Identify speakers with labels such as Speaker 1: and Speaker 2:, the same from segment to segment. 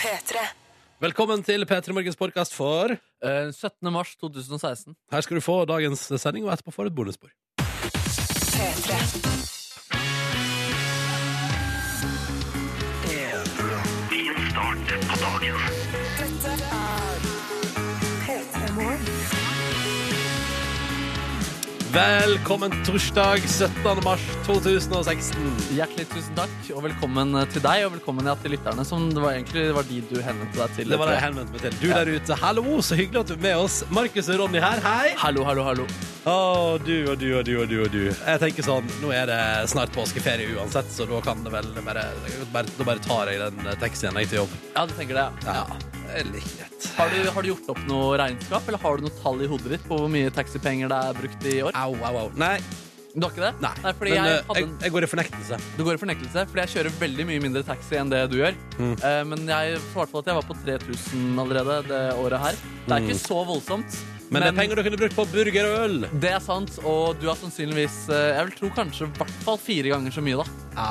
Speaker 1: P3.
Speaker 2: Velkommen til P3 Morgens podkast for
Speaker 3: Eh, 17. mars 2016.
Speaker 2: Her skal du få dagens sending, og etterpå får du et bonusspor.
Speaker 1: P3. Dette er P3 Morgen.
Speaker 2: Velkommen torsdag 17. mars 2016.
Speaker 3: Hjertelig tusen takk, og velkommen eh, til deg, og velkommen ja, til lytterne. Som det var egentlig det var de du henvendte deg til.
Speaker 2: Det var det jeg henvendte meg til. Du der ute, hallo, så hyggelig at du er med oss. Markus og Ronny her, hei.
Speaker 3: Hallo, hallo, hallo.
Speaker 2: Å, du og du og du og du og du. Jeg tenker sånn, nå er det snart påskeferie uansett, så da kan det vel bare, bare Da bare tar jeg den eh, taxien jeg til jobb.
Speaker 3: Ja, du tenker det, ja.
Speaker 2: Ja, det er like greit.
Speaker 3: Har du, har du gjort opp noe regnskap, eller har du noe tall i hodet ditt på hvor mye taxipenger det er brukt i år?
Speaker 2: Au, au, au. Nei,
Speaker 3: Du har ikke det?
Speaker 2: nei.
Speaker 3: fordi
Speaker 2: Men
Speaker 3: jeg
Speaker 2: eh,
Speaker 3: hadde
Speaker 2: jeg,
Speaker 3: en,
Speaker 2: jeg går i fornektelse.
Speaker 3: Du går i fornektelse, fordi jeg kjører veldig mye mindre taxi enn det du gjør.
Speaker 2: Mm.
Speaker 3: Eh, men jeg svarte på at jeg var på 3000 allerede det året her. Det er ikke så voldsomt.
Speaker 2: Mm. Men det er penger du kunne brukt på burger og øl.
Speaker 3: Det er sant, og du har sannsynligvis eh, Jeg vil tro kanskje i hvert fall fire ganger så mye, da.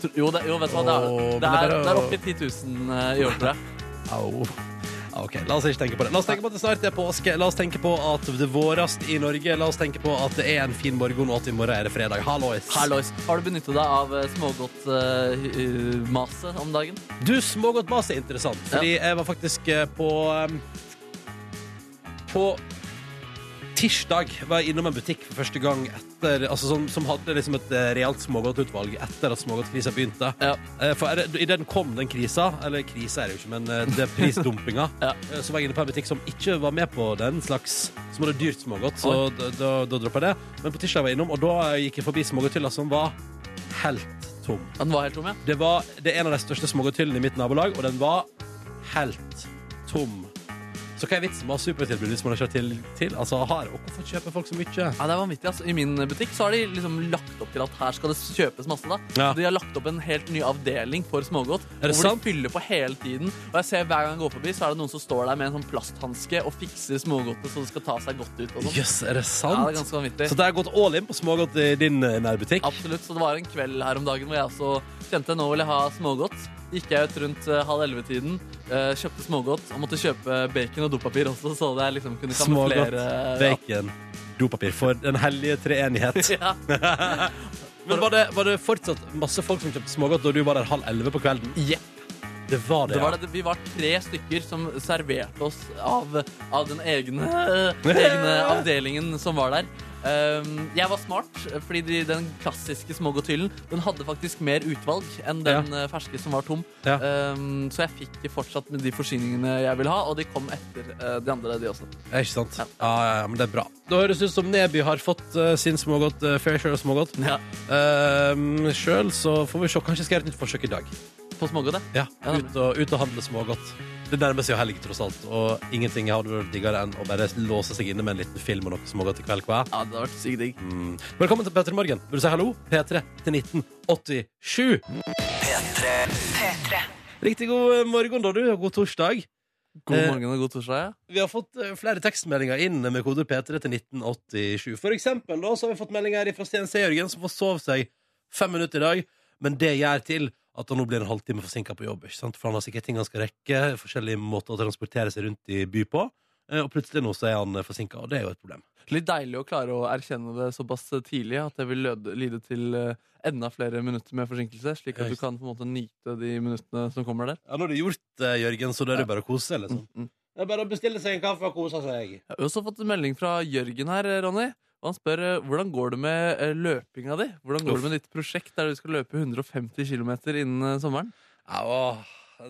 Speaker 3: Tro- Jo, det, jo vet du hva, det er,
Speaker 2: Åh, men
Speaker 3: det
Speaker 2: det er
Speaker 3: er,
Speaker 2: bare å-
Speaker 3: det er oppi 10 000 eh, i år, tror jeg.
Speaker 2: Au. Ja, Ok, La oss ikke tenke på det. La oss tenke på at det snart er påske. La oss tenke på at det vårast i Norge. La oss tenke på at det er en fin morgen, og at i morgen er det fredag. Hallois.
Speaker 3: Hallois. Har du benyttet deg av eh, smågodtmaset om dagen?
Speaker 2: Du, smågodt mas er interessant, fordi jeg var faktisk eh, på um, På tirsdag var jeg innom en butikk for første gang etter, altså som, som hadde liksom et eh, realt smågodtutvalg etter at smågodtkrisa begynte.
Speaker 3: Ja.
Speaker 2: Eh, For er det- i den kom den krisa, eller krisa er det jo ikke, men eh, det er prisdumpinga,
Speaker 3: Ja.
Speaker 2: eh, så var jeg inne på en butikk som ikke var med på den slags, som hadde dyrt smågodt, så da, da, da droppa jeg det. Men på tirsdag var jeg innom, og da gikk jeg forbi smågodthylla som var helt tom.
Speaker 3: Den var helt tom, ja.
Speaker 2: Det, var, det er en av de største smågodthyllene i mitt nabolag, og den var helt tom. Så hva er vitsen med å ha supertilbud hvis man ikke har til, til? Altså, har, og hvorfor kjøper folk så mye?
Speaker 3: Ja, det er vanvittig. Altså. I min butikk så har de liksom lagt opp til at her skal det kjøpes masse. da.
Speaker 2: Ja.
Speaker 3: De har lagt opp en helt ny avdeling for smågodt.
Speaker 2: Er det
Speaker 3: hvor
Speaker 2: sant?
Speaker 3: de fyller på hele tiden. Og jeg ser Hver gang jeg går forbi, så er det noen som står der med en sånn plasthanske og fikser smågodtet så det skal ta seg godt ut. og
Speaker 2: Jøss,
Speaker 3: sånn.
Speaker 2: er det
Speaker 3: Ja, det er
Speaker 2: sant?
Speaker 3: ganske vanvittig.
Speaker 2: så det har gått all in på smågodt i din eh, nærbutikk?
Speaker 3: Absolutt, så det var en kveld her om dagen hvor jeg også kjente nå vil jeg ha smågodt. Gikk jeg ut rundt eh, halv elleve-tiden, eh, kjøpte smågodt og måtte kjøpe bacon og dopapir også, så jeg liksom kunne
Speaker 2: Smågodt,
Speaker 3: kamuflere ja.
Speaker 2: bacon, dopapir. For den hellige treenighet.
Speaker 3: Ja.
Speaker 2: Men var det, var det fortsatt masse folk som kjøpte smågodt da du var der halv elleve på kvelden?
Speaker 3: Jepp,
Speaker 2: Det var det,
Speaker 3: det
Speaker 2: ja.
Speaker 3: var det. Vi var tre stykker som serverte oss av, av den egne, egne avdelingen som var der. Um, jeg var smart, fordi de, den klassiske smågodthyllen Den hadde faktisk mer utvalg enn den eh, ferske som var tom.
Speaker 2: Ja.
Speaker 3: Um, så jeg fikk fortsatt med de forsyningene jeg ville ha, og de kom etter eh, de andre, de også.
Speaker 2: Ja, Ikke sant?
Speaker 3: Ja.
Speaker 2: Ja. ja, ja, men det er bra. Da høres det ut som Neby har fått eh, sin smågodt, eh, fair share av smågodt.
Speaker 3: Ja.
Speaker 2: Uh, Sjøl så får vi se. Kanskje jeg skal gjøre et nytt forsøk i dag.
Speaker 3: På smågodt, ja.
Speaker 2: Ja,
Speaker 3: Ja,
Speaker 2: ut, og, ut og handle smågodt. Det nærmer seg jo helg, tross alt. Og ingenting hadde vært diggere enn å bare låse seg inne med en liten film og noe smågodt i kveld. Hva?
Speaker 3: ja. Det hadde vært sykt digg.
Speaker 2: Mm. Velkommen til P3 Morgen. Vil du si hallo? P3 til 1987. Riktig god eh, morgen, da, du. og God torsdag.
Speaker 3: God
Speaker 2: Eh,
Speaker 3: morgen og god torsdag. ja.
Speaker 2: Vi har fått eh, flere tekstmeldinger inn med koder P3 til 1987. For eksempel da, så har vi fått meldinger fra Sten C. Jørgen, som får sove seg fem minutter i dag. Men det gjør til at han nå blir en halvtime forsinka på jobb. ikke sant? For han har sikkert ting han skal rekke, forskjellige måter å transportere seg rundt i by på. eh, Og plutselig nå så er han forsinka, og det er jo et problem.
Speaker 3: Litt deilig å klare å erkjenne det såpass tidlig at det vil løde, lide til eh, enda flere minutter med forsinkelse, slik at du kan på en måte nyte de minuttene som kommer der.
Speaker 2: Ja, Nå er det gjort, eh, Jørgen, så da er det bare å kose seg. liksom.
Speaker 3: Mm.
Speaker 2: Det er bare å bestille seg en kaffe og kose seg.
Speaker 3: Jeg har også fått en melding fra Jørgen her, eh, Ronny. Og han spør eh, hvordan går det med eh, løpinga di? Hvordan går
Speaker 2: Uff.
Speaker 3: det med ditt prosjekt der du skal løpe 150 km innen eh, sommeren?
Speaker 2: Ja, åh,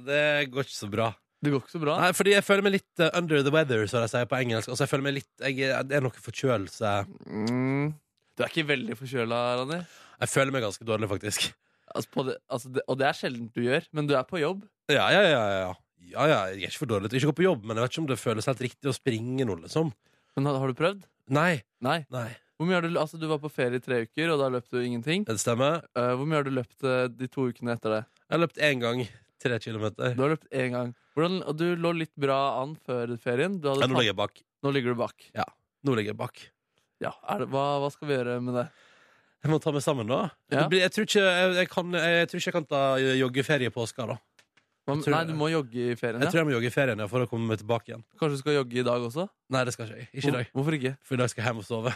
Speaker 2: det går ikke så bra.
Speaker 3: Det går ikke så bra.
Speaker 2: Nei, fordi jeg føler meg litt eh, under the weather, som de sier på engelsk. Altså, jeg føler meg litt, jeg, Det er noe forkjølelse.
Speaker 3: Mm. Du er ikke veldig forkjøla, Ronny.
Speaker 2: Jeg føler meg ganske dårlig, faktisk.
Speaker 3: Altså, på det, altså det, og det er sjelden du gjør, men du er på jobb.
Speaker 2: Ja, ja, ja, ja. ja, ja jeg er ikke for dårlig til å ikke gå på jobb, men jeg vet ikke om det føles helt riktig å springe nå, liksom.
Speaker 3: Men har, har du prøvd?
Speaker 2: Nei.
Speaker 3: Nei.
Speaker 2: Nei.
Speaker 3: Hvor mye har du, altså, du var på ferie i tre uker, og da løp du ingenting.
Speaker 2: Det stemmer.
Speaker 3: Eh, hvor mye har du løpt eh, de to ukene etter det?
Speaker 2: Jeg har løpt én gang. Tre kilometer.
Speaker 3: Du har løpt én gang. Hvordan, og du lå litt bra an før ferien. Du hadde
Speaker 2: Ja, nå
Speaker 3: tatt,
Speaker 2: ligger jeg bak.
Speaker 3: nå ligger du bak.
Speaker 2: Nå ligger jeg bak.
Speaker 3: Ja, er det, hva, hva skal vi gjøre med det?
Speaker 2: Jeg må ta meg sammen, da.
Speaker 3: Ja.
Speaker 2: Det blir- Jeg, tror ikke, jeg, jeg, kan, jeg tror ikke jeg kan ta joggeferie i påska, da.
Speaker 3: Hva-
Speaker 2: tror-
Speaker 3: Nei, du må jogge i ferien.
Speaker 2: Jeg
Speaker 3: Ja.
Speaker 2: tror jeg må jogge i ferien ja, for å komme meg tilbake igjen.
Speaker 3: Kanskje du skal jogge i dag også?
Speaker 2: Nei, det skal ikke jeg. Ikke i dag.
Speaker 3: Hvor- Hvorfor ikke?
Speaker 2: For i dag skal jeg hjem og sove.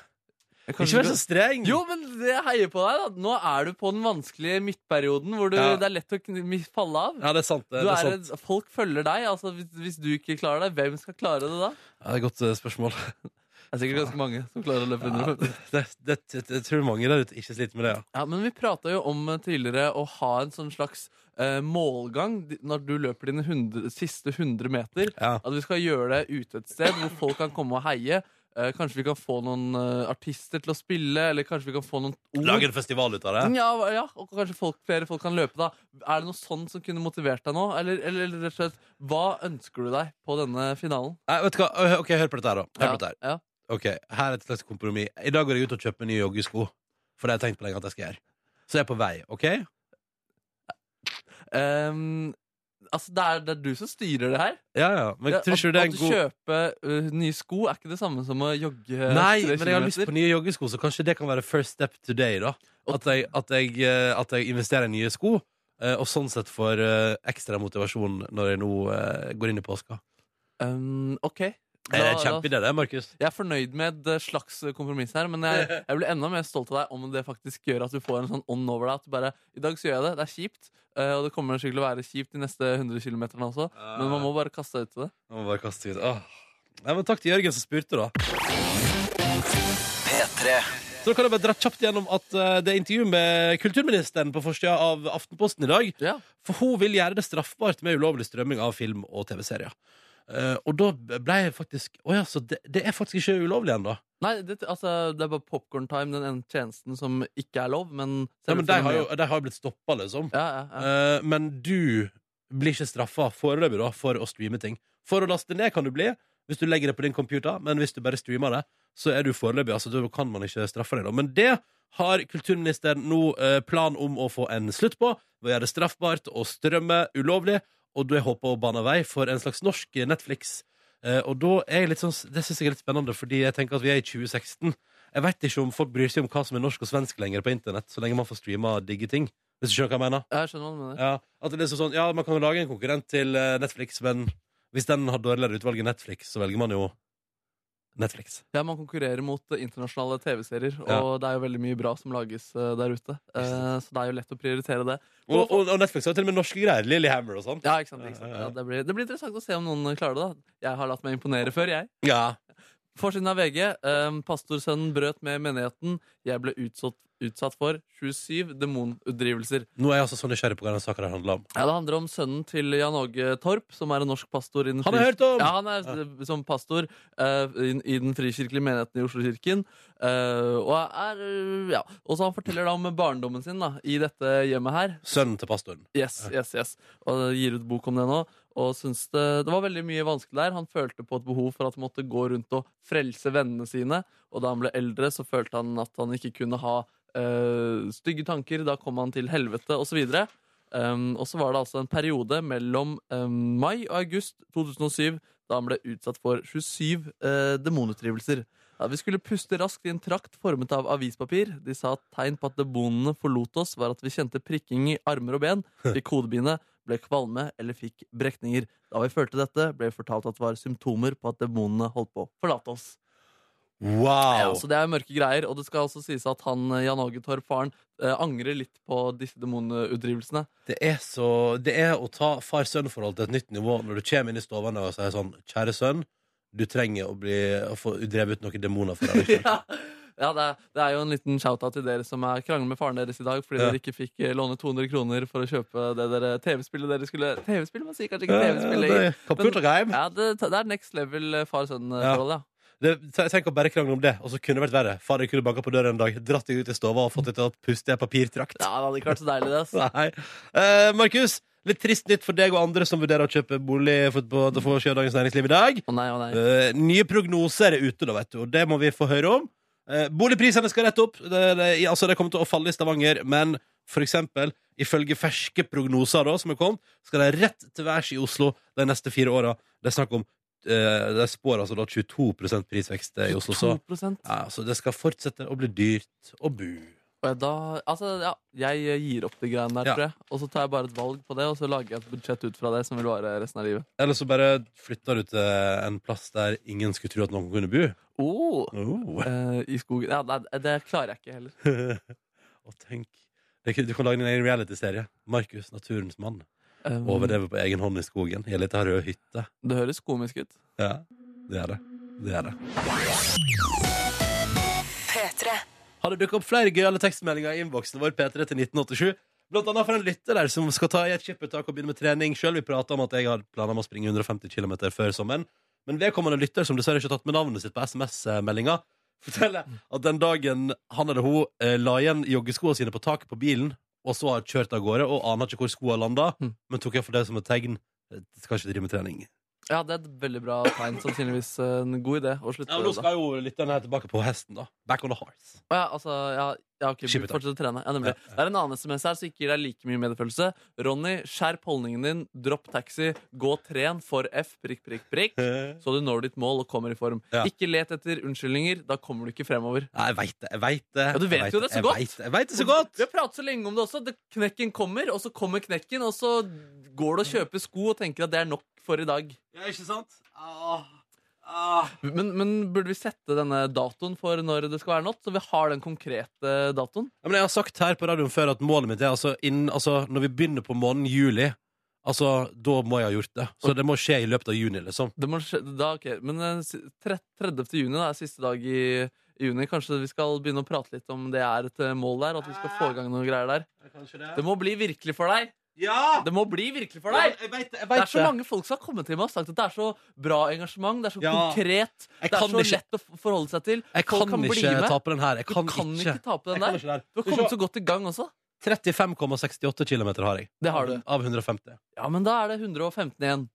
Speaker 3: Kanskje
Speaker 2: ikke
Speaker 3: du-
Speaker 2: vær så streng!
Speaker 3: Jo, men jeg heier på deg. da Nå er du på den vanskelige midtperioden hvor du,
Speaker 2: Ja.
Speaker 3: det er lett å kn- falle av.
Speaker 2: Ja, det er sant. Det,
Speaker 3: Du
Speaker 2: det, er
Speaker 3: er
Speaker 2: sant.
Speaker 3: en, folk følger deg. Altså, hvis, hvis du ikke klarer det, hvem skal klare det da?
Speaker 2: Ja, det er et godt eh, spørsmål.
Speaker 3: Det er sikkert ganske mange som klarer å løpe
Speaker 2: Ja,
Speaker 3: 150.
Speaker 2: det, det, det, jeg tror mange der ute ikke sliter med det. Ja.
Speaker 3: Ja, men vi prata jo om eh, tidligere å ha en sånn slags eh, målgang di- når du løper dine 100, siste 100 meter.
Speaker 2: Ja.
Speaker 3: At vi skal gjøre det ute et sted hvor folk kan komme og heie. Eh, kanskje vi kan få noen eh, artister til å spille, eller kanskje vi kan få noen ord. Mm,
Speaker 2: Lag en festival ut av det.
Speaker 3: Ja, hva- ja, og kanskje folk, flere folk kan løpe da Er det noe sånn som kunne motivert deg nå? Eller, eller, eller rett og slett, hva ønsker du deg på denne finalen?
Speaker 2: Nei, vet du hva? Ø, Ok, Hør på dette her, da. Hør på
Speaker 3: Ja,
Speaker 2: dette Her
Speaker 3: ja.
Speaker 2: Ok, her er et slags kompromiss. I dag går jeg ut og kjøper nye joggesko. For det har jeg tenkt på lenge at jeg skal gjøre. Så jeg er på vei, OK?
Speaker 3: Ehm, altså, det er, det er du som styrer det her
Speaker 2: Ja, ja. Men
Speaker 3: Ja,
Speaker 2: tror ikke du det er en god
Speaker 3: At du kjøper eh, nye sko er ikke det samme som å jogge eh,
Speaker 2: Nei,
Speaker 3: tre
Speaker 2: men jeg har lyst
Speaker 3: kilometer.
Speaker 2: på nye joggesko, så kanskje det kan være first step today, da. At jeg, at jeg, eh, at jeg investerer i nye sko, eh, og sånn sett får eh, ekstra motivasjon når jeg nå eh, går inn i påska.
Speaker 3: Ehm, Ok
Speaker 2: Eh, Det
Speaker 3: Da-
Speaker 2: er
Speaker 3: da-
Speaker 2: kjempeidé, det, Markus.
Speaker 3: jeg er fornøyd med et eh, slags kompromiss her, men jeg, jeg blir enda mer stolt av deg om det faktisk gjør at du får en sånn ånd over deg. At du bare I dag så gjør jeg det. Det er kjipt, eh, og det kommer sikkert til å være kjipt de neste 100 km også, men man må bare kaste seg ut i det.
Speaker 2: Jeg må bare kaste ut. Åh. Nei, men takk til Jørgen som spurte, da. Så da kan jeg bare dra kjapt gjennom at eh, det er intervju med kulturministeren på forsida av Aftenposten i dag.
Speaker 3: Ja.
Speaker 2: For hun vil gjøre det straffbart med ulovlig strømming av film og TV-serier. Eh, og da ble jeg faktisk Å ja, så det, det er faktisk ikke ulovlig ennå?
Speaker 3: Nei, det, altså, det er bare Popcorn Time, den ene tjenesten som ikke er lov, men
Speaker 2: Ja, men de har jo
Speaker 3: fenomenet-
Speaker 2: de har jo blitt stoppa, liksom.
Speaker 3: ja, ja, ja.
Speaker 2: Eh, men du blir ikke straffa foreløpig da, for å streame ting. For å laste ned kan du bli hvis du legger det på din computer, men hvis du bare streamer det, så er du foreløpig. Altså, da kan man ikke straffe deg, da. Men det har kulturministeren nå eh, plan om å få en slutt på. Ved å gjøre det straffbart og strømme ulovlig. Og da håper jeg å bane vei for en slags norsk Netflix. Eh, og da er jeg litt sånn, det syns jeg er litt spennende, fordi jeg tenker at vi er i 2016. Jeg veit ikke om folk bryr seg om hva som er norsk og svensk lenger på internett, så lenge man får streama digge ting. Hvis du skjønner hva jeg mener?
Speaker 3: Jeg skjønner hva du mener.
Speaker 2: Ja, at det er liksom sånn, ja, man kan jo lage en konkurrent til eh, Netflix, men hvis den har dårligere utvalg enn Netflix, så velger man jo Netflix.
Speaker 3: Ja, Man konkurrerer mot eh, internasjonale TV-serier, og
Speaker 2: Ja.
Speaker 3: det er jo veldig mye bra som lages eh, der ute. Eh, så det er jo lett å prioritere det.
Speaker 2: Og, og, og Netflix har jo til og med norske greier. Lillehammer og sånn.
Speaker 3: Ja, ikke sant, ikke
Speaker 2: Ja,
Speaker 3: sant.
Speaker 2: ja, ja.
Speaker 3: Ja, det, blir, det blir interessant å se om noen klarer det. da Jeg har latt meg imponere før, jeg.
Speaker 2: Ja.
Speaker 3: Forsiden av VG. ehm, pastorsønnen brøt med menigheten. Jeg ble utsatt, utsatt for 27 demonutdrivelser.
Speaker 2: Nå er jeg altså så nysgjerrig på hva den saken her handler om.
Speaker 3: Ja, det handler om sønnen til Jan Åge Torp, som er en norsk pastor. Innen
Speaker 2: Han har jeg hørt om!
Speaker 3: Ja, han er eh, som pastor eh, i, i den frikirkelige menigheten i Oslo-kirken. eh, og er, eh, ja. Og så han forteller da om barndommen sin da, i dette hjemmet her.
Speaker 2: Sønnen til pastoren.
Speaker 3: Yes, yes, yes. Og det gir ut bok om det nå. Og syns det, det var veldig mye vanskelig der. Han følte på et behov for at han måtte gå rundt og frelse vennene sine. Og da han ble eldre, så følte han at han ikke kunne ha eh, stygge tanker. Da kom han til helvete, osv. Um, og så var det altså en periode mellom em, mai og august 2007 da han ble utsatt for 27 eh, demonutdrivelser. Ja, vi skulle puste raskt i en trakt formet av avispapir. De sa at tegn på at demonene forlot oss, var at vi kjente prikking i armer og ben, fikk hodebine, ble kvalme eller fikk brekninger. Da vi følte dette, ble vi fortalt at det var symptomer på at demonene holdt på å forlate oss. Ja,
Speaker 2: Wow!
Speaker 3: så det er mørke greier, og det skal også sies at han, eh, Jan Åge Torp, faren, eh, angrer litt på disse demonutdrivelsene.
Speaker 2: Det er, så, det er å ta far-sønn-forhold til et nytt nivå når du kommer inn i stoven og sier sånn Kjære sønn, du trenger å, bli, å få drevet ut noen demoner for deg. selv.»
Speaker 3: ja. Ja, det er, det er jo en liten shout-out til dere som er krangler med faren deres i dag fordi
Speaker 2: Ja.
Speaker 3: dere ikke fikk eh, låne 200 kroner for å kjøpe det dere TV-spillet dere skulle TV-spill? Man sier kanskje ikke TV-spill
Speaker 2: Ja,
Speaker 3: lenger.
Speaker 2: det er computergame.
Speaker 3: Ja, det, det er next level eh, far-sønn-forhold, ja.
Speaker 2: Det- te- Tenk å bare krangle om det, og så kunne det vært verre. Far jeg kunne banka på døra en dag, dratt deg ut i stova og fått deg til å puste i en papirtrakt.
Speaker 3: Ja, det hadde ikke vært så deilig, det. ass.
Speaker 2: Nei. Eh, Markus, litt trist nytt for deg og andre som vurderer å kjøpe bolig for på til forsiden av Dagens Næringsliv i dag.
Speaker 3: Å nei, å nei.
Speaker 2: Eh, nye prognoser er ute, da, vet du, og det må vi få høre om. Eh, boligprisene skal rett opp. Det, det, altså, det kommer til å falle i Stavanger, men for eksempel, ifølge ferske prognoser da, som er kommet, skal de rett til værs i Oslo de neste fire åra. Det er snakk om eh, De spår altså da 22 prisvekst eh, i Oslo. Så
Speaker 3: 2
Speaker 2: ja, så det skal fortsette å bli dyrt å bo.
Speaker 3: Og jeg da, altså, ja, jeg gir opp de greiene der,
Speaker 2: Ja.
Speaker 3: tror jeg. Og så tar jeg bare et valg på det, og så lager jeg et budsjett ut fra det som vil vare resten av livet.
Speaker 2: Eller så bare flytta du til en plass der ingen skulle tro at noen kunne bo.
Speaker 3: Oh,
Speaker 2: Oh.
Speaker 3: eh, I skogen Ja, nei, det klarer jeg ikke heller.
Speaker 2: Og tenk Det kan- Du kan lage din egen reality-serie. Markus, naturens mann.
Speaker 3: Um,
Speaker 2: Overleve på egen hånd i skogen. I ei lita rød hytte.
Speaker 3: Det høres komisk ut.
Speaker 2: Ja, det er det. Det er det.
Speaker 1: P3.
Speaker 2: Har det dukket opp flere gøyale tekstmeldinger i innboksen vår, P3 til 1987. Blant annet fra en lytter der som skal ta i et skippertak og begynne med trening sjøl. Vi prata om at jeg har planer om å springe 150 km før sommeren. Men vedkommende lytter, som dessverre ikke har tatt med navnet sitt på SMS-meldinga, forteller at den dagen han eller hun eh, la igjen joggeskoene sine på taket på bilen, og så har kjørt av gårde og aner ikke hvor skoene landa,
Speaker 3: Mm.
Speaker 2: men tok jeg for det som et tegn. eh, Skal ikke drive med trening.
Speaker 3: Ja, det er et veldig bra tegn. Sannsynligvis eh, en god idé å slutte
Speaker 2: Ja,
Speaker 3: med
Speaker 2: men Nå
Speaker 3: det.
Speaker 2: skal jo lytterne her tilbake på hesten, da. Back on the hearts.
Speaker 3: Å Ja, altså, ja, ja, ok,
Speaker 2: Skipet, da.
Speaker 3: fortsett å trene. Ja, nemlig. Det er en annen SMS her som ikke gir deg like mye medfølelse. Ronny, skjerp holdningen din, dropp taxi, gå og tren for F, prikk, prikk, prikk. Så du når ditt mål og kommer i form.
Speaker 2: Ja.
Speaker 3: Ikke let etter unnskyldninger, da kommer du ikke fremover.
Speaker 2: Nei, jeg veit det. Jeg vet det.
Speaker 3: Ja, du vet
Speaker 2: Jeg vet
Speaker 3: jo det så
Speaker 2: jeg
Speaker 3: godt.
Speaker 2: vet det, Jeg vet det så godt.
Speaker 3: Vi har pratet så lenge om det også. Det, knekken kommer, og så kommer knekken, og så går du og kjøper sko og tenker at det er nok for i dag.
Speaker 2: Ja, ikke sant? Ah,
Speaker 3: Men, men burde vi sette denne datoen for når det skal være nådd, så vi har den konkrete datoen?
Speaker 2: men jeg har sagt her på radioen før at målet mitt er altså, innen, altså når vi begynner på måneden juli Altså, da må jeg ha gjort det. Så det må skje i løpet av juni, liksom.
Speaker 3: Det må skje, da, ok, Men eh, si- tre- 30. juni da, er siste dag i, i juni. Kanskje vi skal begynne å prate litt om det er et eh, mål der? At vi skal få i gang noen greier der Det må bli virkelig for deg!
Speaker 2: Ja!
Speaker 3: Det må bli virkelig for deg!
Speaker 2: Jeg veit det.
Speaker 3: Det er så mange folk som har kommet til meg og sagt at det er så bra engasjement. Det er så
Speaker 2: Ja.
Speaker 3: konkret. Det
Speaker 2: kan
Speaker 3: er så
Speaker 2: ikke-
Speaker 3: lett å f- forholde seg til.
Speaker 2: Jeg
Speaker 3: Folk
Speaker 2: kan,
Speaker 3: kan bli
Speaker 2: ikke
Speaker 3: med.
Speaker 2: tape den her. Jeg
Speaker 3: Du
Speaker 2: kan,
Speaker 3: kan ikke tape den
Speaker 2: Jeg kan
Speaker 3: der.
Speaker 2: ikke det her.
Speaker 3: Du har kommet så godt i gang også.
Speaker 2: Skal vi se. 35,68 km har jeg.
Speaker 3: Det har du.
Speaker 2: Av 150.
Speaker 3: Ja, men da er det 115 igjen.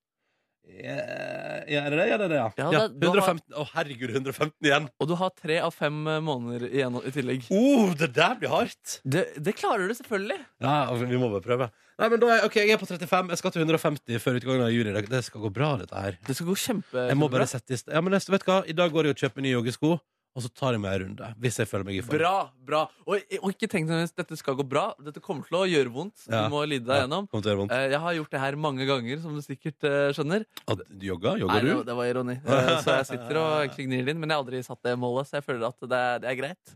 Speaker 2: Ja, Eh, ja, er det det? Ja, det er det, ja.
Speaker 3: Ja,
Speaker 2: ja
Speaker 3: det- du har-
Speaker 2: 115. Å, herregud, 115 igjen.
Speaker 3: Og du har tre av fem eh, måneder igjen i tillegg.
Speaker 2: Oh, det der blir hardt.
Speaker 3: Det, det klarer du selvfølgelig.
Speaker 2: Ja, og vi må bare prøve. Nei, men da er, ok, Jeg er på 35. Jeg skal til 150 før utgangen av juni. Det- Det skal gå bra, dette her.
Speaker 3: Det skal gå kjempe...
Speaker 2: Jeg må bare
Speaker 3: kjempebra.
Speaker 2: sette i st- Ja, men neste, vet du hva? I dag går jeg og kjøper nye joggesko, og så tar jeg meg en runde. Hvis jeg føler meg i form.
Speaker 3: Bra, bra. Og, og ikke tenk at dette skal gå bra. Dette kommer til å gjøre vondt.
Speaker 2: Ja.
Speaker 3: Du må lide deg
Speaker 2: Ja,
Speaker 3: gjennom.
Speaker 2: kommer til å gjøre vondt.
Speaker 3: Eh, Jeg har gjort det her mange ganger, som du sikkert eh, skjønner.
Speaker 2: At du jogger? Jogger
Speaker 3: Nei, det,
Speaker 2: du?
Speaker 3: det var ironi. Eh, Så jeg sitter og egentlig gnir det inn, men jeg har aldri satt det målet, så jeg føler at det er, det er greit.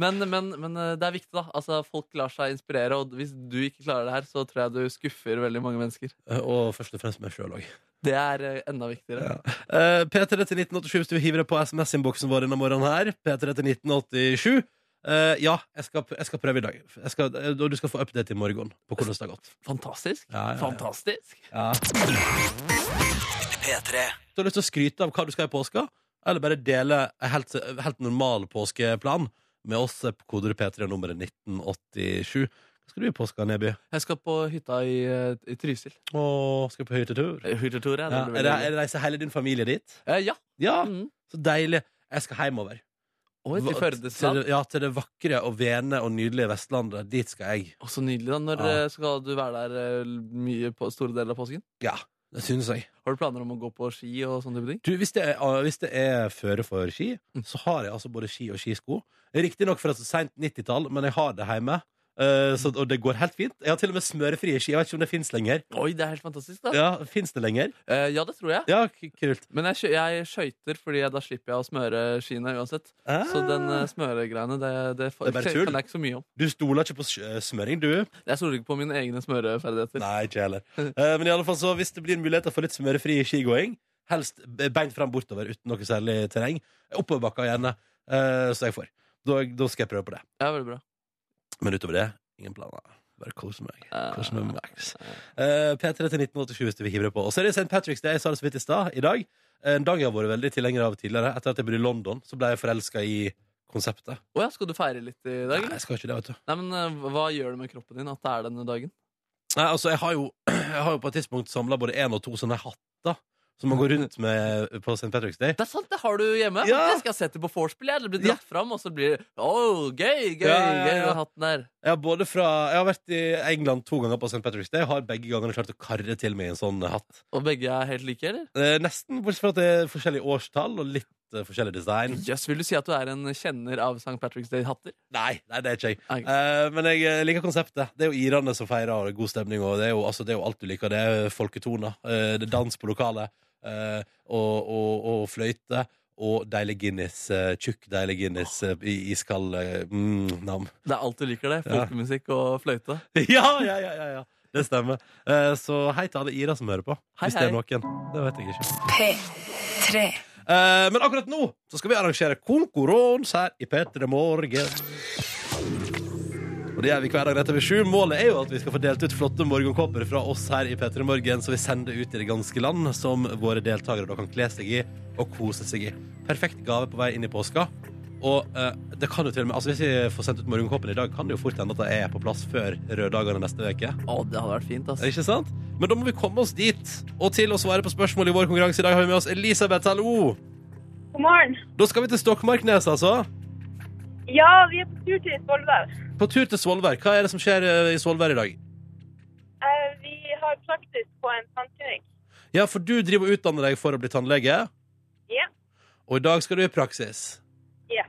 Speaker 3: Men, men, men eh, det er viktig, da. Altså, folk lar seg inspirere, og hvis du ikke klarer det her, så tror jeg du skuffer veldig mange mennesker.
Speaker 2: Eh, Og først og fremst meg sjøl òg.
Speaker 3: Det er eh, enda viktigere.
Speaker 2: Eh, P3 til 1987 hvis du vil hive det på SMS-innboksen vår denne morgenen her. P3 til 1987. Eh, ja, jeg skal, jeg skal prøve i dag. Jeg skal, eh, og du skal få update i morgen på hvordan det har gått.
Speaker 3: Fantastisk.
Speaker 2: Ja, ja, ja.
Speaker 3: Fantastisk.
Speaker 2: Ja. Du har lyst til å skryte av hva du skal i påska, eller bare dele en helt, helt normal påskeplan med oss på koder P3 og nummeret 1987. Hva skal du i påska, Neby?
Speaker 3: Jeg skal på hytta i, eh, i Trysil.
Speaker 2: Å, skal du på høytetur?
Speaker 3: Hurtigtur,
Speaker 2: Eh, Ja, er det, er det reiser hele din familie dit?
Speaker 3: Ja.
Speaker 2: Ja,
Speaker 3: Mm.
Speaker 2: så deilig. Jeg skal hjemover.
Speaker 3: Oi, til
Speaker 2: Hva- til
Speaker 3: Førdesland.
Speaker 2: det- Ja, til det vakre og vene og nydelige Vestlandet. Dit skal jeg.
Speaker 3: Å, så nydelig. da Når
Speaker 2: Ja.
Speaker 3: eh, skal du være der eh, mye på store deler av påsken?
Speaker 2: Ja, det syns jeg.
Speaker 3: Har du planer om å gå på ski og sånne type ting?
Speaker 2: Du, hvis det er, ah, hvis det er føre for ski,
Speaker 3: Mm.
Speaker 2: så har jeg altså både ski og skisko. Riktignok fra så seint 90-tall, men jeg har det hjemme. Eh, så, og det går helt fint. Jeg har til og med smørefrie ski. Jeg vet ikke om det fins lenger.
Speaker 3: Oi, det er helt fantastisk, da. Ja,
Speaker 2: Ja, Fins det lenger?
Speaker 3: ja det tror jeg.
Speaker 2: Ja, k- kult.
Speaker 3: Men jeg, kjø- jeg skøyter, fordi jeg, da slipper jeg å smøre skiene uansett.
Speaker 2: Ah,
Speaker 3: Så den eh, smøregreiene, det, det,
Speaker 2: Det er bare tull.
Speaker 3: kan jeg ikke så mye om.
Speaker 2: Du stoler ikke på s- eh, smøring, du?
Speaker 3: Jeg stoler ikke på mine egne smøreferdigheter.
Speaker 2: Nei, ikke heller. Eh, men i alle fall så, hvis det blir muligheter for litt smørefri skigåing, helst b- beint fram bortover uten noe særlig terreng, oppoverbakka gjerne, eh, så jeg får. Da, da skal jeg prøve på det.
Speaker 3: Ja, veldig bra.
Speaker 2: Men utover det, ingen planer. Bare kose meg.
Speaker 3: Eh,
Speaker 2: Kose meg max. Eh, P3 til 1987 hvis du vil hive det på. Og så er det St. Patrick's Day, jeg sa det så vidt i stad, i dag. En dag jeg har vært veldig tilhenger av tidligere. Etter at jeg bodde i London, så ble jeg forelska i konseptet.
Speaker 3: Å ja, skal du feire litt i dag?
Speaker 2: Nei,
Speaker 3: eller?
Speaker 2: jeg skal ikke det, vet du.
Speaker 3: Nei, men eh, hva gjør det med kroppen din at det er denne dagen?
Speaker 2: Nei, altså, jeg har jo, jeg har jo på et tidspunkt samla både én og to sånne hatter som man går rundt med på St. Patrick's Day.
Speaker 3: Det er sant, det har du hjemme.
Speaker 2: Ja.
Speaker 3: Jeg skal sette på vorspiel. jeg. Det blir dratt fram, og så blir det oh, gøy, gøy,
Speaker 2: Ja, ja,
Speaker 3: gøy,
Speaker 2: ja.
Speaker 3: den hatten der.
Speaker 2: Jeg har, både fra, jeg har vært i England to ganger på St. Patrick's Day. Jeg har begge gangene klart å karre til meg en sånn hatt.
Speaker 3: Og begge er helt like, eller?
Speaker 2: Eh, nesten, bortsett fra at det er forskjellige årstall og litt eh, forskjellig design.
Speaker 3: Jøss, vil du si at du er en kjenner av St. Patrick's Day-hatter?
Speaker 2: Nei, nei, det er ikke jeg.
Speaker 3: Nei.
Speaker 2: Eh, men jeg eh, liker konseptet. Det er jo irene som feirer god stemning, og det er jo, altså, det er jo alt du liker. Det er folketoner, eh, det er dans på lokalet, eh, og, og, og fløyte, og deilig Guinness, eh, tjukk deilig Guinness eh, i iskald eh, mm, nam.
Speaker 3: Det er alt du liker, det.
Speaker 2: Ja.
Speaker 3: Folkemusikk og fløyte.
Speaker 2: ja, ja, ja, ja, ja. Det stemmer. Eh, så hei til alle Ira som hører på,
Speaker 3: Hei,
Speaker 2: hvis det er
Speaker 3: hei.
Speaker 2: noen. Det vet jeg ikke.
Speaker 1: P3.
Speaker 2: Eh, men akkurat nå så skal vi arrangere konkurranse her i P3 Morgen. Og det gjør vi hver dag rett over sju. Målet er jo at vi skal få delt ut flotte morgenkåper fra oss her i P3 Morgen, så vi sender ut i det ganske land, som våre deltakere da kan kle seg i og kose seg i. Perfekt gave på vei inn i påska. Og eh, det kan jo til og med, altså Hvis vi får sendt ut morgenkåpen i dag, kan det jo fort hende at de er på plass før røddagene neste uke.
Speaker 3: Å, det hadde vært fint, ass.
Speaker 2: Ikke sant? Men da må vi komme oss dit. Og til å svare på spørsmål i vår konkurranse i dag har vi med oss Elisabeth. Hallo!
Speaker 4: God morgen.
Speaker 2: Da skal vi til Stokmarknes, altså.
Speaker 4: Ja, vi er på tur til Svolvær.
Speaker 2: På tur til Svolvær. Hva er det som skjer eh, i Svolvær i dag?
Speaker 4: Eh, Vi har praksis på en tannklinikk.
Speaker 2: Ja, for du driver og utdanner deg for å bli tannlege,
Speaker 4: Ja.
Speaker 2: og i dag skal du i praksis.
Speaker 4: ja.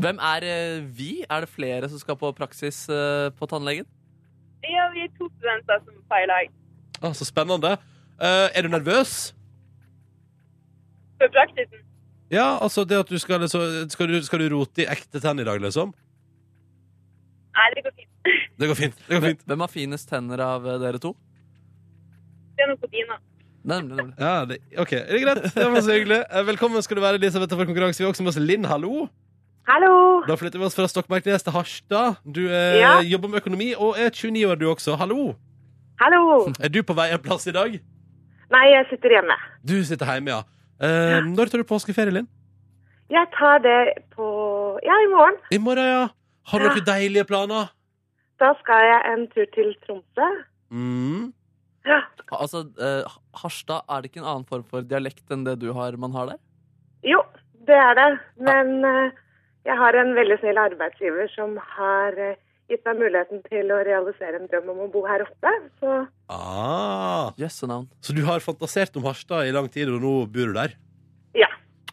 Speaker 3: Hvem er eh, vi? Er det flere som skal på praksis eh, på tannlegen?
Speaker 4: ja, vi er to studenter som er på i lag.
Speaker 2: Ah, så spennende. Eh, er du nervøs?
Speaker 4: For praksisen?
Speaker 2: Ja, altså det at du skal liksom Skal du, skal du rote i ekte tenn i dag, liksom?
Speaker 4: Nei, det går fint.
Speaker 2: Det går fint. Det går fint.
Speaker 3: Hvem har finest tenner av eh, dere to?
Speaker 4: Det er noe på dina.
Speaker 3: Nemlig, nemlig.
Speaker 2: Ja, det, OK. Er det greit? Det var så hyggelig. Eh, Velkommen skal du være, Elisabeth, til vår konkurranse. Vi har også med oss Linn. Hallo.
Speaker 4: Hallo!
Speaker 2: Da flytter vi oss fra Stokmarknes til Harstad. Du eh,
Speaker 4: Ja.
Speaker 2: jobber med økonomi og er 29 år, du også. Hallo.
Speaker 4: Hallo!
Speaker 2: Er du på vei en plass i dag?
Speaker 4: Nei, jeg sitter hjemme.
Speaker 2: Du sitter hjemme, ja. Eh, når tar du påskeferie, Linn?
Speaker 4: Jeg tar det på Ja, i morgen.
Speaker 2: I morgen, ja. Har du noen deilige planer?
Speaker 4: Da skal jeg en tur til Tromsø.
Speaker 2: Mm.
Speaker 4: Ja.
Speaker 3: Altså, eh, Harstad, er det ikke en annen form for dialekt enn det du har, man har der?
Speaker 4: Jo, det er det. Men eh, jeg har en veldig snill arbeidsgiver som har eh, gitt meg muligheten til å realisere en drøm om å bo her oppe. Så
Speaker 2: Ah.
Speaker 3: Jøsse navn.
Speaker 2: Så du har fantasert om Harstad i lang tid, og nå bor du der?
Speaker 4: ja.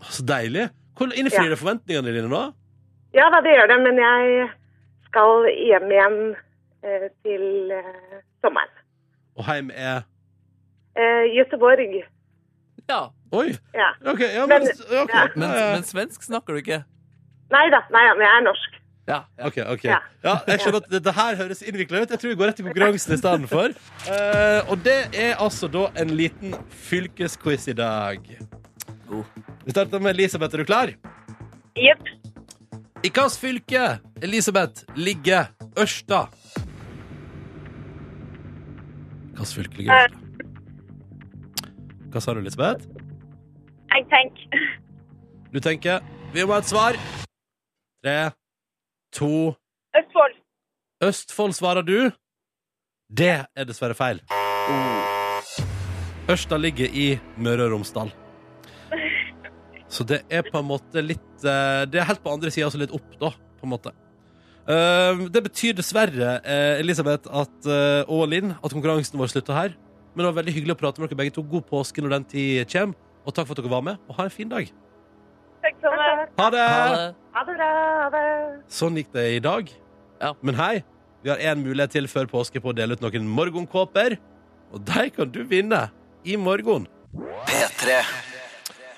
Speaker 2: Så deilig. Hvor innfrir det forventningene dine nå?
Speaker 4: Ja da, det gjør det. Men jeg skal hjem igjen eh, til eh, sommeren.
Speaker 2: Og heim er
Speaker 4: Eh, Göteborg.
Speaker 3: Ja,
Speaker 2: Oi!
Speaker 4: Ja.
Speaker 2: OK. Ja,
Speaker 4: Men-
Speaker 2: men, ok.
Speaker 4: ja.
Speaker 3: men,
Speaker 2: Ja, ja.
Speaker 3: men svensk snakker du ikke.
Speaker 4: Nei da, nei, ja, men jeg er norsk.
Speaker 3: Ja, ja.
Speaker 2: Ok, ok.
Speaker 4: Ja.
Speaker 2: Ja, jeg skjønner at dette her høres innvikla ut. Jeg tror vi går rett til konkurransen i stedet for. Eh, og det er altså da en liten fylkesquiz i dag.
Speaker 3: God.
Speaker 2: Vi starter med Elisabeth. Er du klar?
Speaker 4: Jepp.
Speaker 2: I hvilket fylke, Elisabeth, ligger Ørsta? Hvilket fylke ligger Ørsta? Hva sa du, Elisabeth?
Speaker 4: Jeg tenker
Speaker 2: Du tenker Vi må ha et svar. Tre, to
Speaker 4: Østfold.
Speaker 2: Østfold svarer du. Det er dessverre feil. Ørsta ligger i Møre og Romsdal. Så det er på en måte litt eh, Det er helt på andre sida, altså litt opp, da. På en måte. Eh, Det betyr dessverre, eh, Elisabeth at, eh, og Linn, at konkurransen vår slutter her. Men det var veldig hyggelig å prate med dere begge to. God påske når den tid kommer. Og takk for at dere var med, og ha en fin dag.
Speaker 4: Takk for meg.
Speaker 2: Ha det!
Speaker 3: Ha det.
Speaker 4: Ha det bra. Ha det.
Speaker 2: Sånn gikk det i dag.
Speaker 3: Ja.
Speaker 2: Men hei, vi har én mulighet til før påske på å dele ut noen morgenkåper. Og de kan du vinne i morgen.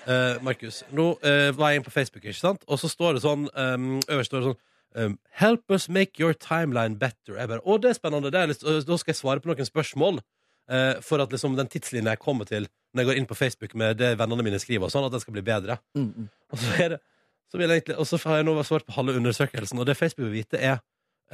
Speaker 2: Eh, Markus, nå eh, var jeg inne på Facebook, ikke sant? og så står det sånn ehm, øverst står det sånn ehm, Help us make your timeline better. Jeg bare, å, det er spennende. Det er lyst, og da skal jeg svare på noen spørsmål. eh, for at liksom den tidslinja jeg kommer til når jeg går inn på Facebook med det vennene mine skriver, og sånn, at den skal bli bedre.
Speaker 3: Mm, mm.
Speaker 2: Og så, er det, så vil jeg egentlig, og så har jeg nå svart på halve undersøkelsen, og det Facebook vil vite, er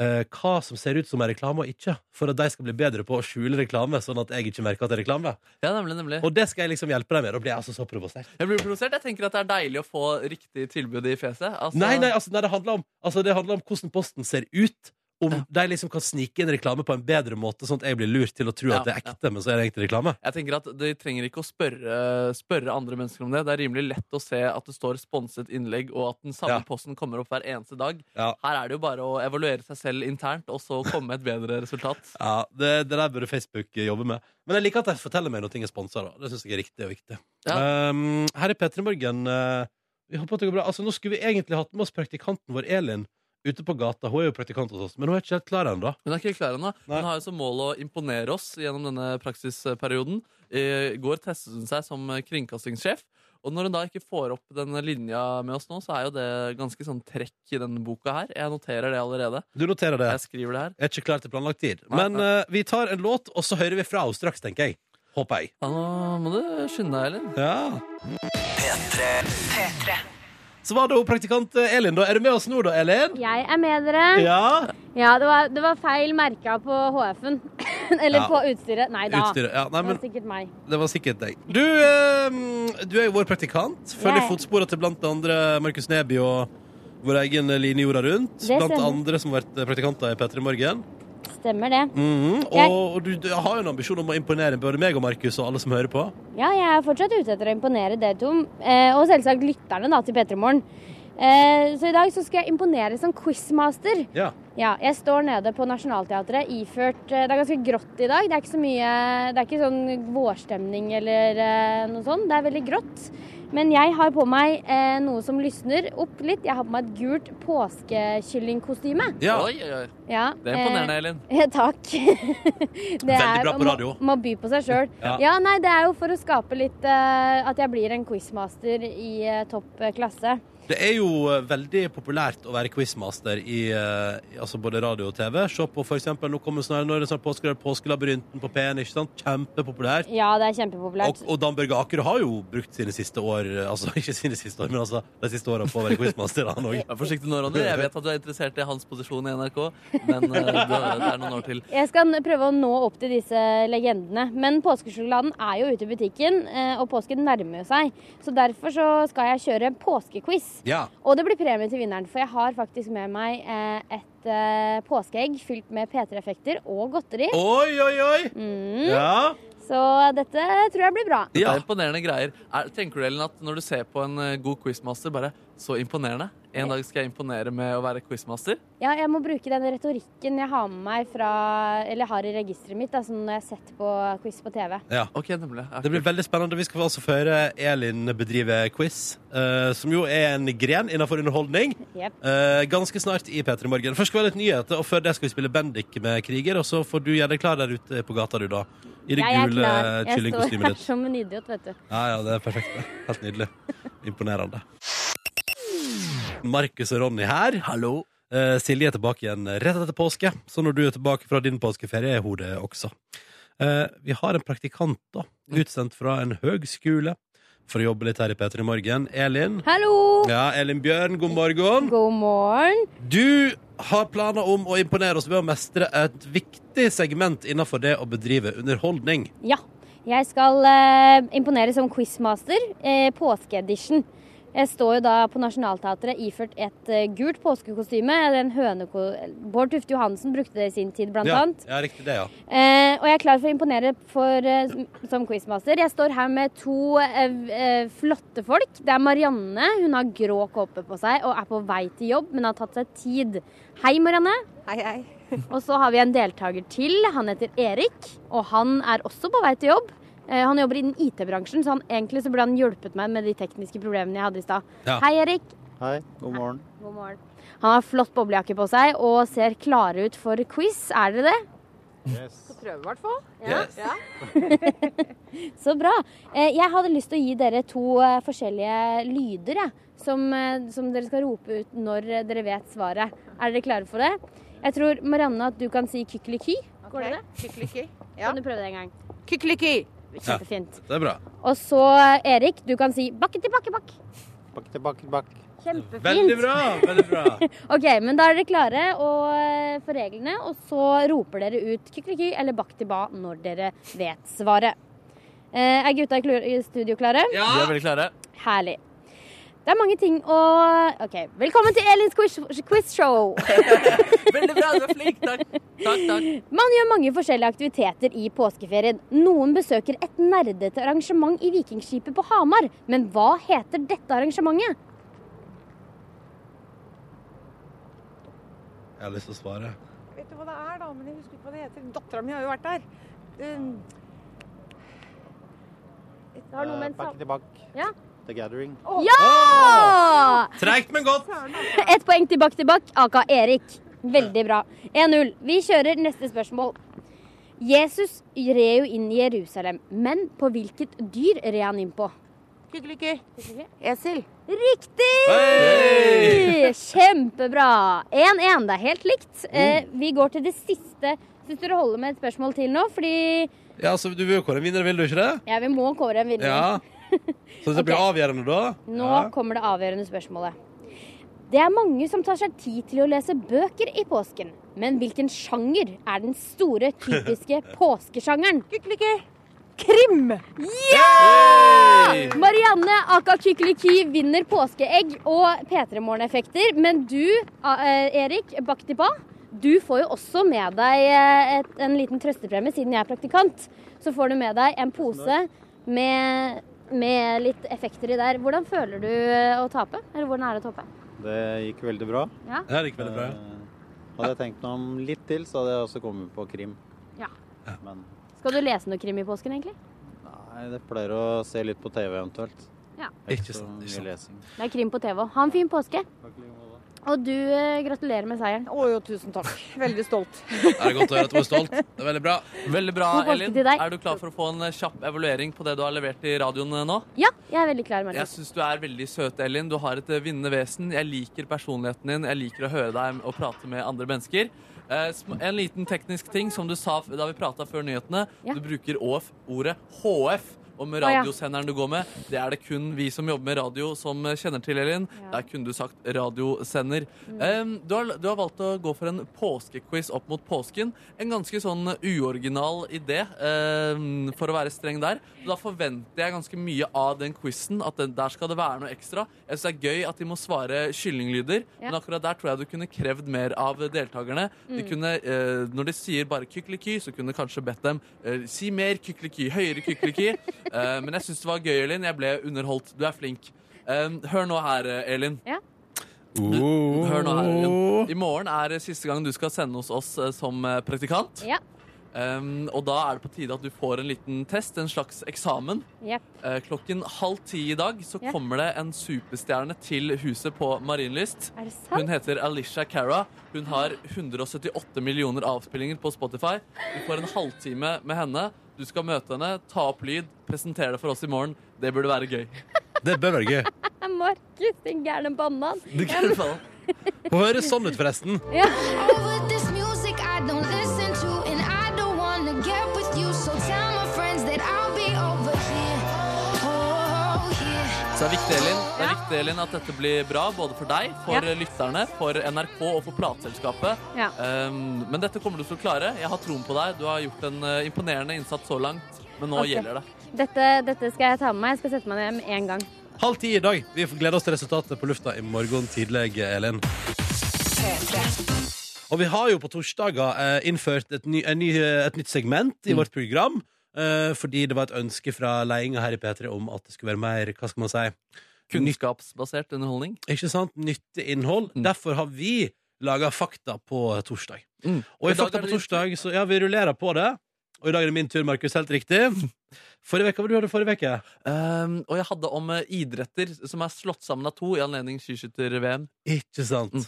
Speaker 2: eh, hva som ser ut som er reklame og ikke, for at de skal bli bedre på å skjule reklame, sånn at jeg ikke merker at det er reklame.
Speaker 3: ja nemlig, nemlig.
Speaker 2: Og det skal jeg liksom hjelpe deg med. Da blir jeg altså så provosert.
Speaker 3: Jeg blir provosert. Jeg tenker at det er deilig å få riktig tilbud i fjeset. Altså,
Speaker 2: Nei, nei, altså, nei det, handler om, altså, det handler om hvordan posten ser ut. Om de liksom kan snike inn reklame på en bedre måte, sånn at jeg blir lurt til å tro
Speaker 3: Ja,
Speaker 2: at det er ekte, men så er det egentlig reklame.
Speaker 3: Jeg tenker at De trenger ikke å spørre, spørre andre mennesker om det. Det er rimelig lett å se at det står sponset innlegg, og at den samme
Speaker 2: Ja.
Speaker 3: posten kommer opp hver eneste dag.
Speaker 2: Ja.
Speaker 3: Her er det jo bare å evaluere seg selv internt, og så komme med et bedre resultat.
Speaker 2: Ja, det, det der burde Facebook jobbe med. Men jeg liker at de forteller meg når ting er sponsa. Det synes jeg er riktig og viktig.
Speaker 3: Ja.
Speaker 2: Um, her i P3 Morgen eh, Vi håper at det går bra. Altså, nå skulle vi egentlig hatt med oss praktikanten vår, Elin, ute på gata. Hun er jo praktikant hos oss, men hun er ikke helt klar ennå.
Speaker 3: Hun er ikke helt klar ennå.
Speaker 2: Nei.
Speaker 3: Hun har jo som mål å imponere oss gjennom denne praksisperioden. I går testet hun seg som kringkastingssjef. Og når hun da ikke får opp denne linja med oss nå, så er jo det ganske sånn trekk i denne boka her. Jeg noterer det allerede.
Speaker 2: Du noterer det.
Speaker 3: Jeg skriver det her.
Speaker 2: Jeg er ikke klar til planlagt tid.
Speaker 3: Nei,
Speaker 2: Men eh, vi tar en låt, og så hører vi fra henne straks, tenker jeg. Håper jeg.
Speaker 3: Ja, nå må du skynde deg, Elin.
Speaker 2: Ja.
Speaker 1: P3.
Speaker 2: Så var det jo praktikant eh, Elin, da. Er du med oss nå, da, Elin?
Speaker 5: Jeg er med dere. Ja,
Speaker 2: Ja.
Speaker 5: det, var, det var feil merka på HF-en. Eller
Speaker 2: Ja.
Speaker 5: på utstyret. Nei da.
Speaker 2: Utstyret. Ja, nei,
Speaker 5: Det
Speaker 2: men
Speaker 5: var sikkert meg.
Speaker 2: det var sikkert deg. Du, eh, du er jo vår praktikant. Følger
Speaker 5: Jeg-
Speaker 2: fotsporene til blant andre Markus Neby og vår egen Line Jorda rundt.
Speaker 5: Det
Speaker 2: Blant
Speaker 5: stemmer.
Speaker 2: andre som har vært eh, praktikanter i P3 Morgen.
Speaker 5: Stemmer det.
Speaker 2: Mhm,
Speaker 5: Jeg-
Speaker 2: Og, og du, du har jo en ambisjon om å imponere både meg og Markus og alle som hører på.
Speaker 5: Ja, jeg er fortsatt ute etter å imponere dere to. Eh, og selvsagt lytterne da, til P3 Morgen. Eh, så i dag så skal jeg imponere som quizmaster.
Speaker 2: Ja.
Speaker 5: Ja, jeg står nede på Nationaltheatret iført eh, Det er ganske grått i dag. Det er ikke så mye Det er ikke sånn vårstemning eller eh, noe sånt. Det er veldig grått. Men jeg har på meg eh, noe som lysner opp litt. Jeg har på meg et gult påskekyllingkostyme.
Speaker 2: ja.
Speaker 3: Oi, oi, oi.
Speaker 5: Ja,
Speaker 3: Det er imponerende, Elin.
Speaker 5: Eh, takk. Det
Speaker 2: Veldig bra på
Speaker 5: må-
Speaker 2: radio.
Speaker 5: Må by på seg sjøl.
Speaker 2: Ja.
Speaker 5: Ja. nei, det er jo for å skape litt eh, At jeg blir en quizmaster i eh, topp eh, klasse.
Speaker 2: Det er jo eh, veldig populært å være quizmaster i, eh, i altså både radio og TV. Se på for eksempel, nå kommer snart, nå er det snart påske, det er Påskelabyrinten på P1, ikke sant? Kjempepopulært.
Speaker 5: Ja, det er kjempepopulært.
Speaker 2: Og, og Dan Børge Aker har jo brukt sine siste år, eh, altså ikke sine siste år, men altså de siste årene på å være quizmaster, han òg.
Speaker 3: Vær forsiktig nå, Ronny. Jeg vet at du er interessert i hans posisjon i NRK, men eh, du, det er noen år til.
Speaker 5: Jeg skal prøve å nå opp til disse legendene. Men påskesjokoladen er jo ute i butikken, eh, og påsken nærmer jo seg. Så derfor så skal jeg kjøre påskequiz.
Speaker 2: Ja.
Speaker 5: Og det blir premie til vinneren, for jeg har faktisk med meg eh, et eh, påskeegg fylt med P3-effekter og godteri. Mm.
Speaker 2: Oi, oi, oi! Ja.
Speaker 5: Så dette tror jeg blir bra.
Speaker 3: Dette
Speaker 2: Ja.
Speaker 3: er imponerende greier. Er, tenker du, Ellen, at når du ser på en eh, god quizmaster, bare så imponerende? En dag skal jeg imponere med å være quizmaster.
Speaker 5: Ja, jeg må bruke den retorikken jeg har med meg fra Eller har i registeret mitt, da, som når jeg har sett på quiz på TV.
Speaker 2: ja.
Speaker 3: Ok, nemlig. Ja,
Speaker 2: Det blir
Speaker 3: kult.
Speaker 2: veldig spennende. Vi skal altså få høre Elin bedrive quiz, eh, som jo er en gren innenfor underholdning.
Speaker 5: Jep.
Speaker 2: Eh, ganske snart i P3 Morgen. Først skal vi ha litt nyheter, og før det skal vi spille Bendik med Kriger. Og så får du gjøre deg klar der ute på gata, du, da. I det
Speaker 5: Jeg er
Speaker 2: gule
Speaker 5: klar. Jeg står
Speaker 2: eh, kyllingkostymet
Speaker 5: her
Speaker 2: ditt.
Speaker 5: som en idiot, vet du.
Speaker 2: Ja, ja, det er perfekt. det. Helt nydelig. Imponerende. Markus og Ronny her. Hallo. Silje er tilbake igjen rett etter påske, så når du er tilbake fra din påskeferie, er hun det også. Eh, vi har en praktikant, da, utsendt fra en høg skole for å jobbe litt her i P3 Morgen. Elin.
Speaker 5: Hallo!
Speaker 2: Ja, Elin Bjørn, god morgen.
Speaker 5: God morgen.
Speaker 2: Du har planer om å imponere oss ved å mestre et viktig segment innenfor det å bedrive underholdning.
Speaker 5: Ja. Jeg skal eh, imponere som quizmaster. Eh, Påskeedition. Jeg står jo da på Nationaltheatret iført et eh, gult påskekostyme. En høneko... Bård Tufte Johansen brukte det i sin tid, blant annet.
Speaker 2: ja riktig det, ja.
Speaker 5: Eh, og jeg er klar for å imponere for, eh, som- som quizmaster. Jeg står her med to eh, eh, flotte folk. Det er Marianne. Hun har grå kåpe på seg og er på vei til jobb, men har tatt seg tid. Hei, Marianne.
Speaker 6: Hei, hei.
Speaker 5: Og så har vi en deltaker til. Han heter Erik, og han er også på vei til jobb. Eh, han jobber innen IT-bransjen, så han, egentlig så burde han hjulpet meg med de tekniske problemene jeg hadde i stad.
Speaker 2: Ja.
Speaker 5: Hei, Erik.
Speaker 7: Hei, god morgen.
Speaker 5: God morgen. Han har flott boblejakke på seg og ser klare ut for quiz. Er dere det?
Speaker 6: Prøve, i hvert fall.
Speaker 2: Yes.
Speaker 6: Ja.
Speaker 5: Så bra. Eh, jeg hadde lyst til å gi dere to eh, forskjellige lyder jeg, som, eh, som dere skal rope ut når eh, dere vet svaret. Er dere klare for det? Jeg tror Marianne at du kan si kykeliky. Går det det?
Speaker 6: Kykeliki. Ja.
Speaker 5: Kan du prøve det en gang?
Speaker 6: Kykeliki.
Speaker 5: Kjempefint.
Speaker 2: Det er bra.
Speaker 5: Og så eh, Erik, du kan si bakke til bakke bakk.
Speaker 7: Bakk til bakk, bakk.
Speaker 2: Veldig
Speaker 5: Kjempefint.
Speaker 2: bra! veldig bra.
Speaker 5: Ok, men da er dere klare og, eh, for reglene, og så roper dere ut kykeliky eller bakk til ba når dere vet svaret. Eh, er gutta i klu- i studio klare?
Speaker 3: Ja! Vi er veldig klare.
Speaker 5: Herlig. Det er mange ting å OK. Velkommen til Elins quiz, quizshow.
Speaker 3: Veldig bra, du er flink. Takk. Takk, takk.
Speaker 5: Man gjør mange forskjellige aktiviteter i påskeferien. Noen besøker et nerdete arrangement i Vikingskipet på Hamar. Men hva heter dette arrangementet?
Speaker 2: Jeg har lyst til å svare.
Speaker 6: Vet du hva det er, da? Men jeg husker ikke hva det heter. Dattera mi har jo vært der. Um,
Speaker 5: Det har noe med en
Speaker 7: Bakk
Speaker 5: sam-
Speaker 7: til bakk. The Gathering.
Speaker 5: Ja!
Speaker 2: Treigt, men godt.
Speaker 5: Ett poeng til Bakk til Bakk, aka Erik. Veldig bra. 1-0. Vi kjører neste spørsmål. Jesus red jo inn i Jerusalem, men på hvilket dyr red han inn på?
Speaker 8: Kykkeliky. Esel.
Speaker 5: Riktig!
Speaker 2: Hei!
Speaker 5: Kjempebra. 1-1. Det er helt likt. Eh, vi går til det siste. Syns dere holder med et spørsmål til nå? Fordi
Speaker 2: Ja, så Du vil jo kåre en vinner, vil du ikke det?
Speaker 5: ja, vi må kåre en vinner.
Speaker 2: Ja. Så dette blir avgjørende, da?
Speaker 5: Nå
Speaker 2: Ja.
Speaker 5: kommer det avgjørende spørsmålet. Det er mange som tar seg tid til å lese bøker i påsken. Men hvilken sjanger er den store, typiske påskesjangeren?
Speaker 8: Kykkeliky.
Speaker 6: Krim!
Speaker 3: Hey!
Speaker 5: Marianne Aka Kykeliki vinner påskeegg og P3 Morgen-effekter. Men du, A- eh, Erik Baktiba, du får jo også med deg eh, et, en liten trøstepremie, siden jeg er praktikant. Så får du med deg en pose med, med litt effekter i der. Hvordan føler du eh, å tape? Eller hvordan er det å tape?
Speaker 7: Det gikk veldig bra.
Speaker 2: Ja, det gikk veldig bra.
Speaker 7: Eh, Hadde jeg tenkt meg om litt til, så hadde jeg også kommet på krim.
Speaker 5: Ja.
Speaker 7: Men
Speaker 5: Skal du lese noe krim i påsken, egentlig?
Speaker 7: nei, det pleier å se litt på TV eventuelt.
Speaker 5: Ja.
Speaker 7: Det er
Speaker 2: Ikke
Speaker 7: så
Speaker 2: sant, ikke
Speaker 7: mye
Speaker 2: sant.
Speaker 7: lesing.
Speaker 5: Det er krim på TV òg. Ha en fin påske. Og du, eh, gratulerer med seieren.
Speaker 6: Å jo, tusen takk. Veldig stolt.
Speaker 2: Er det godt å høre at du er stolt? Det er veldig bra.
Speaker 3: Veldig bra,
Speaker 5: God påske
Speaker 3: Elin.
Speaker 5: til deg.
Speaker 3: Er du klar for å få en eh, kjapp evaluering på det du har levert i radioen eh, nå?
Speaker 5: Ja, jeg er veldig klar, Martin.
Speaker 3: Jeg syns du er veldig søt, Elin. Du har et eh, vinnende vesen. Jeg liker personligheten din. Jeg liker å høre deg og prate med andre mennesker. Eh, sm- En liten teknisk ting som du sa f- da vi prata før nyhetene.
Speaker 5: Ja.
Speaker 3: Du bruker OF, ordet HF. Og med
Speaker 5: Å, ja.
Speaker 3: radiosenderen du går med, det er det kun vi som jobber med radio som eh, kjenner til, Elin.
Speaker 5: Ja. Mm.
Speaker 3: Der kunne du sagt radiosender. Eh, du, har, du har valgt å gå for en påskequiz opp mot påsken. En ganske sånn uoriginal idé, eh, for å være streng der. Så Da forventer jeg ganske mye av den quizen. At den, der skal det være noe ekstra. Jeg syns det er gøy at de må svare kyllinglyder,
Speaker 5: Ja.
Speaker 3: men akkurat der tror jeg du kunne krevd mer av deltakerne.
Speaker 5: Mm.
Speaker 3: De kunne, eh, når de sier bare kykkeliky, så kunne du kanskje bedt dem eh, si mer kykkeliky, høyere kykkeliky. Eh, men jeg syns det var gøy, Elin. Jeg ble underholdt. Du er flink. Eh, hør nå her, eh, Elin.
Speaker 2: Oh.
Speaker 3: Hør nå her, Elin. I morgen er eh, siste gang du skal sende hos oss eh, som eh, praktikant.
Speaker 5: Ja.
Speaker 3: Um, og da er det på tide at du får en liten test, en slags eksamen.
Speaker 5: Jepp.
Speaker 3: Eh, klokken halv ti i dag så
Speaker 5: Ja.
Speaker 3: kommer det en superstjerne til huset på Marienlyst.
Speaker 5: Er det sant?
Speaker 3: Hun heter Alicia Cara. Hun har 178 millioner avspillinger på Spotify. Du får en halvtime med henne. Du skal møte henne, ta opp lyd, presentere det for oss i morgen. Det burde være gøy.
Speaker 2: Det bør være gøy.
Speaker 5: Nei, Markus, din gærne banan.
Speaker 3: Det kan du faen.
Speaker 2: Hun høres sånn ut, forresten.
Speaker 5: Ja.
Speaker 9: Over this music I don't listen to, and I don't wanna get with you. So tell my friends that I'll be over here. Oh, yeah.
Speaker 3: Så det er viktig, Elin. Det er viktig, Elin, at dette blir bra, både for deg, for lytterne, for NRK og for plateselskapet.
Speaker 5: Ja.
Speaker 3: Um, men dette kommer du til å klare. Jeg har troen på deg. Du har gjort en eh, imponerende innsats så langt, men nå
Speaker 5: Ok.
Speaker 3: gjelder det.
Speaker 5: Dette, dette skal jeg ta med meg. Jeg skal sette meg ned med en gang.
Speaker 2: Halv ti i dag. Vi får glede oss til resultatet på lufta i morgen tidlig, Elin. Og vi har jo på torsdager eh, innført et, ny, en ny, et nytt segment
Speaker 3: Mm.
Speaker 2: i vårt program. Eh, fordi det var et ønske fra ledelsen her i P3 om at det skulle være mer hva skal man si,
Speaker 3: Kunnskapsbasert underholdning.
Speaker 2: ikke sant, nyttig innhold.
Speaker 3: Mm.
Speaker 2: Derfor har vi laga Fakta på torsdag.
Speaker 3: Mm.
Speaker 2: Og i
Speaker 3: I dag
Speaker 2: Fakta på
Speaker 3: er det din
Speaker 2: torsdag så ja, vi rullerer på det. Og i dag er det min tur, Markus. Helt riktig. Forrige uke, Hva du hadde forrige uke?
Speaker 3: Um, og jeg hadde om eh, idretter som er slått sammen av to i anledning skiskytter-VM.
Speaker 2: Ikke sant.
Speaker 3: Mm.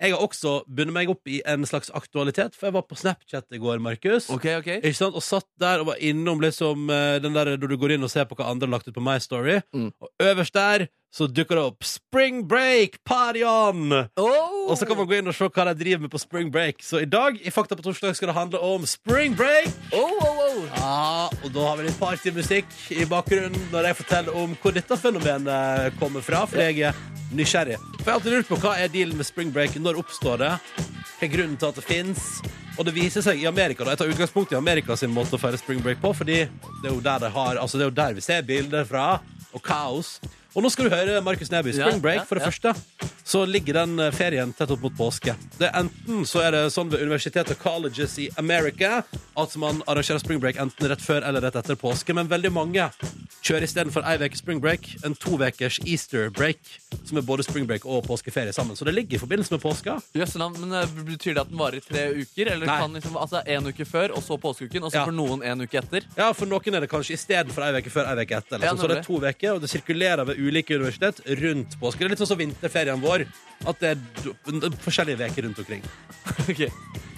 Speaker 2: Jeg har også bundet meg opp i en slags aktualitet, for jeg var på Snapchat i går, Markus.
Speaker 3: Ok, ok.
Speaker 2: Ikke sant? Og satt der og var innom liksom eh, den der når du går inn og ser på hva andre har lagt ut på My Story.
Speaker 3: Mm.
Speaker 2: Og øverst der så dukker det opp 'Spring Break Party On'!
Speaker 3: Oh!
Speaker 2: Og så kan man gå inn og se hva de driver med på spring break. Så i dag i Fakta på torsdag skal det handle om spring break.
Speaker 3: Oh, oh, oh.
Speaker 2: Ja, Ah, og da har vi litt partymusikk i bakgrunnen når jeg forteller om hvor dette fenomenet kommer fra, for jeg er nysgjerrig. For jeg har alltid lurt på hva er dealen med spring break, når oppstår det, hva er grunnen til at det fins, og det viser seg i Amerika, da. Jeg tar utgangspunkt i Amerika sin måte å feire spring break på, fordi det er jo der, de har, altså det er jo der vi ser bilder fra, og kaos. Og nå skal du høre Markus Neby.
Speaker 3: Ja,
Speaker 2: Spring break,
Speaker 3: ja,
Speaker 2: for det
Speaker 3: ja.
Speaker 2: første, så ligger den eh, ferien tett opp mot påske. Det er Enten så er det sånn ved universitet og colleges i America at man arrangerer spring break enten rett før eller rett etter påske, men veldig mange kjører istedenfor ei uke spring break en tovekers easter break, som er både spring break og påskeferie sammen. Så det ligger i forbindelse med påska.
Speaker 3: Jøssenavn, men eh, Betyr det at den varer i tre uker? Eller
Speaker 2: Nei.
Speaker 3: kan liksom, altså En uke før, og så påskeuken, og så
Speaker 2: Ja.
Speaker 3: for noen en uke etter?
Speaker 2: Ja, for noen er det kanskje istedenfor ei uke før ei uke etter.
Speaker 3: Ja,
Speaker 2: Liksom. så det er to uker, og det sirkulerer ved ulike universitet rundt påske. Det er litt sånn som vinterferien vår, at det er do- n- forskjellige uker rundt omkring.
Speaker 3: Ok.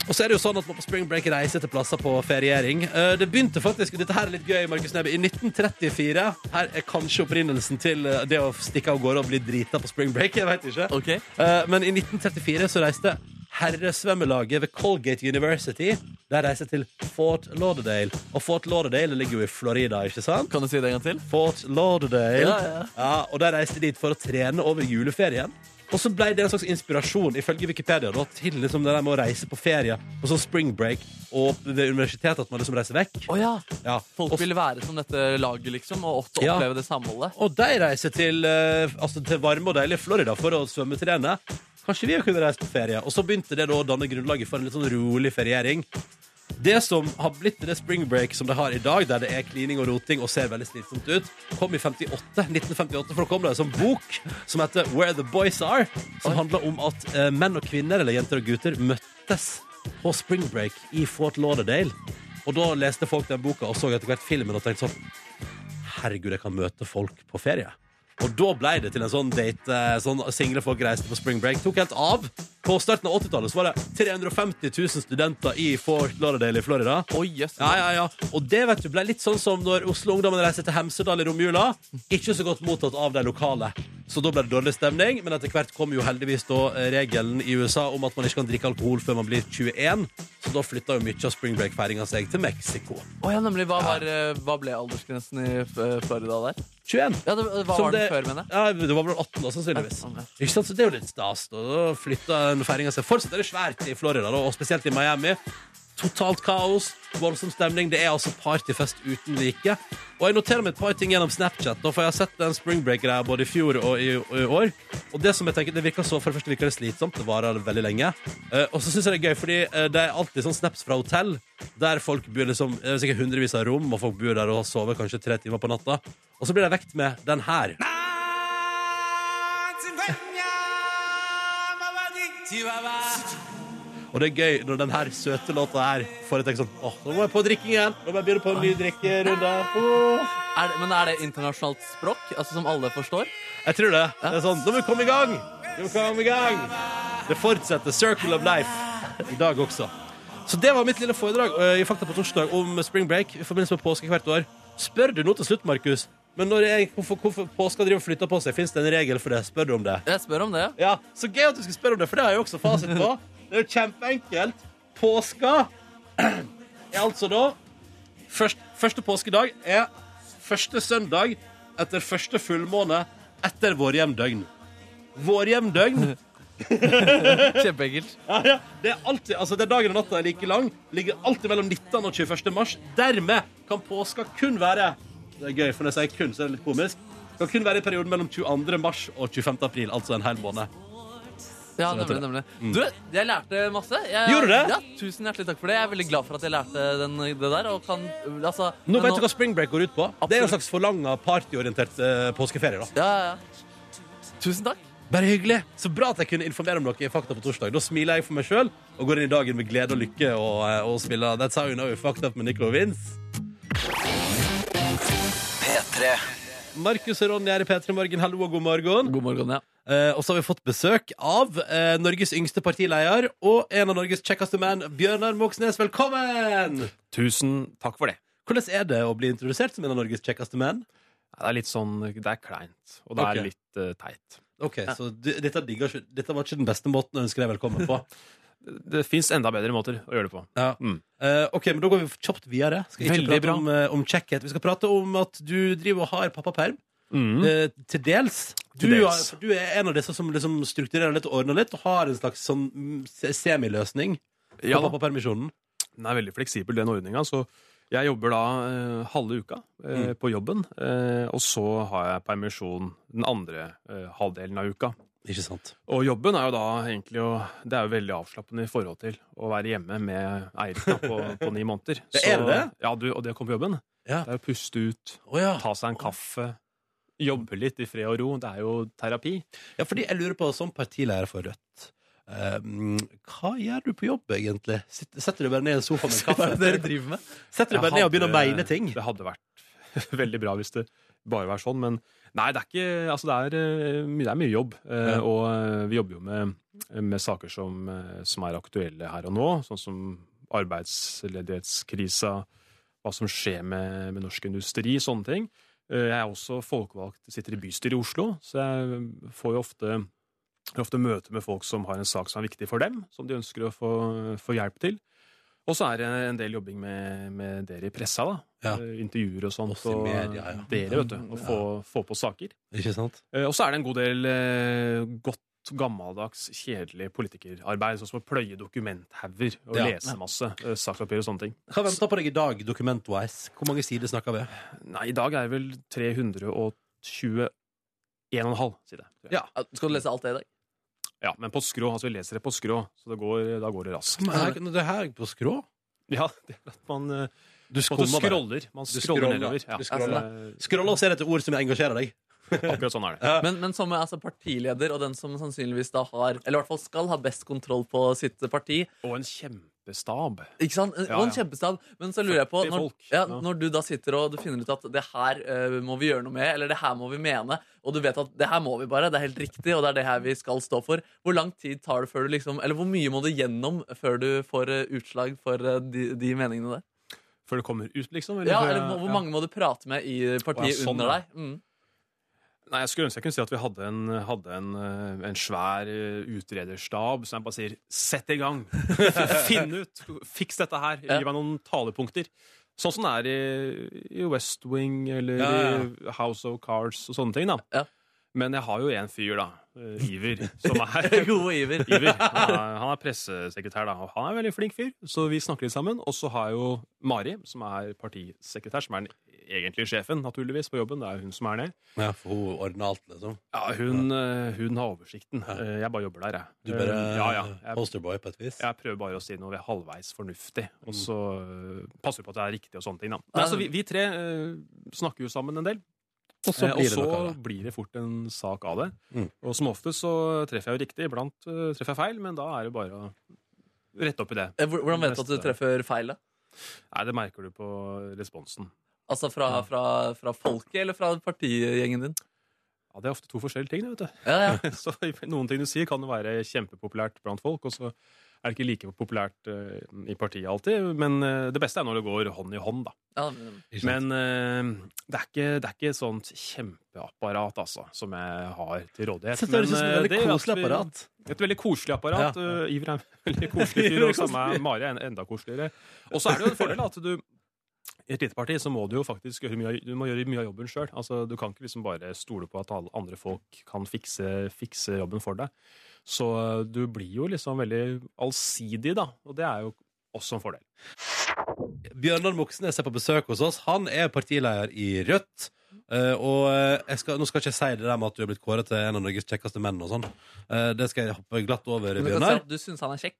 Speaker 2: Og så er det jo sånn at man på spring break reiser til plasser på feriering. Eh, Det begynte faktisk, dette her er litt gøy, Markus Neby, i 1934. Her er kanskje opprinnelsen til eh, det å stikke av gårde og bli drita på spring break, jeg vet ikke.
Speaker 3: Ok.
Speaker 2: Eh, Men i 1934 så reiste herresvømmelaget ved Colgate University. Der reiste til Fort Lauderdale. Og Fort Lauderdale ligger jo i Florida, ikke sant?
Speaker 3: Kan du si det en gang til?
Speaker 2: Fort Lauderdale.
Speaker 3: Ja, ja.
Speaker 2: og der reiste de dit for å trene over juleferien. Og så ble det en slags inspirasjon ifølge Wikipedia da, til liksom det der med å reise på ferie og sånn spring break og ved universitetet at man liksom reiser vekk.
Speaker 3: Å ja.
Speaker 2: Ja.
Speaker 3: Folk
Speaker 2: Og,
Speaker 3: vil være som dette laget, liksom, og også
Speaker 2: Ja.
Speaker 3: oppleve det samholdet.
Speaker 2: og de reiser til, eh, altså til varme og deilige Florida for å svømmetrene. Kanskje vi kunne reist på ferie? Og så begynte det da å danne grunnlaget for en litt sånn rolig feriering. Det som har blitt det spring break som det har i dag, der det er klining og roting og ser veldig slitsomt ut, kom i 58, 1958, for da kom det en sånn bok som heter Where the Boys Are, som handler om at eh, menn og kvinner, eller jenter og gutter, møttes på spring break i Fort Lauderdale. Og da leste folk den boka og så etter hvert filmen og tenkte sånn Herregud, jeg kan møte folk på ferie. Og da ble det til en sånn date. eh, Sånn Single folk reiste på spring break. Tok helt av. På starten av 80-tallet så var det 350 000 studenter i Fort Lauderdale i Florida.
Speaker 3: Oi, jøss.
Speaker 2: Ja, ja, ja. Og det vet du ble litt sånn som når Oslo-ungdommen reiser til Hemsedal i romjula. Ikke så godt mottatt av de lokale. Så da ble det dårlig stemning. Men etter hvert kom jo heldigvis da eh, regelen i USA om at man ikke kan drikke alkohol før man blir 21. Så da flytta jo mye av spring break-feiringa seg til Mexico.
Speaker 3: Å ja, nemlig. Hva, var, eh, hva ble aldersgrensen i eh, Florida der?
Speaker 2: 21.
Speaker 3: Ja, det, Hva
Speaker 2: Som
Speaker 3: var den
Speaker 2: det-
Speaker 3: før, mener jeg?
Speaker 2: Ja, det var vel 18 da, sannsynligvis.
Speaker 3: Ja, sånn, ja.
Speaker 2: Ikke sant? Så det er jo litt stas. Da Da flytta den feiringa seg. Fortsatt er det svært i Florida, da, og spesielt i Miami. Totalt kaos, voldsom stemning. Det er altså partyfest uten like. Og jeg noterer meg et par ting gjennom Snapchat, da, for jeg har sett den spring break-greia både i fjor og i, og i år. Og det som jeg tenker, det virker så, for det første virker det slitsomt, det varer veldig lenge. Eh, og så syns jeg det er gøy, fordi eh, det er alltid sånn snaps fra hotell, der folk bor liksom, det er sikkert hundrevis av rom, og folk bor der og sover kanskje tre timer på natta. Og så blir de vekt med den her. Og det er gøy når den her søte låta her får et tenke sånn Åh, nå må jeg på drikking igjen. Nå må jeg begynne på en ny drikkerunde. Åh.
Speaker 3: Er det, men er det internasjonalt språk? Altså Som alle forstår?
Speaker 2: Jeg tror det. Det er sånn Nå må vi komme i gang! Nå må vi komme i gang! Det fortsetter. Circle of life. I dag også. Så det var mitt lille foredrag eh, i Fakta på torsdag om spring break i forbindelse med påske hvert år. Spør du nå til slutt, Markus, men når jeg, hvorfor, hvorfor påska driver og flytter på seg, fins det en regel for det? Spør du om det?
Speaker 3: Jeg spør om det.
Speaker 2: Ja, Så gøy at du skulle spørre om det, for det har jeg også fasit på. Det er jo kjempeenkelt. Påska er altså da først, Første påskedag er første søndag etter første fullmåne etter vårjevndøgn. Vårjevndøgn
Speaker 3: Kjempeenkelt.
Speaker 2: ja, ja. Det er alltid, altså det er dagen og natta er like lang. Ligger alltid mellom 19. og 21. mars. Dermed kan påska kun være Det er gøy, for når jeg sier kun, så er det litt komisk. Kan kun være i perioden mellom 22. mars og 25. april, altså en hel måned.
Speaker 3: Ja,
Speaker 2: vet du
Speaker 3: nemlig, nemlig. Du, jeg lærte masse. Jeg,
Speaker 2: Gjorde du det?
Speaker 3: Ja, Tusen hjertelig takk for det. Jeg er veldig glad for at jeg lærte den, det der. Og kan, altså,
Speaker 2: Nå
Speaker 3: men
Speaker 2: vet du hva spring break går ut på. Det er en
Speaker 3: Absolutt.
Speaker 2: slags forlanga partyorientert eh, påskeferie. da
Speaker 3: Ja, ja, ja. Tusen takk.
Speaker 2: Bare hyggelig. Så bra at jeg kunne informere om dere i Fakta på torsdag. Da smiler jeg for meg sjøl og går inn i dagen med glede og lykke og, eh, og spiller That's How You Know You Fucked Up med Nico Vince. Markus og Ronny er i P3 Morgen. Hallo og god morgen.
Speaker 3: God morgen, ja.
Speaker 2: Eh, og så har vi fått besøk av eh, Norges yngste partileder og en av Norges kjekkeste menn, Bjørnar Moxnes. Velkommen!
Speaker 10: Tusen takk for det.
Speaker 2: Hvordan er det å bli introdusert som en av Norges kjekkeste menn?
Speaker 10: Nei, Det er litt sånn Det er kleint, og det
Speaker 2: Ok.
Speaker 10: er litt eh, teit.
Speaker 2: Ok, så du, dette, digger ikke, dette var ikke den beste måten å ønske deg velkommen på.
Speaker 10: Det fins enda bedre måter å gjøre det på.
Speaker 2: Ja.
Speaker 10: Mm.
Speaker 2: Eh, ok, men Da går vi kjapt videre. Skal ikke
Speaker 10: Veldig
Speaker 2: prate
Speaker 10: bra.
Speaker 2: om, eh, om kjekkhet. Vi skal prate om at du driver og har pappaperm.
Speaker 10: Mm.
Speaker 2: eh, til dels. Du,
Speaker 10: Til dels.
Speaker 2: har- du er en av disse som liksom strukturerer litt og ordner litt, og har en slags sånn mm, se- semiløsning på
Speaker 10: Ja, da.
Speaker 2: pappapermisjonen.
Speaker 10: den er veldig fleksibel, den ordninga. Så jeg jobber da eh, halve uka eh, på jobben, eh, og så har jeg permisjon den andre eh, halvdelen av uka.
Speaker 2: Ikke sant.
Speaker 10: Og jobben er jo da egentlig å Det er jo veldig avslappende i forhold til å være hjemme med Eirik da, på, på ni måneder.
Speaker 2: Det er det?
Speaker 10: Ja, du, og det å komme på jobben. Det er å puste ut, ta seg en kaffe, jobbe litt i fred og ro. Det er jo terapi.
Speaker 2: Ja, fordi jeg lurer på, som partileder for Rødt eh, Hva gjør du på jobb, egentlig? Sitt- Setter du bare ned i sofaen med en kaffe?
Speaker 10: Hva er det dere driver med?
Speaker 2: Setter du
Speaker 10: Jeg
Speaker 2: bare ned og
Speaker 10: hadde-
Speaker 2: begynner å meine ting?
Speaker 10: Det hadde vært veldig bra hvis det bare var sånn, men nei, det er ikke Altså, det er, eh, mye- det er mye jobb. eh,
Speaker 2: Ja.
Speaker 10: Og eh, vi jobber jo med, med saker som, eh, som er aktuelle her og nå, sånn som arbeidsledighetskrisa, hva som skjer med, med norsk industri, sånne ting. Eh, Jeg er også folkevalgt, sitter i bystyret i Oslo, så jeg får jo ofte har ofte møte med folk som har en sak som er viktig for dem, som de ønsker å få, få hjelp til. Og så er det en del jobbing med, med dere i pressa, da. Eh, Intervjuer og sånt.
Speaker 2: i
Speaker 10: Og
Speaker 2: media, ja.
Speaker 10: dere, vet du. Og få, få på saker.
Speaker 2: Ikke sant?
Speaker 10: Eh, Og så er det en god del eh, godt gammeldags, kjedelig politikerarbeid, sånn som å pløye dokumenthauger og
Speaker 2: Ja.
Speaker 10: lese masse eh, sakspapir og sånne ting.
Speaker 2: Hva venter på deg i dag, dokument-wise? Hvor mange sider snakker vi?
Speaker 10: Nei, i dag er det vel 321,5 sider.
Speaker 2: Ja.
Speaker 3: Skal du lese alt det i dag?
Speaker 10: Ja, men på skrå. Altså, vi leser det på skrå, så det går, da går det raskt.
Speaker 2: Men her- Det her på skrå?
Speaker 10: Ja, det er at man eh,
Speaker 2: Du
Speaker 10: på en måte
Speaker 2: skummer bare.
Speaker 10: scroller. Man
Speaker 2: Du
Speaker 10: scroller
Speaker 2: scroller.
Speaker 10: nedover. Ja.
Speaker 2: Du scroller.
Speaker 10: Altså,
Speaker 2: Scrolle og se etter ord som engasjerer deg.
Speaker 10: Akkurat sånn er det.
Speaker 2: Ja.
Speaker 3: Men, men som altså, partileder, og den som sannsynligvis da har Eller i hvert fall skal ha best kontroll på sitt parti,
Speaker 10: Og en kjempestab.
Speaker 3: Ikke sant?
Speaker 10: Ja,
Speaker 3: og en
Speaker 10: ja.
Speaker 3: kjempestab. Men så lurer jeg på,
Speaker 10: 40
Speaker 3: når,
Speaker 10: folk.
Speaker 3: ja,
Speaker 10: Ja.
Speaker 3: når du da sitter og du finner ut at det her eh, må vi gjøre noe med, eller det her må vi mene, og du vet at det her må vi bare, det er helt riktig, og det er det her vi skal stå for, hvor lang tid tar det før du liksom Eller hvor mye må du gjennom før du får eh, utslag for eh, de, de meningene der?
Speaker 10: Før det kommer ut, liksom?
Speaker 3: Ja, eller hvor hvor mange må du prate med i partiet
Speaker 10: Å, ja, sånn,
Speaker 3: under
Speaker 10: ja.
Speaker 3: deg? Mm.
Speaker 10: Nei, Jeg skulle ønske jeg kunne si at vi hadde en, hadde en, eh, en svær eh, utrederstab som jeg bare sier 'sett i gang', finn ut, fiks dette her,
Speaker 3: Ja.
Speaker 10: gi meg noen talepunkter. Sånn som det er i, i West Wing eller
Speaker 2: Ja, ja,
Speaker 10: i House of Cards og sånne ting. da.
Speaker 3: Ja.
Speaker 10: Men jeg har jo en fyr, da, eh, Iver, som er
Speaker 3: Gode iver.
Speaker 10: Iver. Han er, han er pressesekretær, da. og Han er en veldig flink fyr, så vi snakker litt sammen. Og så har jeg jo Mari, som er partisekretær, som er den egentlige sjefen, naturligvis, på jobben. Det er jo hun som er det.
Speaker 2: Ja, for hun ordner alt, liksom.
Speaker 10: Ja, hun, eh, hun har oversikten.
Speaker 2: Ja.
Speaker 10: Eh, Jeg bare jobber der, jeg.
Speaker 2: Du bare
Speaker 10: Eh, Ja, ja. Jeg,
Speaker 2: posterboy på et vis.
Speaker 10: jeg prøver bare å si noe halvveis fornuftig,
Speaker 2: Mm.
Speaker 10: og så eh, passer vi på at det er riktig og sånne ting, da.
Speaker 3: Ja.
Speaker 10: Nei, så vi, vi tre eh, snakker jo sammen en del.
Speaker 2: Og så blir
Speaker 10: Eh,
Speaker 2: det
Speaker 10: og
Speaker 2: noe
Speaker 10: så
Speaker 2: av det.
Speaker 10: blir det fort en sak av det.
Speaker 2: Mm.
Speaker 10: Og som oftest så treffer jeg jo riktig, iblant eh, treffer jeg feil, men da er det bare å rette opp i det.
Speaker 3: Eh, hvor- Hvordan vet du at du treffer feil, da?
Speaker 10: Nei, det merker du på responsen.
Speaker 3: Altså fra, fra, fra folket, eller fra partigjengen din?
Speaker 10: Ja, Det er ofte to forskjellige ting. det, vet
Speaker 3: Ja, ja.
Speaker 10: du. Så Noen ting du sier, kan jo være kjempepopulært blant folk, og så er det ikke like populært eh, i partiet alltid. Men eh, det beste er når det går hånd i hånd, da.
Speaker 3: ja men-
Speaker 2: Ikke sant?
Speaker 10: Men eh, det, er ikke, det er ikke et sånt kjempeapparat, altså, som jeg har til rådighet.
Speaker 2: Så det høres ut
Speaker 10: Men,
Speaker 2: som
Speaker 10: eh,
Speaker 2: et veldig
Speaker 10: det er at
Speaker 2: koselig
Speaker 10: vi-
Speaker 2: apparat.
Speaker 10: Et veldig koselig apparat.
Speaker 2: Ja.
Speaker 10: Eh, Iver er en veldig koselig fyr, og samme er Mari er en- enda koseligere. Og så er det jo en fordel at du i et lite parti så må du jo faktisk gjøre mye, av- du må gjøre mye av jobben sjøl. Altså, du kan ikke liksom bare stole på at alle andre folk kan fikse, fikse jobben for deg. Så eh, du blir jo liksom veldig allsidig, da. Og det er jo også en fordel.
Speaker 2: Bjørnar Moxnes er på besøk hos oss. Han er partileder i Rødt. Eh, og eh, jeg skal, nå skal ikke jeg si det der med at du er blitt kåret til en av Norges kjekkeste menn og sånn. Eh, det skal jeg hoppe glatt over,
Speaker 3: Men du kan si
Speaker 2: Bjørnar.
Speaker 3: at du syns han er kjekk.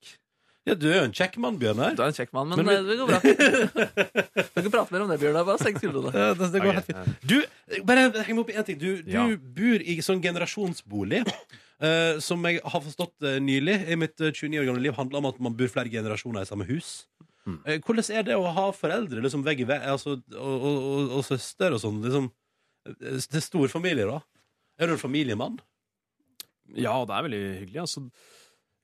Speaker 2: Ja, du er jo en kjekk mann, Bjørnar.
Speaker 3: Du er en kjekk mann, men,
Speaker 2: Men vi-
Speaker 3: eh, det går bra. Du kan ikke prate mer om det, Bjørnar. Bare senk skuldrene.
Speaker 2: Ja, det, det går helt
Speaker 10: Ok,
Speaker 2: fint. Du, bare heng meg opp i en ting. Du, du
Speaker 10: Ja.
Speaker 2: bor i sånn generasjonsbolig, eh, som jeg har forstått eh, nylig i mitt eh, 29 år gamle liv handler om at man bor flere generasjoner i samme hus.
Speaker 10: Mm.
Speaker 2: Eh, hvordan er det å ha foreldre liksom, vegg i vegg, altså, og, og, og, og søster og sånn? Liksom, eh, til stor familie, da? Er du en familiemann?
Speaker 10: Ja, det er veldig hyggelig. Altså,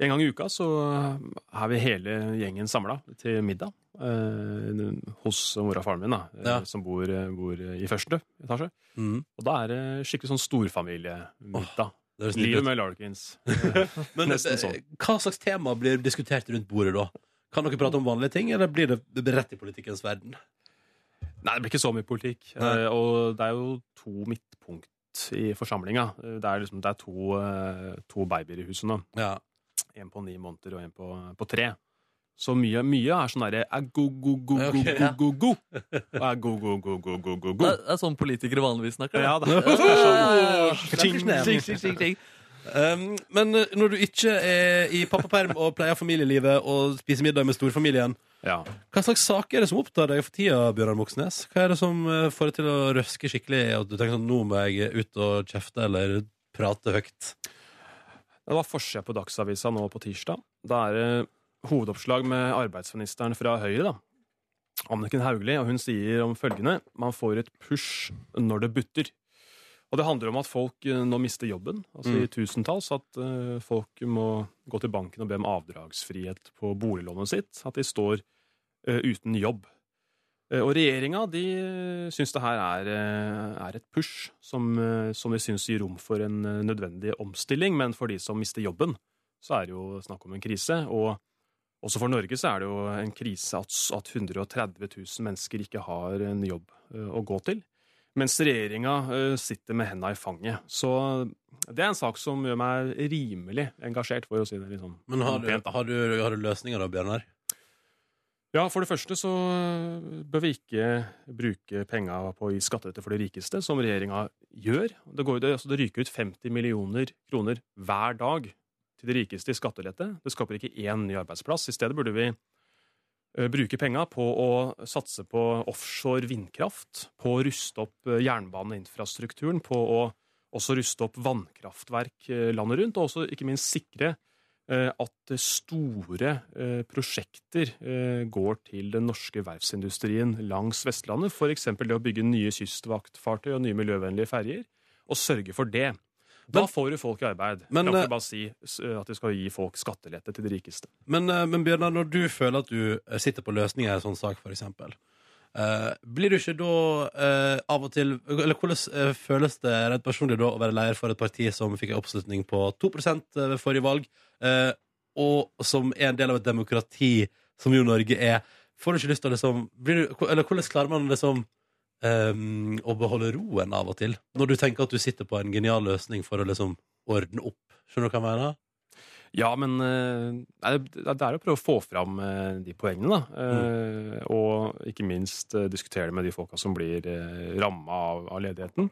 Speaker 10: en gang i uka så er vi hele gjengen samla til middag eh, hos mora og faren min, da, eh,
Speaker 2: Ja.
Speaker 10: som bor, bor i første etasje.
Speaker 2: Mm.
Speaker 10: Og da er det skikkelig sånn storfamiliemiddag.
Speaker 2: Det høres nydelig
Speaker 10: Livet
Speaker 2: ut.
Speaker 10: med Larkins.
Speaker 2: Men
Speaker 10: nesten
Speaker 2: eh,
Speaker 10: sånn.
Speaker 2: hva slags tema blir diskutert rundt bordet da? Kan dere prate om vanlige ting, eller blir det rett i politikkens verden?
Speaker 10: Nei, det blir ikke så mye politikk.
Speaker 2: Nei.
Speaker 10: Eh, og det er jo to midtpunkt i forsamlinga. Eh, Det er, liksom, det er to, eh, to babyer i huset nå.
Speaker 2: Ja.
Speaker 10: En på ni måneder og en på, på tre. Så mye, mye er sånn derre go-go-go-go-go-go.
Speaker 2: Ok, ja.
Speaker 10: go-go-go-go-go-go-go.
Speaker 3: Det er sånn eh, politikere vanligvis snakker. da.
Speaker 10: Ja, det
Speaker 3: Ja, ja, ja, ja.
Speaker 10: Ting, ting, ting, ting,
Speaker 3: Ting, ting.
Speaker 2: Um, men eh, når du ikke er i pappaperm og pleier familielivet og spiser middag med storfamilien, hva slags saker er det som opptar deg for tida, Bjørnar Moxnes? Hva er det som eh, får deg til å røske skikkelig, og du tenker sånn nå må jeg ut og kjefte eller prate høyt?
Speaker 10: Det var forskjell på Dagsavisa nå på tirsdag. Da er det hovedoppslag med arbeidsministeren fra Høyre, da. Anniken Hauglie, og hun sier om følgende Man får et push når det butter. Og det handler om at folk eh, nå mister jobben, altså i
Speaker 11: Mm.
Speaker 10: tusentalls. At eh, folk må gå til banken og be om avdragsfrihet på boliglånet sitt. At de står eh, uten jobb. Eh, Og regjeringa de eh, syns det her er, eh, er et push som, eh, som de syns gir rom for en eh, nødvendig omstilling, men for de som mister jobben, så er det jo snakk om en krise. Og også for Norge så er det jo en krise at, s- at 130 000 mennesker ikke har en jobb eh, å gå til. Mens regjeringa eh, sitter med henda i fanget. Så det er en sak som gjør meg rimelig engasjert, for å si det litt sånn.
Speaker 2: Men har du,
Speaker 10: pent, da.
Speaker 2: har du, har du løsninger da, Bjørnar?
Speaker 10: Ja, for det første så øh, bør vi ikke bruke penga på å gi skattelette for de rikeste, som regjeringa gjør. Det, går, det, altså det ryker ut 50 millioner kroner hver dag til de rikeste i skattelette. Det skaper ikke én ny arbeidsplass. I stedet burde vi øh, bruke penga på å satse på offshore vindkraft, på å ruste opp øh, jernbaneinfrastrukturen, på å også ruste opp vannkraftverk øh, landet rundt, og også ikke minst sikre eh, at store eh, prosjekter eh, går til den norske verftsindustrien langs Vestlandet. F.eks. det å bygge nye kystvaktfartøy og nye miljøvennlige ferjer. Og sørge for det. Da får du folk i arbeid.
Speaker 2: Men,
Speaker 10: Framfor
Speaker 2: eh,
Speaker 10: bare å si s- at du skal gi folk skattelette til de rikeste.
Speaker 2: Men, eh, men Bjørnar, når du føler at du eh, sitter på løsninger i en sånn sak, for eksempel, eh, blir du ikke da eh, av og til Eller hvordan eh, føles det rett personlig da å være leder for et parti som fikk en oppslutning på 2 ved forrige valg, eh, og som er en del av et demokrati som jo Norge er? Får du ikke lyst til å liksom blir du, Eller hvordan klarer man liksom eh, å beholde roen av og til, når du tenker at du sitter på en genial løsning for å liksom ordne opp? Skjønner du hva jeg mener?
Speaker 10: Ja, men eh, nei, det det er jo å prøve å få fram eh, de poengene, da. Eh, Og ikke minst eh, diskutere det med de folka som blir ramma av, av ledigheten.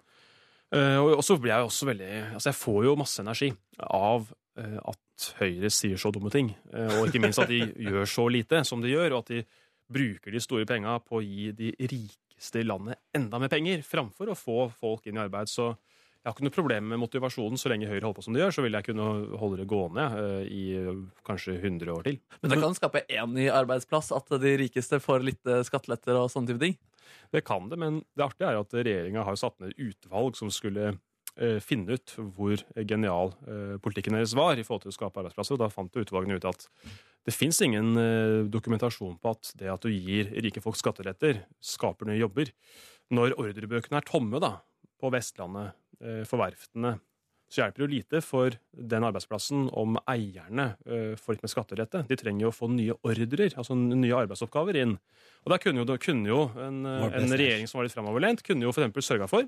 Speaker 10: Eh, Og og så blir jeg jo også veldig Altså, jeg får jo masse energi av eh, at Høyre sier så dumme ting. Eh, Og ikke minst at de gjør så lite som de gjør, og at de bruker de store penga på å gi de rikeste i landet enda mer penger, framfor å få folk inn i arbeid. Så jeg har ikke noe problem med motivasjonen så lenge Høyre holder på som de gjør. Så vil jeg kunne holde det gående eh, i eh, kanskje 100 år til.
Speaker 3: Men det kan skape én ny arbeidsplass, at de rikeste får litt eh, skatteletter og sånne type ting.
Speaker 10: Det kan det, men det artige er jo at regjeringa har jo satt ned et utvalg som skulle eh, finne ut hvor genial eh, politikken deres var i forhold til å skape arbeidsplasser. Og da fant jo utvalgene ut at det fins ingen eh, dokumentasjon på at det at du gir rike folk skatteletter, skaper nye jobber. Når ordrebøkene er tomme da, på Vestlandet, eh, for verftene, så hjelper det jo lite for den arbeidsplassen om eierne eh, får litt mer skattelette. De trenger jo å få nye ordrer, altså n- nye arbeidsoppgaver inn. Og der kunne jo, da kunne jo en, eh,
Speaker 11: Var det
Speaker 10: en
Speaker 11: snert?
Speaker 10: regjering som var litt framoverlent, kunne jo f.eks. sørga for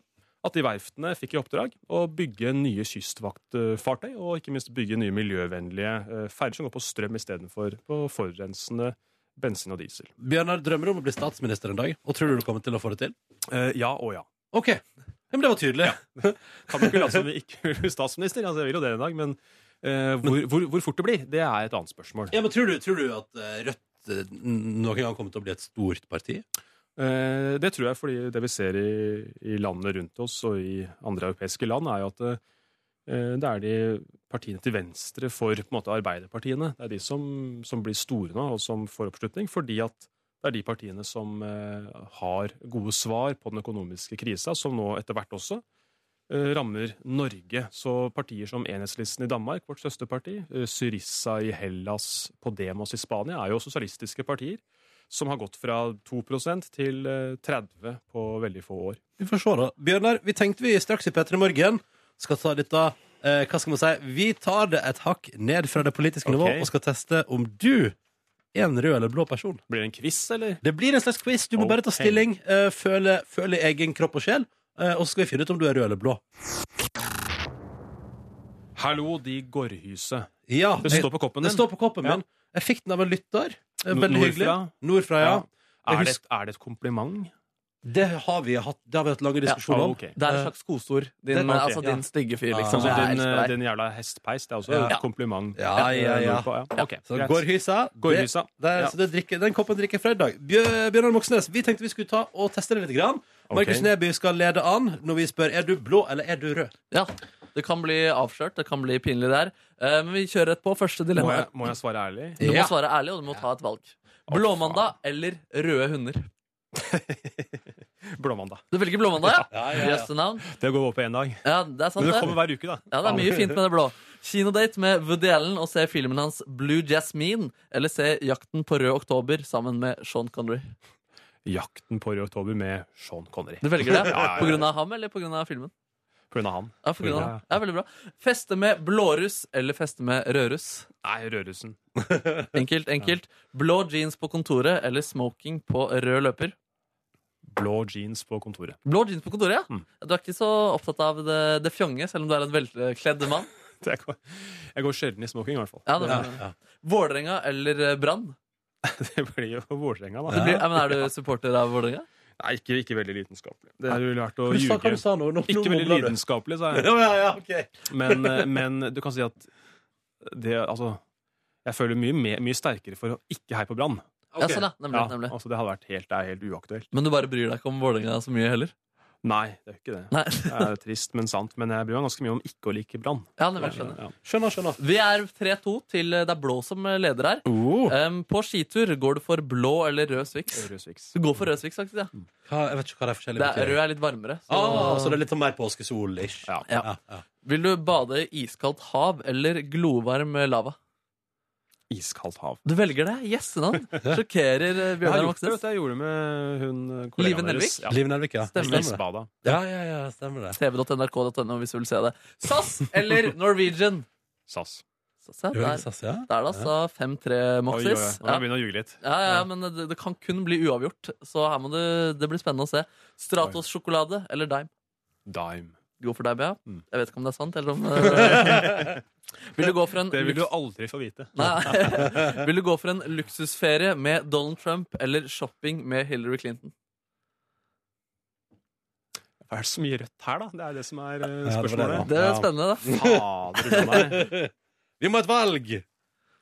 Speaker 10: at de verftene fikk i oppdrag å bygge nye kystvaktfartøy, og ikke minst bygge nye miljøvennlige eh, ferger som går på strøm istedenfor på forurensende bensin og diesel.
Speaker 2: Bjørnar drømmer om å bli statsminister en dag, og tror du du kommer til å få det til?
Speaker 10: Eh, ja og ja.
Speaker 2: Ok, ja, men det var tydelig.
Speaker 10: Kan jo ikke late som vi ikke vil bli statsminister. Altså, jeg vil jo det en dag, men eh, hvor, hvor, hvor fort det blir, det er et annet spørsmål.
Speaker 2: Ja, men tror du, tror du at eh, Rødt eh, n- noen gang kommer til å bli et stort parti?
Speaker 10: Eh, Det tror jeg fordi det vi ser i, i landene rundt oss og i andre europeiske land, er jo at eh, det er de partiene til venstre for på en måte, arbeiderpartiene. Det er de som, som blir store nå, og som får oppslutning, fordi at det er de partiene som eh, har gode svar på den økonomiske krisa, som nå etter hvert også eh, rammer Norge. Så partier som Enhetslisten i Danmark, vårt søsterparti, eh, Syrissa i Hellas, Podemos i Spania, er jo sosialistiske partier som har gått fra 2 til eh, 30 på veldig få år.
Speaker 2: Vi får se, da. Bjørnar, vi tenkte vi straks i P3 Morgen skal ta dette eh, Hva skal man si? Vi tar det et hakk ned fra det politiske nivå
Speaker 10: Ok.
Speaker 2: og skal teste om du er en rød eller blå person.
Speaker 10: Blir det en quiz, eller?
Speaker 2: Det blir en slags quiz. Du må bare ta
Speaker 10: Ok.
Speaker 2: stilling, eh, føle, føle egen kropp og sjel, eh, og så skal vi finne ut om du er rød eller blå.
Speaker 10: Hallo, de gårdhyse.
Speaker 2: Ja,
Speaker 10: det
Speaker 2: jeg-
Speaker 10: står på koppen
Speaker 2: det
Speaker 10: din.
Speaker 2: står på koppen
Speaker 10: Ja.
Speaker 2: min. Jeg fikk den av en lytter. Eh,
Speaker 10: Nord-
Speaker 2: Veldig hyggelig.
Speaker 10: nordfra?
Speaker 2: Nordfra, ja.
Speaker 10: Ja.
Speaker 2: Jeg
Speaker 10: Er, det,
Speaker 2: husker-
Speaker 10: er det et kompliment?
Speaker 2: Det har vi hatt, det har vi hatt lange diskusjoner om.
Speaker 10: ok.
Speaker 3: Det er et slags koseord. Din,
Speaker 2: Det-
Speaker 3: altså,
Speaker 2: Ja.
Speaker 3: din stygge fyr, liksom.
Speaker 10: Sånn som
Speaker 3: Jeg
Speaker 10: din,
Speaker 3: elsker deg.
Speaker 10: din jævla hestpeis. Det er også
Speaker 2: Ja.
Speaker 10: et kompliment. Eh,
Speaker 2: Ja, ja, ja.
Speaker 10: Nordpå, Ok,
Speaker 2: Så
Speaker 10: greit.
Speaker 2: gårdhysa.
Speaker 10: Går
Speaker 2: det-
Speaker 10: hysa.
Speaker 2: det er-
Speaker 10: Ja.
Speaker 2: så det drikker, den koppen drikker jeg fra i dag. Bjø- Bjørnar Moxnes, vi tenkte vi skulle ta og teste det litt. Grann. Markus Neby skal lede an når vi spør er du blå eller er du rød.
Speaker 3: Ja, det kan bli avslørt, det kan bli pinlig der. Eh, Men vi kjører rett på første
Speaker 10: Må jeg,
Speaker 3: dilemma.
Speaker 10: må jeg svare ærlig?
Speaker 3: Du må
Speaker 2: Ja.
Speaker 3: svare ærlig, og du må ta et valg. Blåmandag eller røde hunder?
Speaker 10: Blåmandag.
Speaker 3: Du velger blåmandag, ja?
Speaker 2: Ja, ja, ja.
Speaker 3: Jøsse navn.
Speaker 10: Det går over på én dag.
Speaker 3: Ja, det er sant,
Speaker 10: Men det
Speaker 3: det.
Speaker 10: kommer hver uke, da.
Speaker 3: Ja, det er mye fint med det blå. Kinodate med Woody Allen og se filmen hans Blue Jasmine. Eller se Jakten på rød oktober sammen med Sean Connery.
Speaker 10: Jakten på Rød oktober med Sean Connery.
Speaker 3: Du velger det?
Speaker 10: Ja, ja, ja.
Speaker 3: På grunn av ham eller på grunn av filmen?
Speaker 10: På grunn av han.
Speaker 3: Ja, på grunn av
Speaker 10: Ja,
Speaker 3: ham. Ja, veldig bra. Feste med blåruss eller feste med rødruss?
Speaker 10: Nei, Rødrussen.
Speaker 3: Enkelt, enkelt. Blå jeans på kontoret eller smoking på rød løper?
Speaker 10: Blå jeans på kontoret.
Speaker 3: Blå jeans på kontoret, ja.
Speaker 10: Mm.
Speaker 3: Du er ikke så opptatt av det, det fjonge, selv om du er en velkledd mann.
Speaker 10: Det er- Jeg går sjelden i smoking, i hvert fall.
Speaker 3: Ja, det
Speaker 2: Ja,
Speaker 3: var- Vålerenga eller eh, Brann?
Speaker 10: Det blir jo Vålerenga, da.
Speaker 3: Det blir- Ja, men Er du supporter av Vålerenga?
Speaker 10: Nei, ikke, ikke veldig lidenskapelig. Det ville vært å
Speaker 2: Hva du sa- hva du
Speaker 10: ljuge.
Speaker 2: sa nå? Nå- nå
Speaker 10: Ikke veldig
Speaker 2: mumler du.
Speaker 10: lidenskapelig, sa jeg.
Speaker 2: Ja, ja, ja, ok.
Speaker 10: Men, eh, men du kan si at det Altså, jeg føler mye, mer- mye sterkere for å ikke heie på Brann.
Speaker 3: Ja, sånn, ja. Nemlig,
Speaker 10: Ja,
Speaker 3: nemlig.
Speaker 10: altså, det hadde vært helt, det er helt uaktuelt.
Speaker 3: Men du bare bryr deg ikke om Vålerenga så mye heller?
Speaker 10: Nei, det er jo ikke det.
Speaker 3: Nei,
Speaker 10: Det er trist, men sant. Men jeg bryr meg ganske mye om ikke å like Brann.
Speaker 3: ja, det vil jeg skjønne.
Speaker 10: Ja.
Speaker 2: Skjønner, skjønner.
Speaker 3: Vi er 3-2 til eh, det er Blå som eh, leder her. Em, på skitur går du for blå eller rød Swix?
Speaker 10: Rødsviks.
Speaker 3: Du går for rød Swix, faktisk. Ja.
Speaker 2: Hva, jeg vet ikke hva det er forskjellig
Speaker 3: Det er, rød er litt varmere. Så.
Speaker 2: Ah, så det er litt sånn mer påskesol-ish.
Speaker 10: Ja.
Speaker 3: Ja. Vil du bade i iskaldt hav eller glovarm eh, lava?
Speaker 10: Iskaldt hav.
Speaker 3: Du velger det. Gjessenavn. Sjokkerer eh,
Speaker 10: Jeg har
Speaker 3: Bjørnar
Speaker 10: gjort det, vet
Speaker 3: Moxnes.
Speaker 10: du. Jeg gjorde det med hun
Speaker 3: Live
Speaker 10: kollegaen
Speaker 3: Nelvik?
Speaker 10: deres. Ja.
Speaker 2: Liv Nelvik, ja.
Speaker 3: Stemmer.
Speaker 2: det.
Speaker 10: Isbada.
Speaker 2: Ja, ja, ja, stemmer det.
Speaker 3: tv.nrk.no hvis du vil se det. SAS eller Norwegian?
Speaker 10: SAS.
Speaker 3: SAS, ja,
Speaker 2: Du er litt
Speaker 3: der.
Speaker 2: sass, ja?
Speaker 3: Der da, sa 5-3
Speaker 10: Oi, oi, oi.
Speaker 3: Moxis.
Speaker 10: Nå må
Speaker 3: Ja.
Speaker 10: jeg begynne å ljuge litt.
Speaker 3: Ja, ja, men det, det kan kun bli uavgjort, så her må det, det blir spennende å se. Stratos sjokolade eller Dime?
Speaker 10: Dime.
Speaker 3: Gå for Dime, ja.
Speaker 10: Mm.
Speaker 3: Jeg vet ikke om det er sant, eller om eh, Vil du gå for en
Speaker 10: Det vil du
Speaker 3: luks-
Speaker 10: aldri få vite.
Speaker 3: Nei. Vil du gå for en luksusferie med Donald Trump eller shopping med Hillary Clinton?
Speaker 10: Hva er det så mye rødt her, da? Det er det som er eh,
Speaker 2: det var det,
Speaker 10: spørsmålet.
Speaker 3: Det er
Speaker 2: Ja.
Speaker 3: spennende, da.
Speaker 10: Fader, det er
Speaker 2: Vi må ha et valg!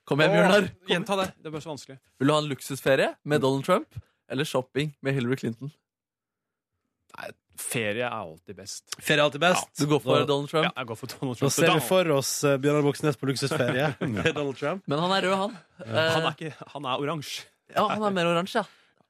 Speaker 3: Kom igjen, Bjørnar.
Speaker 10: Åh, Gjenta det. Det er bare så vanskelig.
Speaker 3: Vil du ha en luksusferie
Speaker 10: Mm.
Speaker 3: med Donald Trump eller shopping med Hillary Clinton?
Speaker 10: Ferie er alltid best.
Speaker 2: Ferie er alltid best.
Speaker 3: Du går for
Speaker 2: Da-
Speaker 3: Donald
Speaker 10: Ja,
Speaker 3: Trump,
Speaker 10: jeg går for Donald
Speaker 2: Da
Speaker 10: Trump.
Speaker 2: ser vi
Speaker 10: Donald.
Speaker 2: for oss eh, Bjørnar Moxnes på luksusferie med Donald Trump.
Speaker 3: men han er rød, han.
Speaker 10: Han
Speaker 3: Eh,
Speaker 10: er, ikke, han er oransje.
Speaker 3: ja, han er mer oransje, ja.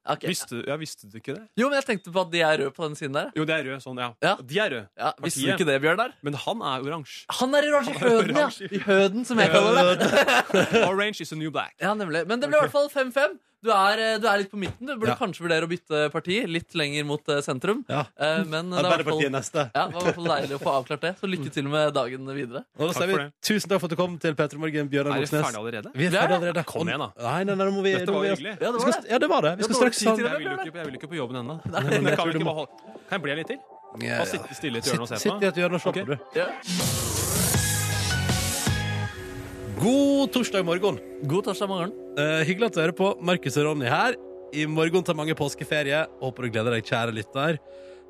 Speaker 3: Ok.
Speaker 10: Visste, ja, visste du ikke det?
Speaker 3: Jo, men jeg tenkte på at de er røde på den siden der.
Speaker 10: Jo, det er rød sånn, ja.
Speaker 3: Ja.
Speaker 10: De er røde.
Speaker 3: Ja, Visste du
Speaker 10: Partiet.
Speaker 3: ikke det, Bjørnar?
Speaker 10: Men han er oransje.
Speaker 3: Han er i oransje i høden, ja.
Speaker 10: oransje.
Speaker 3: I høden, som jeg kaller det.
Speaker 10: Orange is a new black.
Speaker 3: Ja, nemlig. Men det ble i hvert fall 5-5. Du, er, eh, du er litt på midten. Du burde
Speaker 2: Ja.
Speaker 3: kanskje vurdere å bytte parti litt lenger mot eh, sentrum.
Speaker 2: Ja.
Speaker 3: Eh, Men det er i hvert fall,
Speaker 2: Arbeiderpartiet neste.
Speaker 3: ja, det var i hvert fall deilig å få avklart det. Så lykke til med dagen videre.
Speaker 2: Og da
Speaker 10: Takk
Speaker 2: sier vi
Speaker 10: for det.
Speaker 2: tusen takk for at du kom til Petra Morgen, Bjørnar
Speaker 10: Er vi
Speaker 2: Moxnes.
Speaker 10: ferdige allerede?
Speaker 2: Vi er
Speaker 3: Vi er
Speaker 2: ferdige
Speaker 3: det.
Speaker 2: allerede.
Speaker 10: Kom igjen, da.
Speaker 2: Nei, nei, nei, nå må vi, nå
Speaker 10: Dette
Speaker 2: må
Speaker 10: var
Speaker 2: vi-
Speaker 10: jo hyggelig.
Speaker 3: Ja, det
Speaker 2: Vi
Speaker 3: var
Speaker 2: skal,
Speaker 3: det.
Speaker 2: ja, det var sånn. det. Vi skal
Speaker 3: Ja, det var
Speaker 2: straks
Speaker 3: tid til
Speaker 10: Jeg
Speaker 2: ha
Speaker 10: vil jo ikke, jeg vil ikke på jobben ennå. Kan
Speaker 2: men jeg tror
Speaker 10: vi
Speaker 2: du
Speaker 10: ikke
Speaker 2: må-
Speaker 10: bare holde Kan jeg bli litt til?
Speaker 2: Ja,
Speaker 10: Bare
Speaker 2: ja.
Speaker 10: sitte stille i et hjørne og se på?
Speaker 2: Sitt i et hjørne og se
Speaker 10: Ok.
Speaker 2: på, du.
Speaker 3: Ja.
Speaker 2: God torsdag morgen.
Speaker 3: God torsdag morgen.
Speaker 2: Eh, hyggelig at du hører på. Markus og Ronny her. I morgen tar mange påskeferie. Håper du gleder deg, kjære lytter,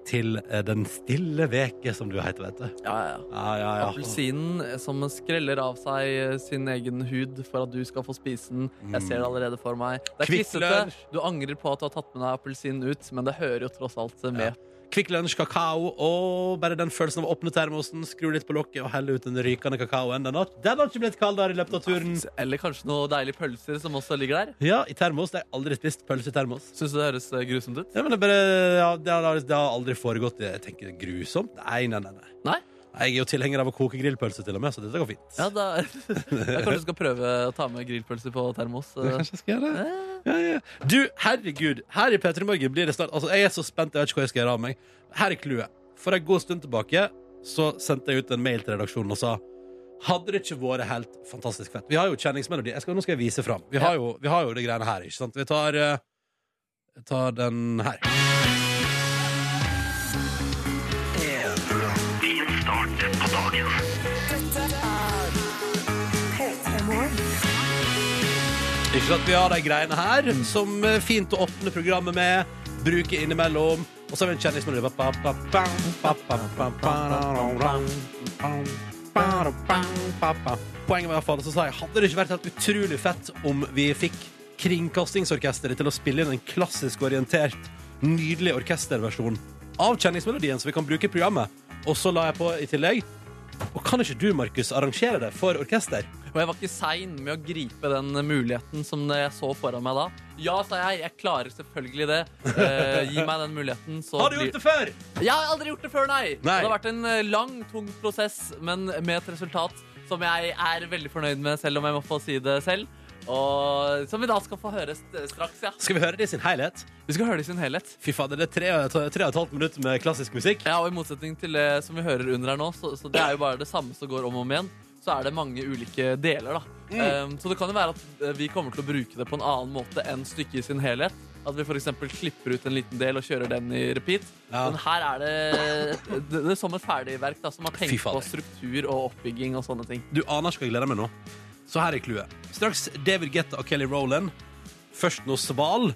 Speaker 2: til eh, den stille veke, som du heter, vet du.
Speaker 3: Ja, ja, ja.
Speaker 2: Ja, ja, ja.
Speaker 3: Appelsinen eh, som skreller av seg eh, sin egen hud for at du skal få spise den. Jeg ser det allerede for meg. Det er
Speaker 2: Kvikk
Speaker 3: klissete.
Speaker 2: Lunsj.
Speaker 3: Du angrer på at du har tatt med deg appelsinen ut, men det hører jo tross alt eh, med.
Speaker 2: Kvikk Lunsj, kakao og bare den følelsen av å åpne termosen, skru litt på lokket og helle ut den rykende kakaoen. Den har, den har ikke blitt kaldere i løpet av turen.
Speaker 3: Eller kanskje noen deilige pølser som også ligger der.
Speaker 2: Ja, i termos. Jeg har aldri spist pølse i termos.
Speaker 3: Syns du det høres eh, grusomt ut?
Speaker 2: Ja, men det, er bare, ja, det, har, det har aldri foregått jeg tenker, grusomt. Nei, nei, nei. nei.
Speaker 3: Nei?
Speaker 2: Jeg er jo tilhenger av å koke grillpølse, til og med, så dette går fint.
Speaker 3: Ja, da, jeg kanskje skal prøve å ta med grillpølser på termos. eh.
Speaker 2: Kanskje jeg skal gjøre det? Ja, ja. Du, herregud, her i P3 Morgen blir det snart Altså, jeg er så spent, jeg vet ikke hva jeg skal gjøre av meg. Her er clouet. For en god stund tilbake så sendte jeg ut en mail til redaksjonen og sa hadde det ikke vært helt fantastisk fett Vi har jo kjenningsmelodi. Jeg skal, nå skal jeg vise fram. Vi har jo, vi har jo det greiene her, ikke sant? Vi tar, eh, jeg tar den her. Ikke sant? Vi har de greiene her som eh, fint å åpne programmet med, bruke innimellom. Og Og så har vi en kjendismelodi. Ba, ba, ba, ba, ba, ba, ba, ba, ba, ba, ba, ba. Poenget var i hvert fall, så sa jeg, hadde det ikke vært helt utrolig fett om vi fikk Kringkastingsorkesteret til å spille inn en klassisk orientert, nydelig orkesterversjon av kjenningsmelodien som vi kan bruke i programmet. Og så la jeg på i tillegg Og kan ikke du, Markus, arrangere det for orkester?
Speaker 3: Og jeg var ikke sein med å gripe den muligheten som jeg så foran meg da. Ja, sa jeg. Jeg klarer selvfølgelig det. Eh, gi meg den muligheten, så
Speaker 2: Har du gjort det før?
Speaker 3: Jeg har aldri gjort det før, nei.
Speaker 2: Nei.
Speaker 3: Det har vært en eh, lang, tung prosess, men med et resultat som jeg er veldig fornøyd med, selv om jeg må få si det selv. Og som vi da skal få høre st- straks, ja.
Speaker 2: Skal vi høre det i sin helhet?
Speaker 3: Vi skal høre det i sin helhet.
Speaker 2: Fy fader, det er tre, tre og et halvt minutt med klassisk musikk.
Speaker 3: Ja, og i motsetning til det som vi hører under her nå, så, så det er jo bare det samme som går om og om igjen, så er det mange ulike deler, da.
Speaker 2: Mm.
Speaker 3: Um, så det kan jo være at eh, vi kommer til å bruke det på en annen måte enn stykket i sin helhet. At vi f.eks. klipper ut en liten del og kjører den i repeat.
Speaker 2: Ja.
Speaker 3: Men her er det, det, det er som et ferdigverk da, som har
Speaker 2: Fy
Speaker 3: tenkt
Speaker 2: fader.
Speaker 3: på struktur og oppbygging og sånne ting.
Speaker 2: Du aner ikke hva jeg gleder meg nå. Så her er clouet. Straks David Guetta og Kelly Rowland. Først noe sval.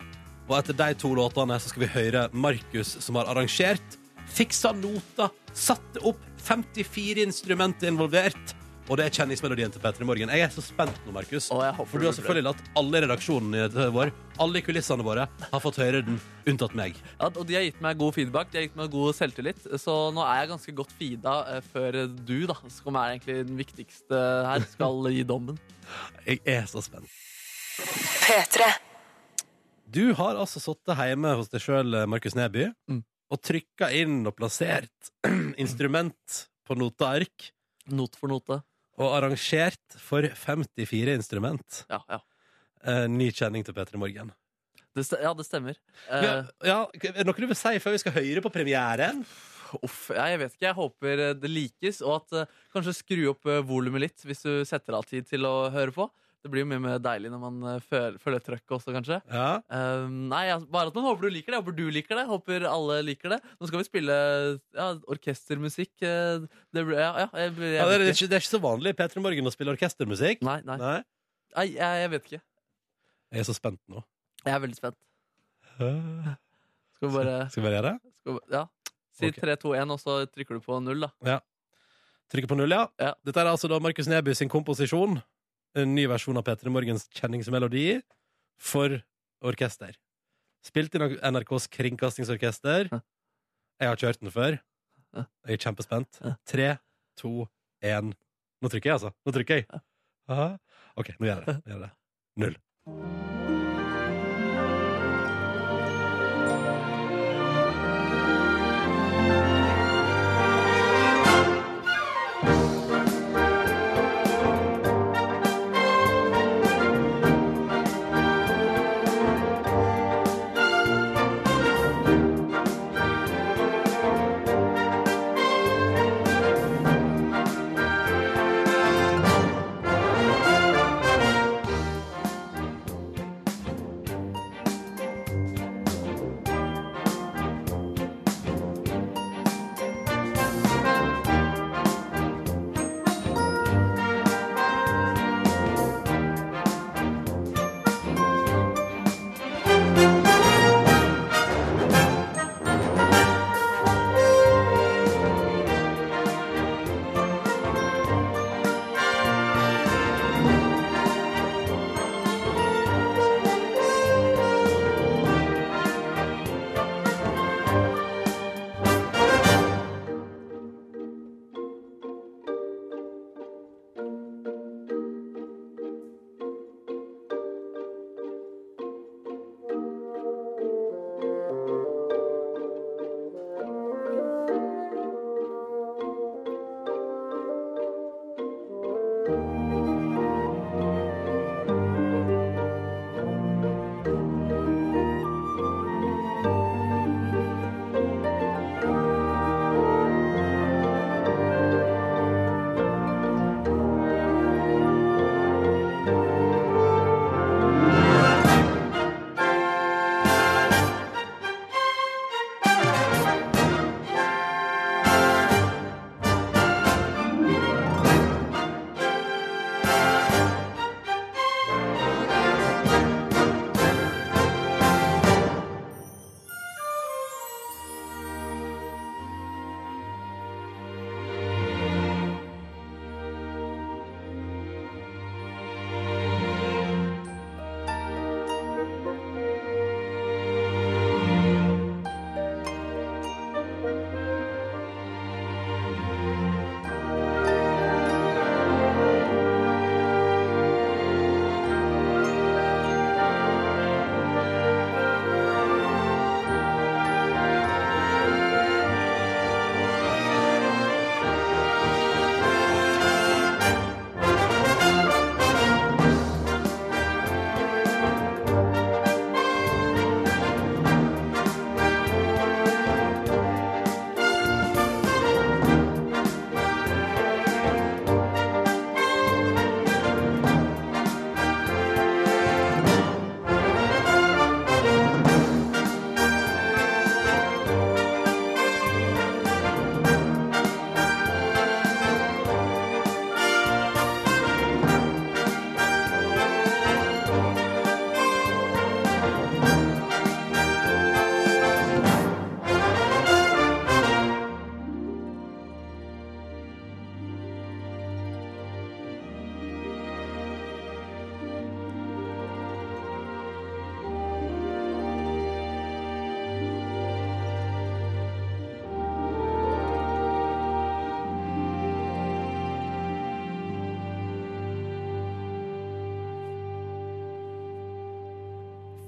Speaker 2: Og etter de to låtene så skal vi høre Markus, som har arrangert, fiksa nota, satte opp 54 instrumenter involvert. Og det er kjenningsmelodien til Petter i morgen. Jeg er så spent nå, Markus.
Speaker 3: Og jeg håper
Speaker 2: For du har
Speaker 3: det blir bra.
Speaker 2: selvfølgelig latt alle i redaksjonen i- vår, alle i kulissene våre, har fått høre den, unntatt meg.
Speaker 3: Ja, og de har gitt meg god feedback, de har gitt meg god selvtillit, så nå er jeg ganske godt feeda eh, før du, da, som er egentlig den viktigste her, skal gi dommen.
Speaker 2: Jeg er så spent.
Speaker 1: P3.
Speaker 2: Du har altså sittet hjemme hos deg sjøl, Markus Neby,
Speaker 3: Mm.
Speaker 2: og trykka inn og plassert instrument på noteark,
Speaker 3: Not for note.
Speaker 2: og arrangert for 54 instrument.
Speaker 3: Ja, ja.
Speaker 2: Eh, ny kjenning til Peter i morgen.
Speaker 3: Det, st- ja, det stemmer. Eh,
Speaker 2: Ja, ja, er det noe du vil si før vi skal høre på premieren?
Speaker 3: Eh, uff, ja, jeg vet ikke. Jeg håper eh, det likes, og at eh, kanskje skru opp uh, volumet litt hvis du setter av tid til å høre på. Det blir jo mye mer deilig når man eh, føler, føler trøkket også, kanskje.
Speaker 2: Ja.
Speaker 3: Eh, nei, altså, bare at man håper du liker det. Håper du liker det. Håper alle liker det. Nå skal vi spille ja, orkestermusikk. eh, det blir, ja, ja, jeg, jeg,
Speaker 2: Ja, det, er
Speaker 3: vet ikke.
Speaker 2: ikke, det er ikke så vanlig i Peter i morgen å spille orkestermusikk.
Speaker 3: Nei, nei. Nei, jeg, jeg vet ikke.
Speaker 2: Jeg er så spent nå.
Speaker 3: Jeg er veldig spent.
Speaker 2: Skal
Speaker 3: Skal vi bare
Speaker 2: vi bare gjøre det?
Speaker 3: skal vi, Ja. Si
Speaker 2: Ok.
Speaker 3: 3, 2, 1, og så trykker du på null, da.
Speaker 2: Trykker på null, ja.
Speaker 3: Ja.
Speaker 2: Dette er altså da Markus Neby sin komposisjon. En ny versjon av Petter i Morgens kjenningsmelodi for orkester. Spilt i NRKs kringkastingsorkester.
Speaker 3: Ja.
Speaker 2: Jeg har ikke hørt den før.
Speaker 3: Ja.
Speaker 2: Jeg er kjempespent.
Speaker 3: Ja.
Speaker 2: Tre, to, én Nå trykker jeg, altså. Nå trykker jeg. Aha. OK, nå gjør jeg det. Nå gjør jeg det. Null.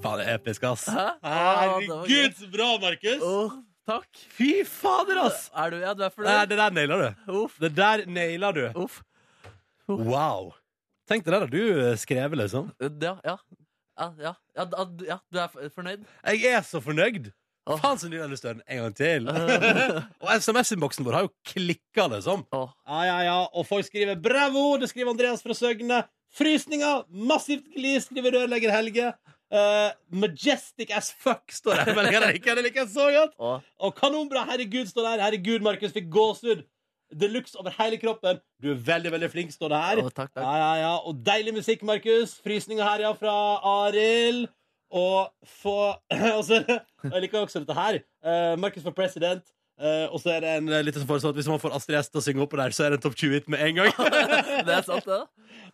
Speaker 2: Faen, det er episk, ass.
Speaker 3: Hæ?
Speaker 2: Herregud, så bra, Markus!
Speaker 3: takk.
Speaker 2: Fy fader, ass!
Speaker 3: Er du, ja, du er for
Speaker 2: Nei, det der naila du.
Speaker 3: Uff.
Speaker 2: Det der naila du.
Speaker 3: Uff.
Speaker 2: Wow. Tenk det der har du skrevet, liksom.
Speaker 3: Ja, ja. Ja, ja. Ja, da- du- ja, du er f- fornøyd?
Speaker 2: Jeg er så fornøyd! Faen så ny denne støren en gang til! og SMS-innboksen vår har jo klikka, liksom.
Speaker 3: Åh.
Speaker 2: Ja, ja, ja. Og folk skriver 'bravo'! Det skriver Andreas fra Søgne. Frysninger! Massivt glis, skriver rørlegger Helge. Eh, majestic as fuck, står det. Men jeg liker det liker jeg så godt.
Speaker 3: Åh.
Speaker 2: Og kanonbra! Herregud, står det her. Herregud, Markus fikk gåsehud. Deluxe over hele kroppen. Du er veldig, veldig flink, står det her.
Speaker 3: Åh, takk, takk.
Speaker 2: Ja, ja, ja. Og deilig musikk, Markus. Frysninger her, ja, fra Arild. Og få og så- Jeg liker også dette her. Eh, Markus for president. Eh, og så er det en eh, liten som foreslår at hvis man får Astrid S til å synge oppå der, så er det en topp 20-hit med en gang.
Speaker 3: Det er sant, det.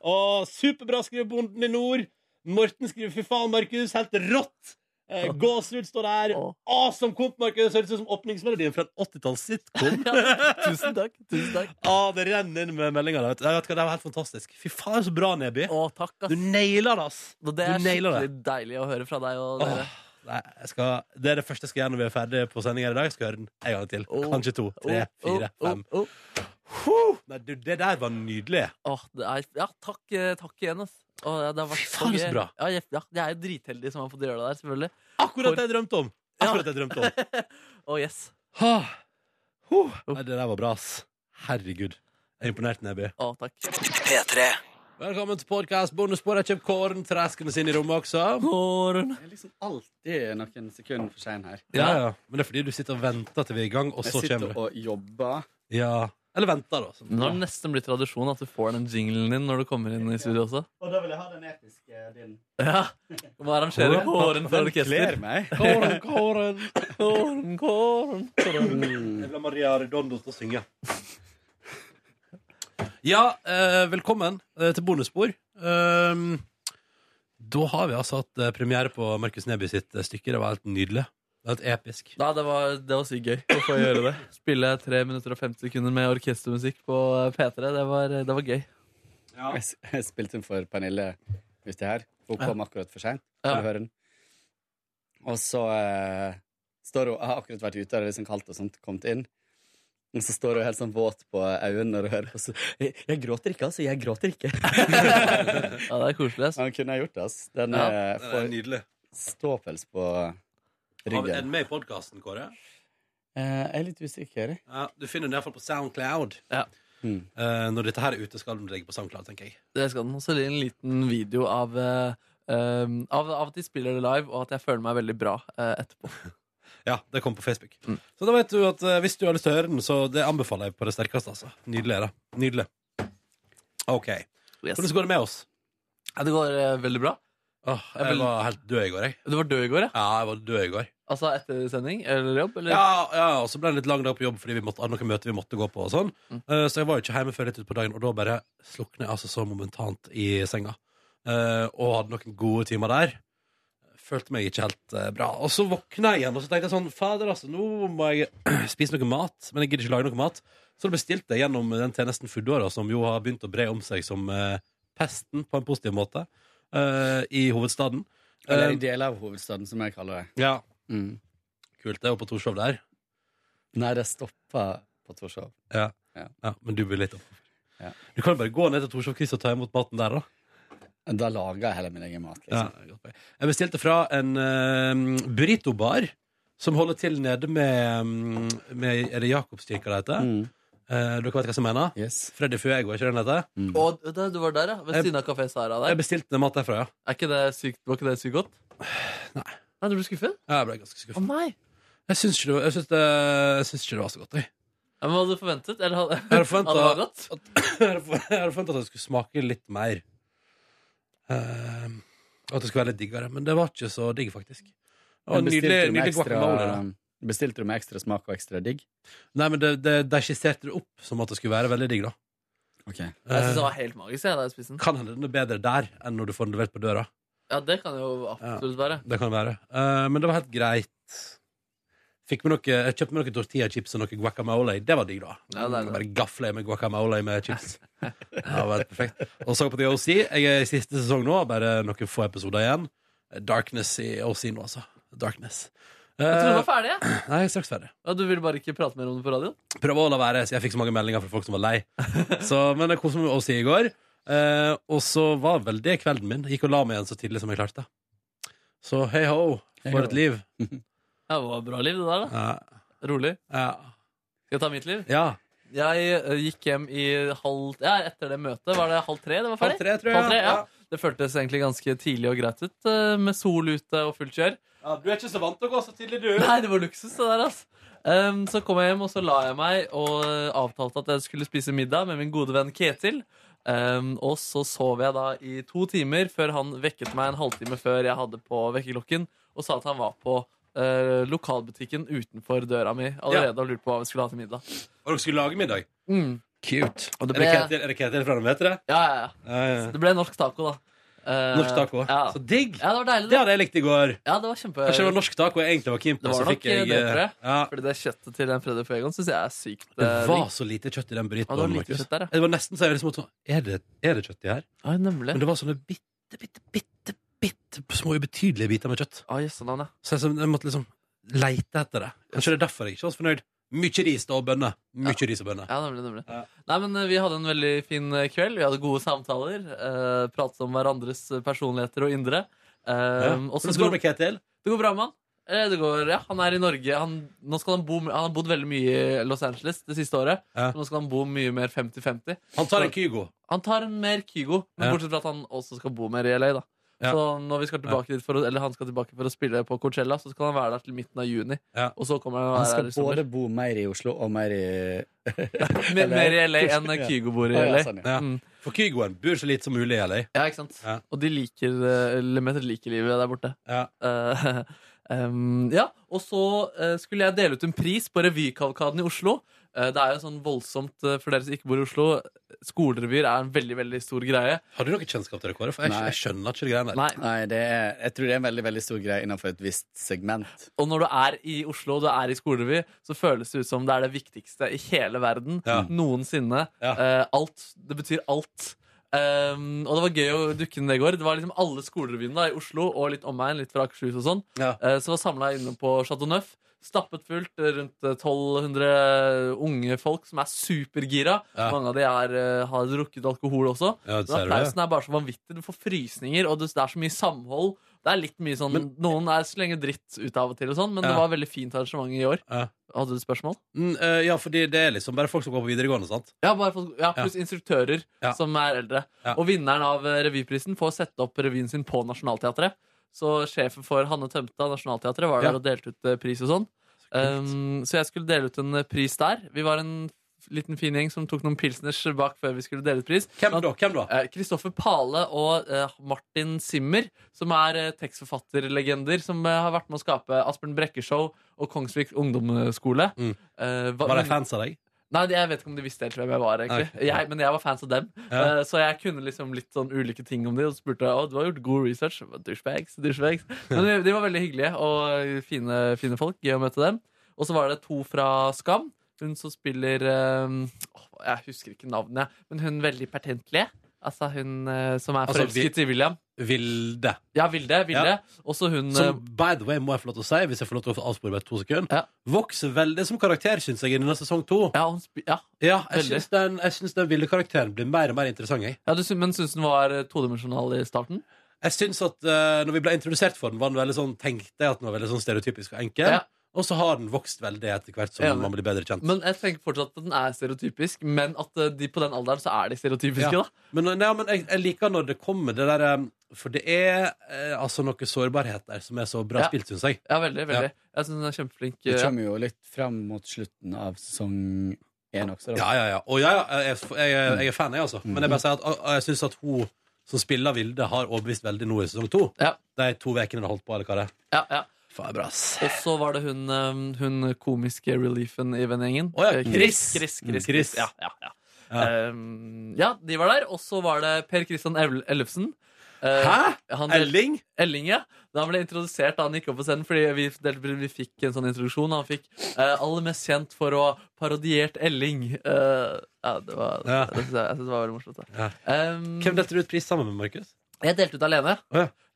Speaker 2: og superbra, skriver Bonden i nord. Morten skriver 'fy faen, Markus'. Helt rått. Eh, Gåsehud står der.
Speaker 3: Åh.
Speaker 2: Awesome komp, Markus. Høres ut som åpningsmelodien fra en 80-talls-sitcom.
Speaker 3: Ja. Tusen takk. Tusen takk.
Speaker 2: Ah, det renner inn med meldinger. der, vet du. Jeg vet ikke, Det var helt fantastisk. Fy faen, så bra, Neby.
Speaker 3: Å, takk, ass.
Speaker 2: Du nailer det, ass!
Speaker 3: Og det er
Speaker 2: du nailer det.
Speaker 3: skikkelig deilig å høre fra deg og dere.
Speaker 2: Åh, nei, jeg skal, det er det første jeg skal gjøre når vi er ferdig på sending her i dag. Jeg skal høre den en gang til.
Speaker 3: Åh,
Speaker 2: Kanskje to, tre,
Speaker 3: Åh,
Speaker 2: fire,
Speaker 3: åh,
Speaker 2: fem.
Speaker 3: åh, åh.
Speaker 2: Huh! Nei, du, det der var nydelig.
Speaker 3: Åh, det er, ja, takk, eh, takk igjen, ass. Åh, ja, det har vært
Speaker 2: Fy faen, så
Speaker 3: gøy.
Speaker 2: bra.
Speaker 3: Ja, jeg, ja, jeg er jo dritheldig som har fått gjøre det der, selvfølgelig.
Speaker 2: Akkurat
Speaker 3: For-
Speaker 2: det jeg drømte om!
Speaker 3: Ja.
Speaker 2: Akkurat det jeg drømte om.
Speaker 3: Åh, yes.
Speaker 2: Ah. Huh. Nei, det der var bra, ass. Herregud. Jeg er imponert, Neby.
Speaker 3: Åh, takk.
Speaker 1: P3.
Speaker 2: Velkommen til podkast. Bonusbordet kommer korn traskende inn i rommet også.
Speaker 11: Jeg er liksom alltid noen sekunder for sein her.
Speaker 2: Ja, ja. Men det er fordi du sitter og venter til vi er i gang, og
Speaker 11: Jeg
Speaker 2: så
Speaker 11: sitter
Speaker 2: kommer du.
Speaker 11: og jobber.
Speaker 2: Ja. Eller venter, da. som-
Speaker 3: Nå har det nesten blitt tradisjon at du får den jinglen din når du kommer inn i studio også.
Speaker 11: Og da vil jeg ha den episke din.
Speaker 3: Ja, Må arrangere kåren for orkester.
Speaker 11: Kler meg.
Speaker 2: Kåren, kåren.
Speaker 3: Kåren, kåren.
Speaker 2: Jeg vil ha Maria Redondo til å synge. Ja, eh, velkommen eh, til Bonusspor. Ehm, da har vi altså hatt eh, premiere på Markus Neby sitt eh, stykke. Det var helt nydelig. Det var Helt episk.
Speaker 3: Nei, det var, det var sykt gøy å få gjøre det. Spille 3 minutter og 50 sekunder med orkestermusikk på P3. Det var, det var gøy.
Speaker 11: Jeg s- Jeg spilte den for Pernille uti her. Hun kom akkurat for seint.
Speaker 3: Ja.
Speaker 11: Kan du høre den? Og så eh, står hun har akkurat vært ute, og det er liksom kaldt og sånt, kommet inn. Og så står hun helt sånn våt på øynene når hun hører på. Så, jeg, jeg gråter ikke, altså. Jeg gråter ikke.
Speaker 3: Ja, det er koselig. ass.
Speaker 11: Han kunne ha gjort det, altså. Den
Speaker 3: Ja.
Speaker 11: eh,
Speaker 2: Det er
Speaker 11: får
Speaker 2: nydelig.
Speaker 11: ståpels på
Speaker 2: Har vi
Speaker 11: ryggen.
Speaker 2: den med i podkasten, Kåre?
Speaker 11: Eh, jeg er litt usikker.
Speaker 2: Ja, du finner den iallfall på Soundcloud.
Speaker 3: Ja.
Speaker 11: Mm.
Speaker 2: Eh, når dette her er ute, skal den ligge på Soundcloud, tenker jeg.
Speaker 3: Det skal den også bli en liten video av, eh, um, av, av at de spiller det live, og at jeg føler meg veldig bra eh, etterpå.
Speaker 2: Ja, det kom på Facebook.
Speaker 11: Hmm.
Speaker 3: Mm.
Speaker 2: Så da vet du at eh, hvis du har lyst til å høre den, så det anbefaler jeg på det sterkeste. altså. Nydelig er det. Nydelig. OK.
Speaker 3: Yes.
Speaker 2: Hvordan går det med oss?
Speaker 3: Ja, det går eh, veldig bra.
Speaker 2: Åh,
Speaker 3: Jeg
Speaker 2: jeg
Speaker 3: vil-
Speaker 2: var helt død i går, jeg.
Speaker 3: Du var død i går, ja?
Speaker 2: Ja, jeg var død i går.
Speaker 3: Altså etter sending eller jobb? Eller?
Speaker 2: Ja, ja, og så ble det en litt lang dag på jobb fordi vi måtte, hadde noen møter vi måtte gå på. og sånn. Eh, så jeg var jo ikke hjemme før litt utpå dagen, og da bare slukna jeg altså så momentant i senga. Eh, og hadde noen gode timer der. Følte meg ikke helt eh, bra. Og så våkna jeg igjen, og så tenkte jeg sånn Fader, altså, nå må jeg spise noe mat. Men jeg gidder ikke lage noe mat. Så da bestilte jeg gjennom den tjenesten Foodora, som jo har begynt å bre om seg som eh, pesten, på en positiv måte, eh, i hovedstaden.
Speaker 11: Eller
Speaker 2: Eh,
Speaker 11: en del av hovedstaden, som jeg kaller det.
Speaker 2: ja, kult. Det er jo på Torshov der.
Speaker 11: mm. Nei, det stoppa på Torshov.
Speaker 2: Ja.
Speaker 11: Ja.
Speaker 2: ja, men du blir litt opp.
Speaker 11: Ja.
Speaker 2: Du kan jo bare gå ned til Torshov Chris og ta imot maten der, da.
Speaker 11: Da lager jeg heller min egen mat.
Speaker 2: Ja.
Speaker 11: Liksom.
Speaker 2: Jeg bestilte fra en uh, burritobar som holder til nede med, mm, med Er det Jakobskirka det heter?
Speaker 11: Mm.
Speaker 2: Eh, dere vet hva jeg mener?
Speaker 11: Yes.
Speaker 2: Freddy Fuego, er ikke det den heter?
Speaker 3: Og det- du var der, ja? Ved
Speaker 2: Jeg-
Speaker 3: siden av Kafé Sara
Speaker 2: Jeg
Speaker 3: der?
Speaker 2: bestilte mat derfra, ja.
Speaker 3: Er ikke det sykt, var ikke det sykt godt?
Speaker 2: Nei.
Speaker 3: Nei, Du ble skuffet?
Speaker 2: Ja, Jeg ble ganske
Speaker 3: Å
Speaker 2: skuffet.
Speaker 3: nei!
Speaker 2: Jeg syns ikke, det var- jeg syns det, jeg syns ikke det var så godt, jeg.
Speaker 3: Ja, men hva hadde du forventet? Eller hadde,
Speaker 2: hadde forventet-
Speaker 3: hadde det vært godt?
Speaker 2: Jeg hadde for- jeg hadde forventet at det skulle smake litt mer. Eh, at det skulle være litt diggere. Men det var ikke så digg, faktisk. Og
Speaker 11: Men bestilte
Speaker 2: nydelig,
Speaker 11: du med
Speaker 2: nydelig guacamole. Da.
Speaker 11: Bestilte du med ekstra smak og ekstra digg?
Speaker 2: Nei, men det, det, de skisserte det opp som at det skulle være veldig digg, da.
Speaker 3: Jeg synes det
Speaker 2: Eh,
Speaker 3: var helt magisk. Jeg, da jeg spiste den.
Speaker 2: kan hende den er bedre der enn når du får den levert på døra.
Speaker 3: Ja, det kan jo absolutt være.
Speaker 2: Det kan være. Eh, men det var helt greit. Fikk med noe, jeg kjøpte meg noen tortillachips og noe guacamole. Det var digg, da.
Speaker 3: Ja, det er det.
Speaker 2: Bare gafla i meg guacamole med chips. Ja, det var helt perfekt. Og så på The OC. Jeg er i siste sesong nå, bare noen få episoder igjen. darkness i oss nå, altså. Darkness.
Speaker 3: Jeg trodde du var ferdig. jeg.
Speaker 2: Eh, Nei, jeg er straks ferdig.
Speaker 3: Ja, du ville bare ikke prate mer om det på radioen?
Speaker 2: Prøv å la være, så jeg fikk så mange meldinger fra folk som var lei. Så, men jeg koste meg med oss i går. Eh, og så var vel det kvelden min. Gikk og la meg igjen så tidlig som jeg klarte. Så hei ho,
Speaker 3: Hei ho.
Speaker 2: for et liv.
Speaker 3: Ja, det var bra liv, det der. da Rolig. Skal jeg ta mitt liv?
Speaker 2: Ja.
Speaker 3: Jeg eh, gikk hjem i halv Ja, etter det møtet. Var det halv tre det var ferdig?
Speaker 2: Halv tre, tror jeg,
Speaker 3: Halv tre, ja.
Speaker 2: ja.
Speaker 3: Det føltes egentlig ganske tidlig og greit ut, eh, med sol ute og fullt kjør.
Speaker 2: du er ikke så vant til å gå så tidlig, du.
Speaker 3: Nei, det var luksus, det der, altså. Ehm, så kom jeg hjem, og så la jeg meg og eh, avtalte at jeg skulle spise middag med min gode venn Ketil. Ehm, og så sov jeg da i to timer før han vekket meg en halvtime før jeg hadde på vekkerklokken, og sa at han var på eh, lokalbutikken utenfor døra mi allerede og lurte på hva vi skulle ha til middag.
Speaker 2: Og dere skulle lage middag?
Speaker 3: Mm.
Speaker 2: Cute.
Speaker 3: Og
Speaker 2: Er
Speaker 3: det
Speaker 2: det
Speaker 3: ble-
Speaker 2: Ketil- Er det Ketil fra dem, heter det?
Speaker 3: Ja, ja, ja. Så det ble norsk taco, da. Eh,
Speaker 2: Norsk taco.
Speaker 3: Ja.
Speaker 2: Så digg!
Speaker 3: Ja, det var deilig.
Speaker 2: Det hadde jeg likt i går.
Speaker 3: Ja, det var kjempe...
Speaker 2: Kanskje det var norsk taco jeg egentlig var keen på.
Speaker 3: Det var
Speaker 2: så
Speaker 3: nok
Speaker 2: fikk jeg,
Speaker 3: det, tror jeg.
Speaker 2: eh, Ja.
Speaker 3: Fordi det kjøttet til den Freddy Fuegon syns jeg er sykt
Speaker 2: Det
Speaker 3: eh,
Speaker 2: var
Speaker 3: digg.
Speaker 2: så lite kjøtt i den
Speaker 3: Ja, det var
Speaker 2: brytballen.
Speaker 3: lite
Speaker 2: Markus.
Speaker 3: kjøtt der, ja.
Speaker 2: det var nesten så jeg liksom måtte Er det, er det kjøtt i her?
Speaker 3: Ja, nemlig.
Speaker 2: Men det var sånne bitte, bitte, bitte, bitte små ubetydelige biter med kjøtt.
Speaker 3: Ah, jøsse navn, ja.
Speaker 2: Så jeg, som- jeg måtte liksom leite etter det. Kanskje det er derfor jeg ikke var så fornøyd. Mye ris da, og bønner. Mye ris og bønner.
Speaker 3: Ja, nemlig, nemlig. Nei, men eh, Vi hadde en veldig fin eh, kveld. Vi hadde gode samtaler. Eh, pratet om hverandres personligheter og indre. Eh,
Speaker 2: Ja.
Speaker 3: og så
Speaker 2: Hvordan går det med Ketil?
Speaker 3: Det går bra med han. Eh, det går, ja, han er i Norge. Han, nå skal han, bo, han har bodd veldig mye i Los Angeles det siste året.
Speaker 2: Ja.
Speaker 3: Nå skal han bo mye mer 50-50.
Speaker 2: Han tar en
Speaker 3: Så-
Speaker 2: Kygo.
Speaker 3: Han tar en mer Kygo, men
Speaker 2: Ja.
Speaker 3: bortsett fra at han også skal bo mer i LA. da
Speaker 2: Ja.
Speaker 3: Så når vi skal tilbake dit for å, Eller han skal tilbake for å spille på Coachella, så skal han være der til midten av juni. Og så kommer han, å
Speaker 11: Han
Speaker 3: være
Speaker 11: skal
Speaker 3: her i sommer.
Speaker 11: både bo mer i Oslo og mer i
Speaker 3: Mer- mer i LA enn Kygo bor i
Speaker 11: Ja. Å,
Speaker 3: LA.
Speaker 11: Ja, sånn, ja.
Speaker 2: Ja. For Kygoen bor så lite som mulig i LA.
Speaker 3: Ja, ikke sant? Og de liker eh, Lemaitre liker livet der borte.
Speaker 2: Ja.
Speaker 3: um, ja. Og så eh, skulle jeg dele ut en pris på Revykavalkaden i Oslo. Eh, det er jo sånn voldsomt, eh, for dere som ikke bor i Oslo, skolerevyer er en veldig veldig stor greie.
Speaker 2: Har du noe kjennskap til det, Kåre? For jeg, jeg skjønner ikke det greiene der.
Speaker 3: Nei.
Speaker 11: det er, jeg tror det er en veldig veldig stor greie innenfor et visst segment.
Speaker 3: Og når du er i Oslo og du er i skolerevy, så føles det ut som det er det viktigste i hele verden
Speaker 11: Ja.
Speaker 3: noensinne. Eh, alt. Det betyr alt. Um, og det var gøy å dukke inn det i går. Det var liksom alle skolerevyene da, i Oslo og litt omegn, litt fra Akershus og sånn. Eh, så var samla inne på Chateau Neuf. Stappet fullt, eh, rundt eh, 1200 unge folk som er supergira.
Speaker 2: Ja.
Speaker 3: Mange av de er, eh, har drukket alkohol også.
Speaker 2: Ja,
Speaker 3: Men
Speaker 2: ser du det?
Speaker 3: applausen er bare så vanvittig. Du får frysninger, og det det er så mye samhold. Det er litt mye sånn, Noen er slenger dritt ut av og til, og sånn, men
Speaker 2: Ja.
Speaker 3: det var veldig fint arrangement i år.
Speaker 2: Ja.
Speaker 3: Hadde du et spørsmål?
Speaker 2: Mm, eh, ja, fordi det er liksom bare folk som går på videregående, sant?
Speaker 3: Ja, bare for, ja pluss
Speaker 2: Ja.
Speaker 3: instruktører som er eldre. Og vinneren av eh, revyprisen får sette opp revyen sin på Nationaltheatret. Så sjefen for Hanne Tømte av Nationaltheatret var
Speaker 2: Ja.
Speaker 3: der og delte ut eh, pris og sånn. Um, så jeg skulle dele ut en eh, pris der. Vi var en f- liten fin gjeng som tok noen pilsners bak før vi skulle dele ut pris.
Speaker 2: Hvem da? Hvem da?
Speaker 3: Eh, Kristoffer Pale og eh, Martin Simmer, som er eh, tekstforfatterlegender, som eh, har vært med å skape Asbjørn Brekke-show og Kongsvik ungdomsskole. Eh, hva-
Speaker 2: Mm. Var de fans av deg?
Speaker 3: Nei, de- jeg vet ikke om de visste helt hvem jeg var. egentlig
Speaker 2: Ok.
Speaker 3: jeg, Men jeg var fans av dem.
Speaker 2: Ja.
Speaker 3: Eh, så jeg kunne liksom litt sånn ulike ting om de og så spurte jeg, å, du har gjort god research. Douchebags, douchebags. Men de, de var veldig hyggelige og fine, fine folk. Gøy å møte dem. Og så var det to fra Skam. Hun som spiller eh, åh, Jeg husker ikke navnet, men hun veldig pertentlige. Altså hun eh, som er
Speaker 2: Altså,
Speaker 3: forelsket
Speaker 2: Vi-
Speaker 3: i William.
Speaker 2: Vilde.
Speaker 3: Ja, Vilde. Vilde.
Speaker 2: Ja.
Speaker 3: Også hun eh,
Speaker 2: Som, by the way, må jeg få lov til å si, hvis jeg får lov til å avspore meg to sekunder, vokser veldig som karakter, syns jeg, i denne sesong to.
Speaker 3: eh, Ja, ja.
Speaker 2: jeg
Speaker 3: veldig.
Speaker 2: syns den, jeg syns den ville karakteren blir mer og mer interessant, jeg.
Speaker 3: ja, du, sy- Men syns hun var eh, todimensjonal i starten?
Speaker 2: Jeg syns at eh, når vi ble introdusert for den, var den veldig sånn, tenkte jeg at den var veldig sånn stereotypisk og enkel.
Speaker 3: Ja.
Speaker 2: Og så har den vokst veldig etter hvert som
Speaker 3: Ja, men-
Speaker 2: man blir bedre kjent.
Speaker 3: Men jeg tenker fortsatt at den er stereotypisk, men at eh, de på den alderen så er de stereotypiske,
Speaker 2: Ja.
Speaker 3: da.
Speaker 2: Men, nei, men jeg, jeg liker når det kommer det der eh, For det er eh, altså noe sårbarhet der som er så bra
Speaker 3: Ja.
Speaker 2: spilt, syns jeg.
Speaker 3: Ja, veldig, veldig.
Speaker 2: Ja.
Speaker 3: Jeg syns hun er kjempeflink.
Speaker 11: Det
Speaker 3: eh,
Speaker 11: kommer jo litt fram mot slutten av sesong én også. Da.
Speaker 2: Ja, ja, ja. Og ja, ja, jeg, jeg,
Speaker 3: Mm.
Speaker 2: jeg er fan, jeg, altså. Men jeg bare sier at og jeg syns at hun som spiller Vilde, har overbevist veldig nå i sesong to. De to ukene det har holdt på, eller hva det er.
Speaker 3: Ja, ja.
Speaker 2: Faen, bra, ass.
Speaker 3: Og så var det hun, eh, hun komiske reliefen i vennegjengen.
Speaker 2: Å ja,
Speaker 3: Eh,
Speaker 2: Chris.
Speaker 3: Chris,
Speaker 2: Mm,
Speaker 3: Chris,
Speaker 2: Chris.
Speaker 3: Chris. Ja, ja, ja. Ehm, ja, de var der. Og så var det Per Christian Evel- Ellefsen. Eh,
Speaker 2: Hæ?
Speaker 3: han
Speaker 2: Elling?
Speaker 3: Elling, ja. Da han ble introdusert da han gikk opp på scenen, fordi vi, delte- vi fikk en sånn introduksjon. Han fikk eh, aller mest kjent for å ha parodiert Elling. Eh, ja, det var,
Speaker 2: Ja.
Speaker 3: det synes jeg, jeg synes det var veldig morsomt. Da.
Speaker 2: Ja.
Speaker 3: Ehm,
Speaker 2: Hvem delte du ut pris sammen med, Markus?
Speaker 3: Jeg delte ut alene.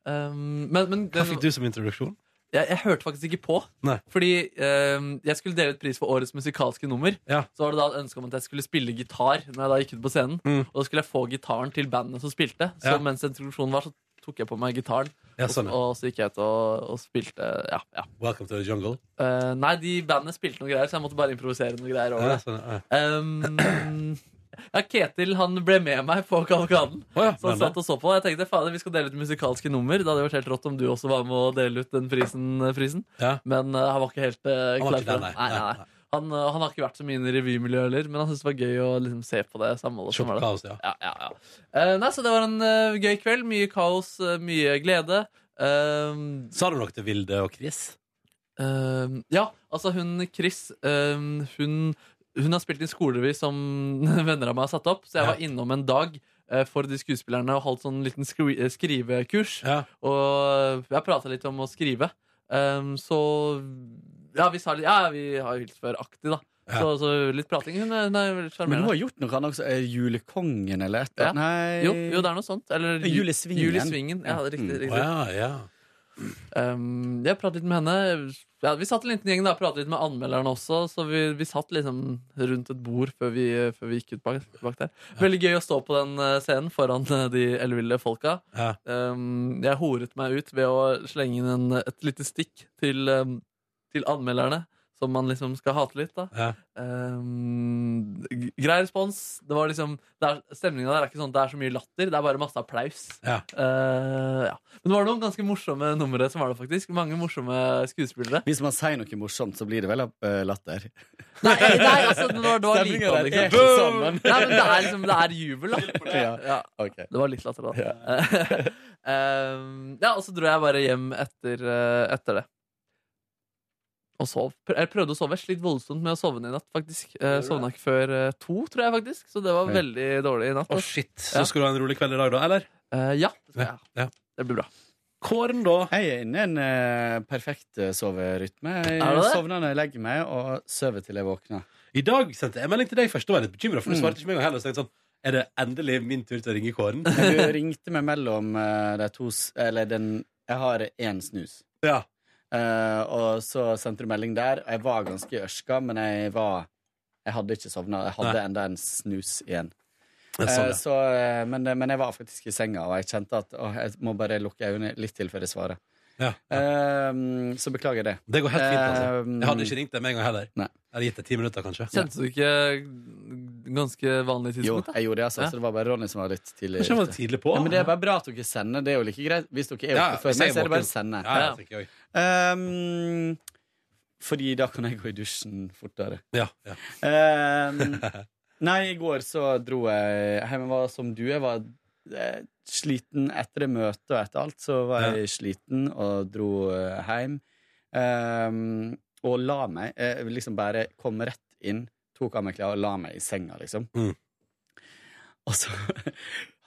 Speaker 3: Um, men, men
Speaker 2: Hva fikk du som introduksjon?
Speaker 3: Jeg, jeg hørte faktisk ikke på.
Speaker 2: Nei.
Speaker 3: Fordi ehm, jeg skulle dele ut pris for årets musikalske nummer. Så var det da et ønske om at jeg skulle spille gitar når jeg da gikk ut på scenen.
Speaker 2: Mm.
Speaker 3: Og da skulle jeg få gitaren til bandet som spilte. Så
Speaker 2: Ja.
Speaker 3: mens introduksjonen var, så tok jeg på meg gitaren.
Speaker 2: Ja, sånn, ja.
Speaker 3: og, og så gikk jeg ut og, og spilte. Ja, ja.
Speaker 2: Welcome to the jungle.
Speaker 3: Eh, nei, de bandene spilte noe greier, så jeg måtte bare improvisere noe greier over
Speaker 2: Ja,
Speaker 3: det.
Speaker 2: sånn, ja.
Speaker 3: Ehm, ja, Ketil han ble med meg på kavalkaden. så han
Speaker 2: men da.
Speaker 3: satt og så på. Jeg tenkte fader, vi skal dele ut musikalske nummer. Det hadde vært helt rått om du også var med å dele ut den prisen. eh, prisen. Men eh, han var ikke helt eh,
Speaker 2: Han var
Speaker 3: klar
Speaker 2: ikke
Speaker 3: for
Speaker 2: der, nei,
Speaker 3: det. Nei, nei, nei. Han, eh, han har ikke vært så mye inn i revymiljøet heller, men han syntes det var gøy å liksom, se på det samholdet. som var der.
Speaker 2: Kaos, ja.
Speaker 3: Ja, ja, ja. Eh, nei, så det var en eh, gøy kveld. Mye kaos, eh, mye glede. Ehm,
Speaker 2: Sa du noe til Vilde og Chris?
Speaker 3: ja, altså hun Chris eh, hun, hun har spilt i en skolerevy som venner av meg har satt opp, så jeg var innom en dag eh, for de skuespillerne og holdt sånn liten skri eh, skrivekurs. Og jeg prata litt om å skrive. Eh, så ja, vi sa litt Ja, vi har jo hilst før aktig, da. Så, så litt prating. Hun er, hun er veldig
Speaker 10: Men hun
Speaker 3: sjarmerende.
Speaker 10: har gjort noe annet også. Er Julekongen eller et eller
Speaker 3: Ja.
Speaker 10: annet? Nei.
Speaker 3: Jo, jo, det er noe sånt. Eller
Speaker 10: Ja, Julesvingen.
Speaker 3: Julesvingen, Ja, det er riktig.
Speaker 10: Mm.
Speaker 3: riktig.
Speaker 10: Å,
Speaker 3: Um, jeg pratet litt med henne. Ja, vi satt en liten gjeng da, pratet litt med anmelderen også, så vi, vi satt liksom rundt et bord før vi, før vi gikk ut bak, bak der. Veldig gøy å stå på den eh, scenen foran eh, de elleville folka.
Speaker 2: Ja.
Speaker 3: Um, jeg horet meg ut ved å slenge inn en, et lite stikk til, um, til anmelderne, som man liksom skal hate litt, da.
Speaker 2: Ja.
Speaker 3: Um, g- grei respons. Det var liksom det er, Stemninga der er ikke sånn at det er så mye latter, det er bare masse applaus.
Speaker 2: Ja.
Speaker 3: Eh, ja. Men det var noen ganske morsomme numre som var det, faktisk. Mange morsomme skuespillere.
Speaker 10: Hvis man sier noe morsomt, så blir det vel eh, latter.
Speaker 3: Nei, nei altså, det var, det var
Speaker 10: Stemningen
Speaker 3: lite av det.
Speaker 10: der er
Speaker 3: ikke
Speaker 10: ikke
Speaker 3: sant?
Speaker 10: sammen.
Speaker 3: Nei, men det er liksom Det er jubel, da.
Speaker 10: Ja,
Speaker 3: Det var litt latter, da. Ehm, ja, og så dro jeg bare hjem etter, eh, etter det. Og sov. Pr- Jeg prøvde å sove. Jeg slitt voldsomt med å sovne i natt, faktisk. Eh, Sovna ikke før eh, to, tror jeg, faktisk. Så det var
Speaker 2: Oi.
Speaker 3: veldig dårlig i natt.
Speaker 2: Å,
Speaker 3: ass.
Speaker 2: shit.
Speaker 3: Ja.
Speaker 2: Så skal du ha en rolig kveld i dag, da? Eller?
Speaker 3: Eh, ja.
Speaker 2: Ja. ja.
Speaker 3: Det blir bra.
Speaker 2: Kåren, da?
Speaker 10: Jeg er inne i en eh, perfekt eh, soverytme.
Speaker 2: Er du
Speaker 10: Jeg
Speaker 2: det?
Speaker 10: sovner når jeg legger meg, og sover til jeg våkner.
Speaker 2: I dag sendte jeg melding til deg først. Da var jeg litt bekymra, for du
Speaker 10: Mm.
Speaker 2: svarte ikke meg heller. Så jeg tenkte sånn, er det endelig min tur til å ringe Kåren?
Speaker 10: Men Du ringte meg mellom eh, de to s- Eller den Jeg har én snus. Eh, og så sendte du melding der. Og jeg var ganske ørska, men jeg var Jeg hadde ikke sovna. Jeg hadde
Speaker 2: Nei.
Speaker 10: enda en snus igjen.
Speaker 2: Ja, sånn,
Speaker 10: Eh,
Speaker 2: ja.
Speaker 10: så, eh, men, men jeg var faktisk i senga, og jeg kjente at åh, jeg må bare lukke øynene litt til før jeg svarer.
Speaker 2: Ja,
Speaker 10: Eh, så beklager det.
Speaker 2: Det går helt fint, altså.
Speaker 10: Eh,
Speaker 2: Jeg hadde ikke ringt deg med en gang heller. Jeg hadde gitt deg ti minutter, kanskje.
Speaker 3: Kjente du ikke ganske vanlig tidspunkt?
Speaker 10: Jo, jeg gjorde det, altså. Så det var bare Ronny som var litt tidlig.
Speaker 3: Kanskje han var
Speaker 10: ute.
Speaker 2: tidlig på?
Speaker 10: Ja, men det er bare bra at dere sender. Det er jo like greit. Hvis dere er
Speaker 2: Ja,
Speaker 10: oppe før
Speaker 2: hvis jeg
Speaker 10: meg,
Speaker 2: er
Speaker 10: så er det bare å
Speaker 2: våken.
Speaker 10: sende.
Speaker 2: Ja, ja, tenker jeg.
Speaker 10: Ehm, fordi da kan jeg gå i dusjen fortere.
Speaker 2: Ja, ja.
Speaker 10: Ehm, nei, i går så dro jeg hjem. Jeg var som du. Jeg var eh, sliten etter det møtet og etter alt. Så var jeg sliten og dro eh, hjem. Ehm, og la meg. Jeg liksom bare kom rett inn, tok av meg klær og la meg i senga, liksom.
Speaker 2: Mm.
Speaker 10: Og så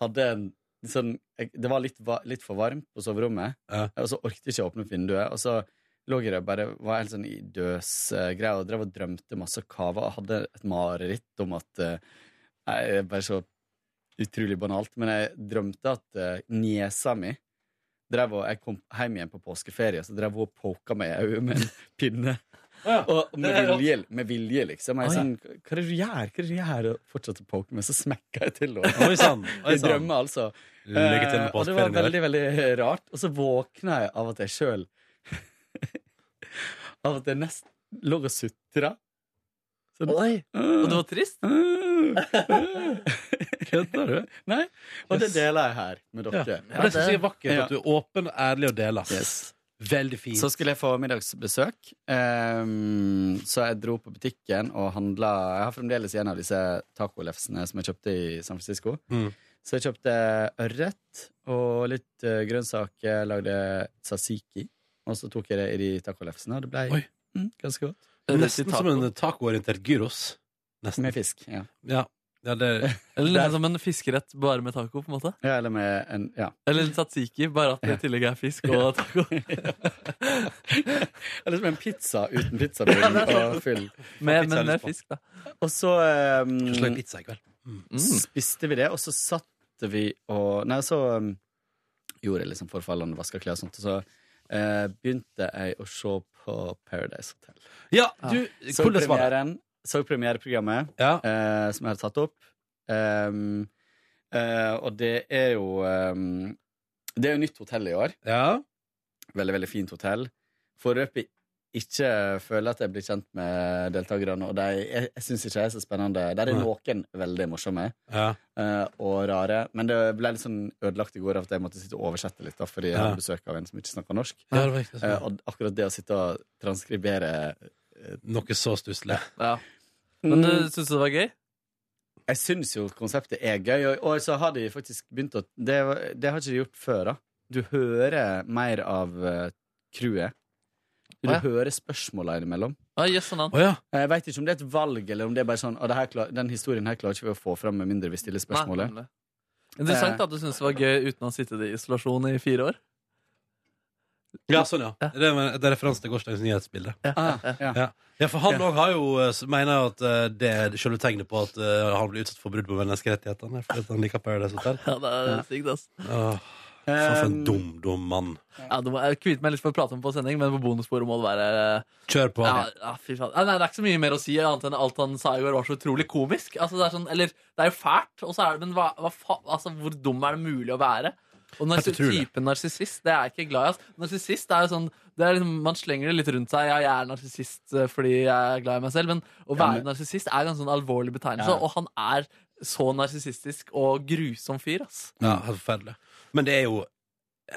Speaker 10: hadde jeg en sånn jeg, Det var litt, va- litt for varmt på soverommet, og så orket jeg ikke å åpne opp vinduet. Og så lå jeg der bare var helt sånn i døsgreia og drev og drømte masse og kava og hadde et mareritt om at eh, Nei, det er bare så utrolig banalt, men jeg drømte at eh, niesa mi drev og, Jeg kom hjem igjen på påskeferie, så drev hun og poka meg i øyet med en pinne. Og med vilje, med vilje liksom. Jeg er
Speaker 2: Oi.
Speaker 10: sånn, hva er det du gjør? Hva er det du gjør? Og fortsatte å poke meg, så smekka jeg til henne.
Speaker 2: Oi sann, oi sånn.
Speaker 10: I
Speaker 2: sann.
Speaker 10: drømmer, altså.
Speaker 2: Lykke til med
Speaker 10: Eh, Og det var
Speaker 2: påskeferien i
Speaker 10: veldig,
Speaker 2: dag.
Speaker 10: veldig eh, rart. Og så våkna jeg av at jeg sjøl Av at jeg nesten lå og sutra. Sånn,
Speaker 3: Og det var trist?
Speaker 2: Kødder du?
Speaker 10: Nei. Og det deler jeg her med
Speaker 2: Ja.
Speaker 10: dere.
Speaker 2: Og det synes jeg er vakkert,
Speaker 10: Ja.
Speaker 2: at du er åpen, ærlig og deler. Veldig fint.
Speaker 10: Så skulle jeg få middagsbesøk, ehm, så jeg dro på butikken og handla Jeg har fremdeles igjen av disse tacolefsene som jeg kjøpte i San Francisco.
Speaker 2: Mm.
Speaker 10: Så jeg kjøpte ørret og litt eh, grønnsaker, lagde tzatziki, og så tok jeg det i de tacolefsene, og det ble mm, ganske godt.
Speaker 2: Nesten som en tacoorientert gyros. Nesten.
Speaker 10: Med Mm. fisk, ja.
Speaker 2: Ja. ja det...
Speaker 3: Eller nesten som en fiskerett bare med taco, på en måte?
Speaker 10: Ja, eller med en Ja.
Speaker 3: Eller en tzatziki, bare at det i tillegg er fisk og taco.
Speaker 10: Eller som en pizza uten pizzabull og fyll.
Speaker 3: Med, men med fisk, da.
Speaker 10: Og så um,
Speaker 2: Kanskje Mm. lage
Speaker 3: Mm.
Speaker 2: pizza i kveld.
Speaker 10: Spiste vi det, og så satt vi og Nei, så um, gjorde liksom forfallene, vaska klær og sånt. Og så eh, begynte jeg å se på Paradise Hotel.
Speaker 2: Ja, du,
Speaker 10: så
Speaker 2: hvordan var det?
Speaker 10: premieren, så premiereprogrammet eh, som jeg har tatt opp. Ehm, eh, og det er jo ehm, Det er jo nytt hotell i år. Veldig, veldig fint hotell. Foreløpig ikke føler at jeg blir kjent med deltakerne, og de, jeg, jeg syns ikke de er så spennende. Der er
Speaker 2: Nei.
Speaker 10: noen veldig morsomme
Speaker 2: Ja.
Speaker 10: eh, og rare, men det ble litt sånn ødelagt i går av at jeg måtte sitte og oversette litt, da, fordi jeg
Speaker 2: Ja.
Speaker 10: hadde besøk av en som ikke snakker norsk.
Speaker 2: Ja, det var riktig, sånn.
Speaker 10: Eh, og akkurat det å sitte og transkribere
Speaker 2: eh,
Speaker 10: Mm.
Speaker 2: Noe så stusslig.
Speaker 3: Men du
Speaker 2: Mm.
Speaker 3: syns det var gøy?
Speaker 10: Jeg syns jo konseptet er gøy, og, og så har de faktisk begynt å Det, var- det har ikke de gjort før, da. Du hører mer av eh, crewet. Du
Speaker 3: Å, ja.
Speaker 10: hører spørsmåla innimellom. Eh,
Speaker 3: Ah, yes, sånn,
Speaker 10: Jeg veit ikke om det er et valg, eller om det er bare sånn «Å, det her klar, Den historien her klarer ikke vi å få fram med mindre vi stiller spørsmålet.
Speaker 3: Nei, nemlig. Interessant at du syns det var gøy uten å ha sittet i isolasjon i fire år.
Speaker 2: Ja, sånn, ja. Det er, det er referanse til gårsdagens nyhetsbilde.
Speaker 10: Ah, ja.
Speaker 2: Ja. ja, for han òg har jo eh, s- mener jeg at eh, det er selve tegnet på at eh, han blir utsatt for brudd på menneskerettighetene. Fordi at han liker Paradise Hotel.
Speaker 3: Ja, det er sykt, ass.
Speaker 2: Åh, Um, faen, for en dum, dum mann.
Speaker 3: Ja, du må, jeg kvitte meg litt for å prate om på sending, men på bonussporet må det være eh,
Speaker 2: Kjør på.
Speaker 3: Ja, ja, fy faen. Ja, Nei, det er ikke så mye mer å si, annet enn alt han sa i går var så utrolig komisk. Altså, det er sånn, eller, det er jo fælt, og så er det, men hva, hva fa altså, hvor dum er det mulig å være? Og narsi-
Speaker 2: Helt utrolig.
Speaker 3: typen narsissist, det er jeg ikke glad i. ass. Narsissist er jo sånn det er liksom, Man slenger det litt rundt seg. Ja, jeg er narsissist eh, fordi jeg er glad i meg selv, men å
Speaker 10: Ja,
Speaker 3: være
Speaker 10: men-
Speaker 3: narsissist er en ganske sånn alvorlig betegnelse,
Speaker 10: Ja.
Speaker 3: og han er så narsissistisk og grusom fyr, ass.
Speaker 2: Ja, helt forferdelig. Men det er jo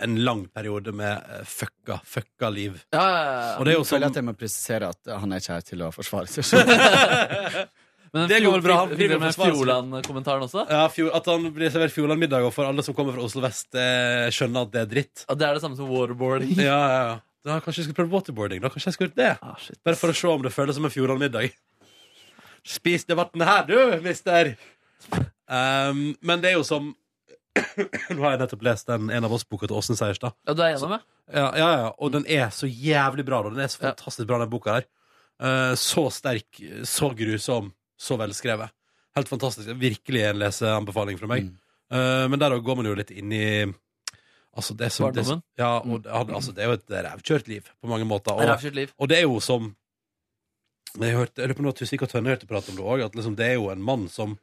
Speaker 2: en lang periode med eh, fucka, fucka liv. Og det er jo
Speaker 10: Jeg føler
Speaker 2: sånn
Speaker 10: at jeg må presisere at han er ikke her til å forsvare seg selv.
Speaker 3: Men
Speaker 2: Det går vel bra, han
Speaker 3: Fikk
Speaker 2: driver
Speaker 3: dere
Speaker 2: med
Speaker 3: med
Speaker 2: forsvar, så-
Speaker 3: Fjordland-kommentaren også?
Speaker 2: ja, fjor, At han blir servert Fjordland-middag, og for alle som kommer fra Oslo vest, eh, skjønner at det er dritt.
Speaker 3: At det er det samme som waterboarding?
Speaker 2: Ja, ja, ja. Da, kanskje jeg skulle prøve waterboarding. Da kanskje jeg skulle gjort det. Bare for å se om det føles som en Fjordland-middag. Spis det vannet her, du, mister! Um, men det er jo som Nå har jeg nettopp lest den en av oss-boka til Åsen Seierstad.
Speaker 3: Ja, du er enig med?
Speaker 2: Ja, ja, ja. Og den er så jævlig bra. da. Den er så fantastisk bra, den boka her. Eh, så sterk, så grusom, så velskrevet. Helt fantastisk. Virkelig en leseanbefaling fra meg. Eh, men der også går man jo litt inn i Altså, det er så, det, er så-
Speaker 3: Barndommen?
Speaker 2: ja,
Speaker 10: Mm.
Speaker 2: og, det- altså, det er jo et rævkjørt liv på mange måter. Og,
Speaker 3: Rævkjørt liv.
Speaker 2: og det er jo som jeg hørte, jeg lurer på noe Tusvik og Tønne hørte prate om det òg, at liksom, det er jo en mann som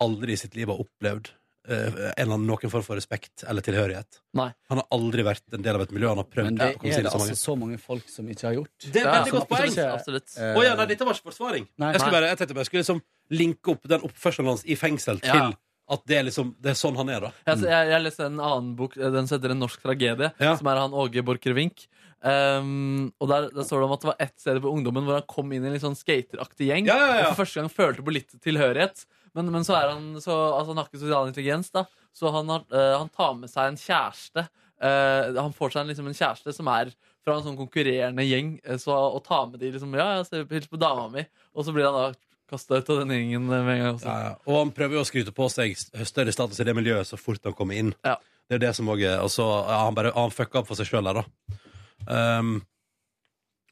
Speaker 2: aldri i sitt liv har opplevd eh, en eller annen, noen form for respekt eller tilhørighet.
Speaker 3: Nei.
Speaker 2: Han har aldri vært en del av et miljø. Han har prøvd
Speaker 10: Men det
Speaker 2: å komme seg
Speaker 10: er
Speaker 2: inn i
Speaker 10: det
Speaker 2: så mange.
Speaker 10: altså så mange folk som ikke har gjort.
Speaker 2: Det er et veldig godt poeng.
Speaker 3: Absolutt.
Speaker 10: Eh,
Speaker 2: Å ja, nei, dette var ikke forsvaring.
Speaker 10: Nei.
Speaker 2: jeg, skulle
Speaker 10: Nei.
Speaker 2: bare, jeg tenkte bare jeg skulle liksom linke opp den oppførselen hans i fengsel til
Speaker 3: Ja.
Speaker 2: at det er, liksom, det er sånn han er, da.
Speaker 3: Jeg, jeg, jeg leste en annen bok, eh, den heter En norsk tragedie, som er han Åge Borchgrevink. Um, og der, der står det om at det var ett sted på ungdommen hvor han kom inn i en litt sånn skateraktig gjeng. Og for første gang følte på litt tilhørighet. Men, men så er han så, altså han har ikke sosial intelligens, da. Så han, har, eh, han tar med seg en kjæreste. Eh, han får seg en, liksom, en kjæreste som er fra en sånn konkurrerende gjeng, eh, så, og tar med de liksom Ja, ja, se, hils på dama mi. Og så blir han da kasta ut av den gjengen eh, med en gang. Også.
Speaker 2: Ja, ja. Og han prøver jo å skryte på seg større status i det miljøet så fort han kommer inn. Det er jo det som også er Og så ja, han bare han fucka opp for seg sjøl der, da. Um,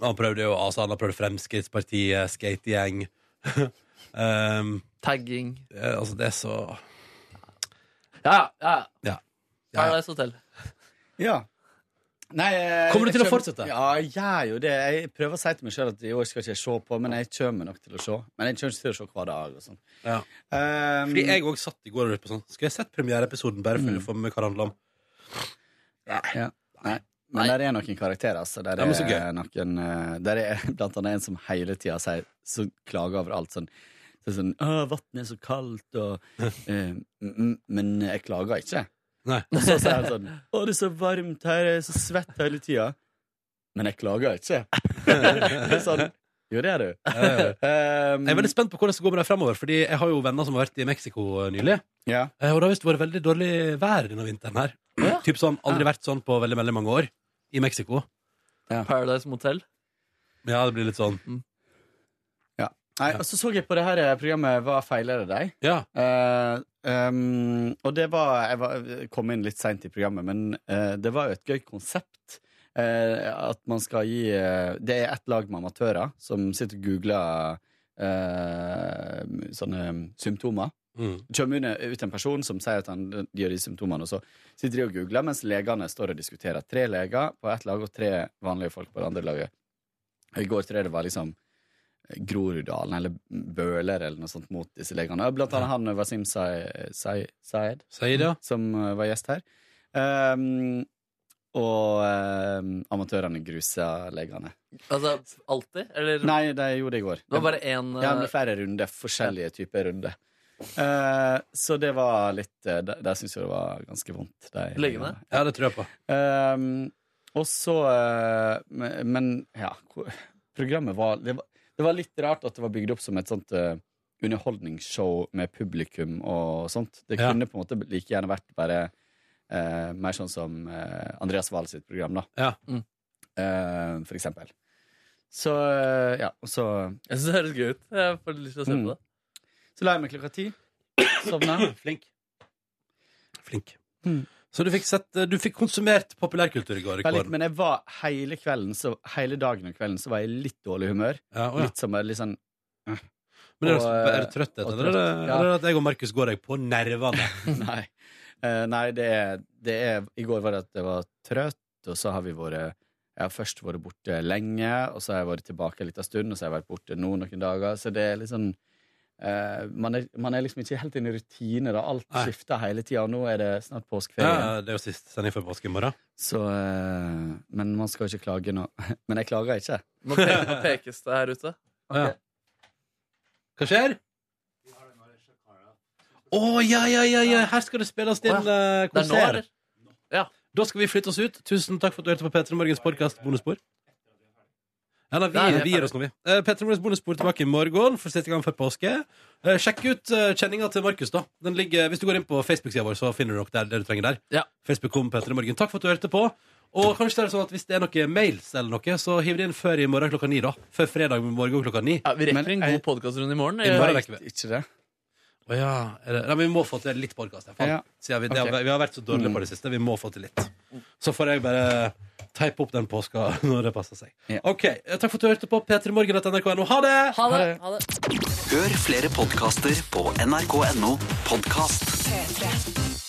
Speaker 2: han prøvde jo altså, han har prøvd Fremskrittspartiet, skategjeng um,
Speaker 3: Tagging.
Speaker 2: Altså, det er så
Speaker 3: Ja, ja, ja.
Speaker 2: Ja.
Speaker 3: Paradise Hotel.
Speaker 10: Ja. Nei, eh,
Speaker 3: Kommer du til å
Speaker 10: jeg kjem-
Speaker 3: fortsette?
Speaker 10: Ja, jeg gjør jo det. Jeg prøver å si til meg sjøl at i år skal ikke jeg se på, men jeg kommer nok til å se. Men jeg kommer ikke til å se hver dag. og sånn. Ehm,
Speaker 2: Ja. Fordi jeg òg satt i går og lurte på sånn Skal jeg sett premiereepisoden bare for å få med hva det handler om?
Speaker 10: Ja. Nei. Men der er noen karakterer, altså. Der
Speaker 2: Ja,
Speaker 10: er,
Speaker 2: men så gøy.
Speaker 10: noen, eh, der er blant annet en som hele tida sier Som klager over alt sånn. Så sånn 'Å, vannet er så kaldt', og eh, mm, mm, Men jeg klager ikke.
Speaker 2: Nei.
Speaker 10: Og så sier han sånn 'Å, det er så varmt her, jeg er så svett hele tida', men jeg klager ikke. Det er sånn Jo, det er du. Ehm,
Speaker 2: Jeg er veldig spent på hvordan det går med deg fremover, Fordi jeg har jo venner som har vært i Mexico eh, nylig.
Speaker 10: Ja.
Speaker 2: Eh, Og det har visst vært veldig dårlig vær denne vinteren her. Typ sånn, Aldri vært sånn på veldig veldig mange år i Mexico.
Speaker 3: Paradise Motel.
Speaker 2: Ja, det blir litt sånn.
Speaker 10: Nei, og så så jeg på det her programmet Hva feiler det deg? Eh, ehm, og det var Jeg var, kom inn litt seint i programmet, men eh, det var jo et gøy konsept. Eh, at man skal gi eh, Det er ett lag med amatører som sitter og googler eh, sånne symptomer
Speaker 2: Mm.
Speaker 10: Kommer hun ut en person som sier at han eh, gjør de symptomene, og så sitter de og googler, mens legene står og diskuterer. Tre leger på ett lag og tre vanlige folk på det andre laget. Og I går tror jeg det var liksom Groruddalen eller Bøler eller noe sånt mot disse legene. Og Blant annet han eh, Wasim Sai- Sai- Saeed, som eh, var gjest her. Ehm, og ehm, amatørene grusa legene.
Speaker 3: Altså alltid? Eller
Speaker 10: Nei, de gjorde det i går.
Speaker 3: Det var bare en, eh,
Speaker 10: Ja, men flere runder. Forskjellige typer runder. Eh, så det var litt eh, Der, der syns jeg det var ganske vondt. de-
Speaker 3: Legene?
Speaker 2: Ja, det tror jeg på.
Speaker 10: Ehm, og så eh, men- Men ja, hvor- programmet var det, var det var litt rart at det var bygd opp som et sånt eh, underholdningsshow med publikum og sånt. Det
Speaker 2: Ja.
Speaker 10: kunne på en måte like gjerne vært bare eh, mer sånn som eh, Andreas Wahl sitt program, da.
Speaker 2: Ja.
Speaker 10: Eh, for eksempel. Så eh, ja, og så
Speaker 3: Jeg syns det høres gøy ut. Jeg får lyst til å se på det.
Speaker 10: Så la jeg meg klokka ti. Sovna.
Speaker 2: Flink. Flink.
Speaker 3: Mm.
Speaker 2: Så du fikk, sett, eh, du fikk konsumert populærkultur i går?
Speaker 10: Ja, litt,
Speaker 2: Kåren.
Speaker 10: men jeg var hele kvelden så, Hele dagen og kvelden så var jeg i litt dårlig humør.
Speaker 2: Ja, å ja.
Speaker 10: Litt som en- litt sånn øh.
Speaker 2: Men er,
Speaker 10: Og,
Speaker 2: du- er du trøtt
Speaker 10: og
Speaker 2: etter det, eller,
Speaker 10: Ja.
Speaker 2: eller at jeg og Markus går deg på nervene?
Speaker 10: Nei. Eh, nei, det er, det er I går var det at jeg var trøtt, og så har vi vært Jeg har først vært borte lenge, og så har jeg vært tilbake en liten stund, og så har jeg vært borte nå noen dager, så det er litt sånn eh, man, er, man er liksom ikke helt inne i rutine, da. Alt
Speaker 2: Nei.
Speaker 10: skifter hele tida, og nå er det snart påskeferie.
Speaker 2: Ja, det er jo sist sending før påske i morgen.
Speaker 10: Så, eh, men man skal jo ikke klage nå. Men jeg klager ikke.
Speaker 3: Nå pe- nå pekes det her ute.
Speaker 2: Ja. Hva skjer? Å, ja, ja, ja, ja, her skal det spilles inn
Speaker 3: Å, ja.
Speaker 2: eh,
Speaker 3: Det er nå, eller?
Speaker 2: konsert. Da skal vi flytte oss ut. Tusen takk for at du hørte på P3 Morgens podkast Bonusbord. Ja, da, vi,
Speaker 3: Nei, vi er
Speaker 2: vi gir oss nå, vi. Uh, P3 Morgens bonusbord tilbake i morgen for siste gang før påske. Eh, sjekk ut uh, kjenninga til Markus, da. Den ligger, hvis du går inn på Facebook-sida vår, så finner du nok der, det du trenger der. Facebook kom Petter i morgen. Takk for at du hørte på. Og kanskje det er sånn at hvis det er noen mails eller noe, så hiv det inn før i morgen klokka ni, da. Før fredag morgen klokka ni.
Speaker 3: Ja, vi rekker en god podkastrunde i morgen.
Speaker 2: I morgen rekker vi.
Speaker 10: Ikke det?
Speaker 2: Å ja. Er det? Nei, men vi må få til litt podkast.
Speaker 10: Ja.
Speaker 2: Siden vi, det har-
Speaker 10: Ok.
Speaker 2: vi har vært så dårlige på det siste. Vi må få til litt. Så får jeg bare teipe opp den påska når det passer seg. OK. eh, Takk for at du hørte på. P3morgen.nrk.no. Ha det!
Speaker 3: Ha det! Ha det.
Speaker 7: Hør flere podkaster på nrk.no podkast.
Speaker 12: P3.